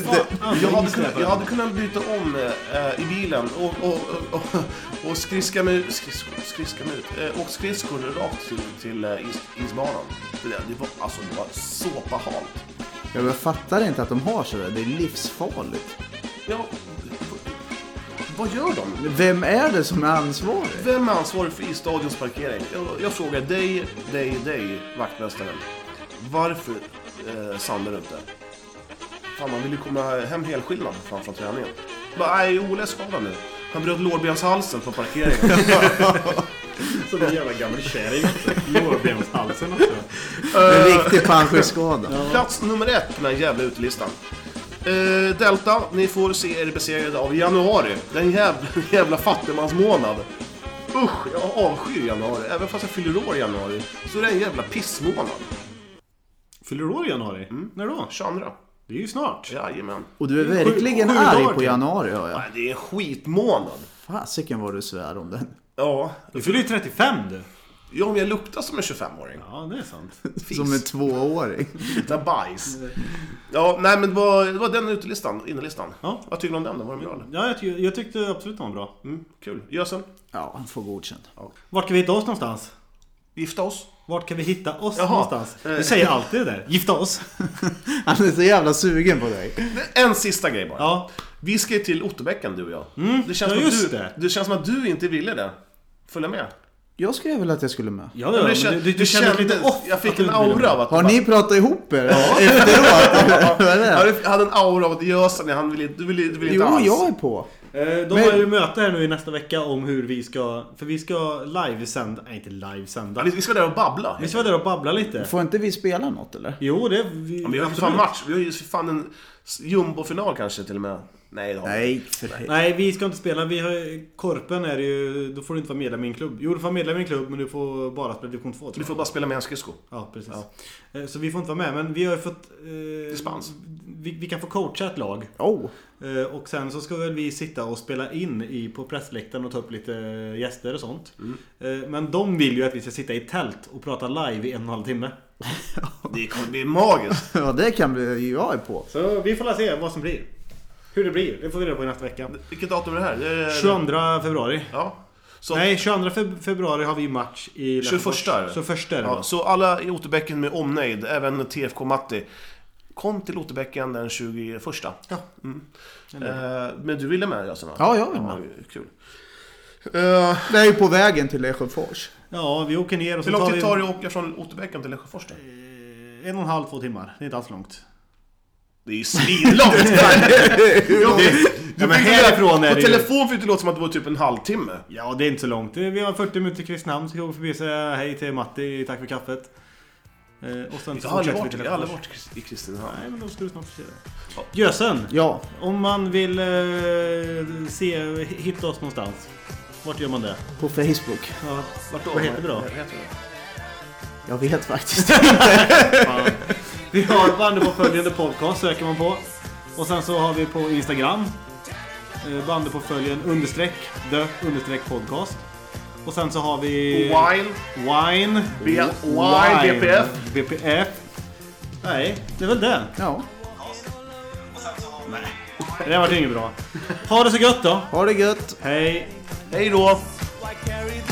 [SPEAKER 3] Jag hade kunnat, jag hade kunnat byta om eh, i bilen och, och, och, och, och skriska mig ut, skrisko, skriska mig ut, eh, och skridskor rakt till, till eh, is, isbanan. Det, där, det var alltså det var såpahalt.
[SPEAKER 4] jag fattar inte att de har sådär. Det är livsfarligt.
[SPEAKER 3] Ja, vad gör de?
[SPEAKER 4] Vem är det som är ansvarig?
[SPEAKER 3] Vem är ansvarig för i stadions parkering? Jag, jag frågar dig, dig, dig, vaktmästaren. Varför eh, Sander inte? Fan, man vill ju komma hem helskinnad fan från träningen. Bara, nej, Ole är skadad nu. Han bröt lårbenshalsen på parkeringen.
[SPEAKER 7] Som en jävla gammal kärring också. Lårbenshalsen också.
[SPEAKER 4] En riktig panschskada.
[SPEAKER 3] Plats nummer ett på den här jävla utelistan. Eh, Delta, ni får se er besegrade av januari. Den jävla, jävla fattigmansmånad. Usch, jag avskyr januari. Även fast jag fyller år i januari. Så det är en jävla pissmånad.
[SPEAKER 7] Fyller år i januari? När då?
[SPEAKER 3] 22.
[SPEAKER 7] Det är ju snart.
[SPEAKER 3] Jajamän.
[SPEAKER 4] Och du är
[SPEAKER 7] Sju-
[SPEAKER 4] verkligen
[SPEAKER 7] sju
[SPEAKER 4] arg
[SPEAKER 7] dagar
[SPEAKER 4] på
[SPEAKER 7] till.
[SPEAKER 4] januari hör jag.
[SPEAKER 3] Nej, det är en skitmånad.
[SPEAKER 4] Fasiken vad du svär om den.
[SPEAKER 3] Ja.
[SPEAKER 2] Du fyller ju 35 du.
[SPEAKER 3] Ja, om jag luktar som en 25-åring.
[SPEAKER 2] Ja, typ. det är sant.
[SPEAKER 4] Som en tvååring.
[SPEAKER 3] Luktar bajs.
[SPEAKER 2] Mm.
[SPEAKER 3] Ja, nej men det var, det var den utelistan, innelistan.
[SPEAKER 2] Ja. Mm.
[SPEAKER 3] Vad tyckte du om den då? Var den bra eller?
[SPEAKER 2] Ja, jag, ty- jag tyckte absolut den var bra.
[SPEAKER 3] Mm, kul. Gösen?
[SPEAKER 4] Ja, han får godkänt.
[SPEAKER 2] Vart kan vi hitta oss någonstans?
[SPEAKER 3] Gifta oss?
[SPEAKER 2] Vart kan vi hitta oss
[SPEAKER 3] Jaha.
[SPEAKER 2] någonstans? Du säger alltid det där. Gifta oss.
[SPEAKER 4] Han är så jävla sugen på dig.
[SPEAKER 3] En sista grej bara.
[SPEAKER 2] Ja. Mm.
[SPEAKER 3] Vi ska ju till Otterbäcken du och jag. det, känns
[SPEAKER 2] ja,
[SPEAKER 3] som att
[SPEAKER 2] just
[SPEAKER 3] du,
[SPEAKER 2] det.
[SPEAKER 3] känns som att du inte ville det. Följa med.
[SPEAKER 4] Jag skrev väl att jag skulle med.
[SPEAKER 2] Ja, ja, men
[SPEAKER 3] kän-
[SPEAKER 2] du, du, du kändes lite off.
[SPEAKER 3] Jag fick
[SPEAKER 2] att du
[SPEAKER 3] en
[SPEAKER 2] inte ville
[SPEAKER 3] aura av att...
[SPEAKER 4] Har ni pratat ihop er efteråt? Vad är
[SPEAKER 3] Ja,
[SPEAKER 4] det?
[SPEAKER 3] du hade en aura av att Gösen, han ville, du ville, du ville inte
[SPEAKER 4] Jo,
[SPEAKER 3] alls.
[SPEAKER 4] jag är på.
[SPEAKER 2] Eh, De
[SPEAKER 4] Men-
[SPEAKER 2] har ju möte här nu i nästa vecka om hur vi ska... För vi ska livesända... Nej, inte livesända.
[SPEAKER 3] Ja, vi, vi ska där och babbla.
[SPEAKER 2] Vi ska vara där och babbla lite.
[SPEAKER 4] Får inte vi spela något eller?
[SPEAKER 2] Jo, det... Vi,
[SPEAKER 3] Ja, men vi har ju för fan match. Vi har ju för fan en s- jumbofinal kanske till och med. Nej, det har vi inte.
[SPEAKER 4] Nej, för helvete.
[SPEAKER 2] Nej, vi ska inte spela. Vi har, korpen är det ju... Då får du inte vara medlem i en klubb. Jo, du får vara medlem i en klubb, men du får bara spela division 2.
[SPEAKER 3] Du
[SPEAKER 2] Tror
[SPEAKER 3] får
[SPEAKER 2] jag.
[SPEAKER 3] bara spela med en skridsko.
[SPEAKER 2] Ja, precis. Eh, Så vi får inte vara med, men vi har ju fått... Eh,
[SPEAKER 3] Dispens.
[SPEAKER 2] Vi, vi kan få coacha ett lag.
[SPEAKER 4] Oh.
[SPEAKER 2] Eh, Och sen så ska väl vi sitta och spela in i, på pressläktaren och ta upp lite gäster och sånt. Eh, Men de vill ju att vi ska sitta i tält och prata live i en och en halv timme.
[SPEAKER 3] Det kommer bli magiskt.
[SPEAKER 4] Ja, det kan bli... Jag är på.
[SPEAKER 2] Så vi får la se vad som blir. Hur det blir, det får vi reda på i nästa vecka.
[SPEAKER 3] Vilket datum är det här? Det är-
[SPEAKER 2] 22 februari.
[SPEAKER 3] Ja. Så,
[SPEAKER 2] Nej, 22 feb- februari har vi match i...
[SPEAKER 3] 21 är det.
[SPEAKER 2] Så första är det
[SPEAKER 3] ja,
[SPEAKER 2] då.
[SPEAKER 3] så alla i Otterbäcken med omnejd, även TFK Matti. Kom till Otterbäcken den 21.
[SPEAKER 2] Ja.
[SPEAKER 3] Eh, men du ville med Jösen va?
[SPEAKER 4] Ja, jag vill med.
[SPEAKER 3] Ja, kul. Eh,
[SPEAKER 4] Det är ju på vägen till Lesjöfors.
[SPEAKER 2] ja, vi åker ner och så
[SPEAKER 3] hur lång
[SPEAKER 2] tar
[SPEAKER 3] tid
[SPEAKER 2] vi
[SPEAKER 3] tar det att åka från Otterbäcken till Lesjöfors då?
[SPEAKER 2] en och en halv, två timmar. Det är inte alls långt.
[SPEAKER 3] Det är ju svinlångt!
[SPEAKER 2] Ja, men
[SPEAKER 3] på
[SPEAKER 2] härifrån är det ju...
[SPEAKER 3] telefon fick det låta som att det var typ en halvtimme.
[SPEAKER 2] Ja, det är inte så långt. Vi har 40 minuter till Kristinehamn, så vi åker förbi och säger hej till Matti, tack för kaffet. Eh, Och sen
[SPEAKER 3] Jag har
[SPEAKER 2] fortsätter
[SPEAKER 3] aldrig
[SPEAKER 2] vi
[SPEAKER 3] varit,
[SPEAKER 2] till
[SPEAKER 3] jag har aldrig
[SPEAKER 2] Lesjöfors.
[SPEAKER 3] varit i Kristinehamn.
[SPEAKER 2] Nej, men då ska du snart få se det. Gösen!
[SPEAKER 4] Ja,
[SPEAKER 2] Om man vill eh, se, hitta oss någonstans. Vart gör man det?
[SPEAKER 4] på Facebook.
[SPEAKER 2] Ja, vart då? Vad heter det då?
[SPEAKER 4] Jag vet faktiskt.
[SPEAKER 2] Vi har Bandypåföljande podcast söker man på. Och sen så har vi på Instagram. eh, Bandypåföljen understreck the understreck podcast. Och sen så har vi...
[SPEAKER 3] Wine.
[SPEAKER 2] Wine.
[SPEAKER 3] B-
[SPEAKER 2] Wine.
[SPEAKER 3] Wine, BPF.
[SPEAKER 2] BPF. Nej, det är väl det.
[SPEAKER 4] Ja,
[SPEAKER 2] Det där vart inget bra. Ha det så gött då.
[SPEAKER 4] ha det gött.
[SPEAKER 2] Hej.
[SPEAKER 3] Hej då!
[SPEAKER 1] I carry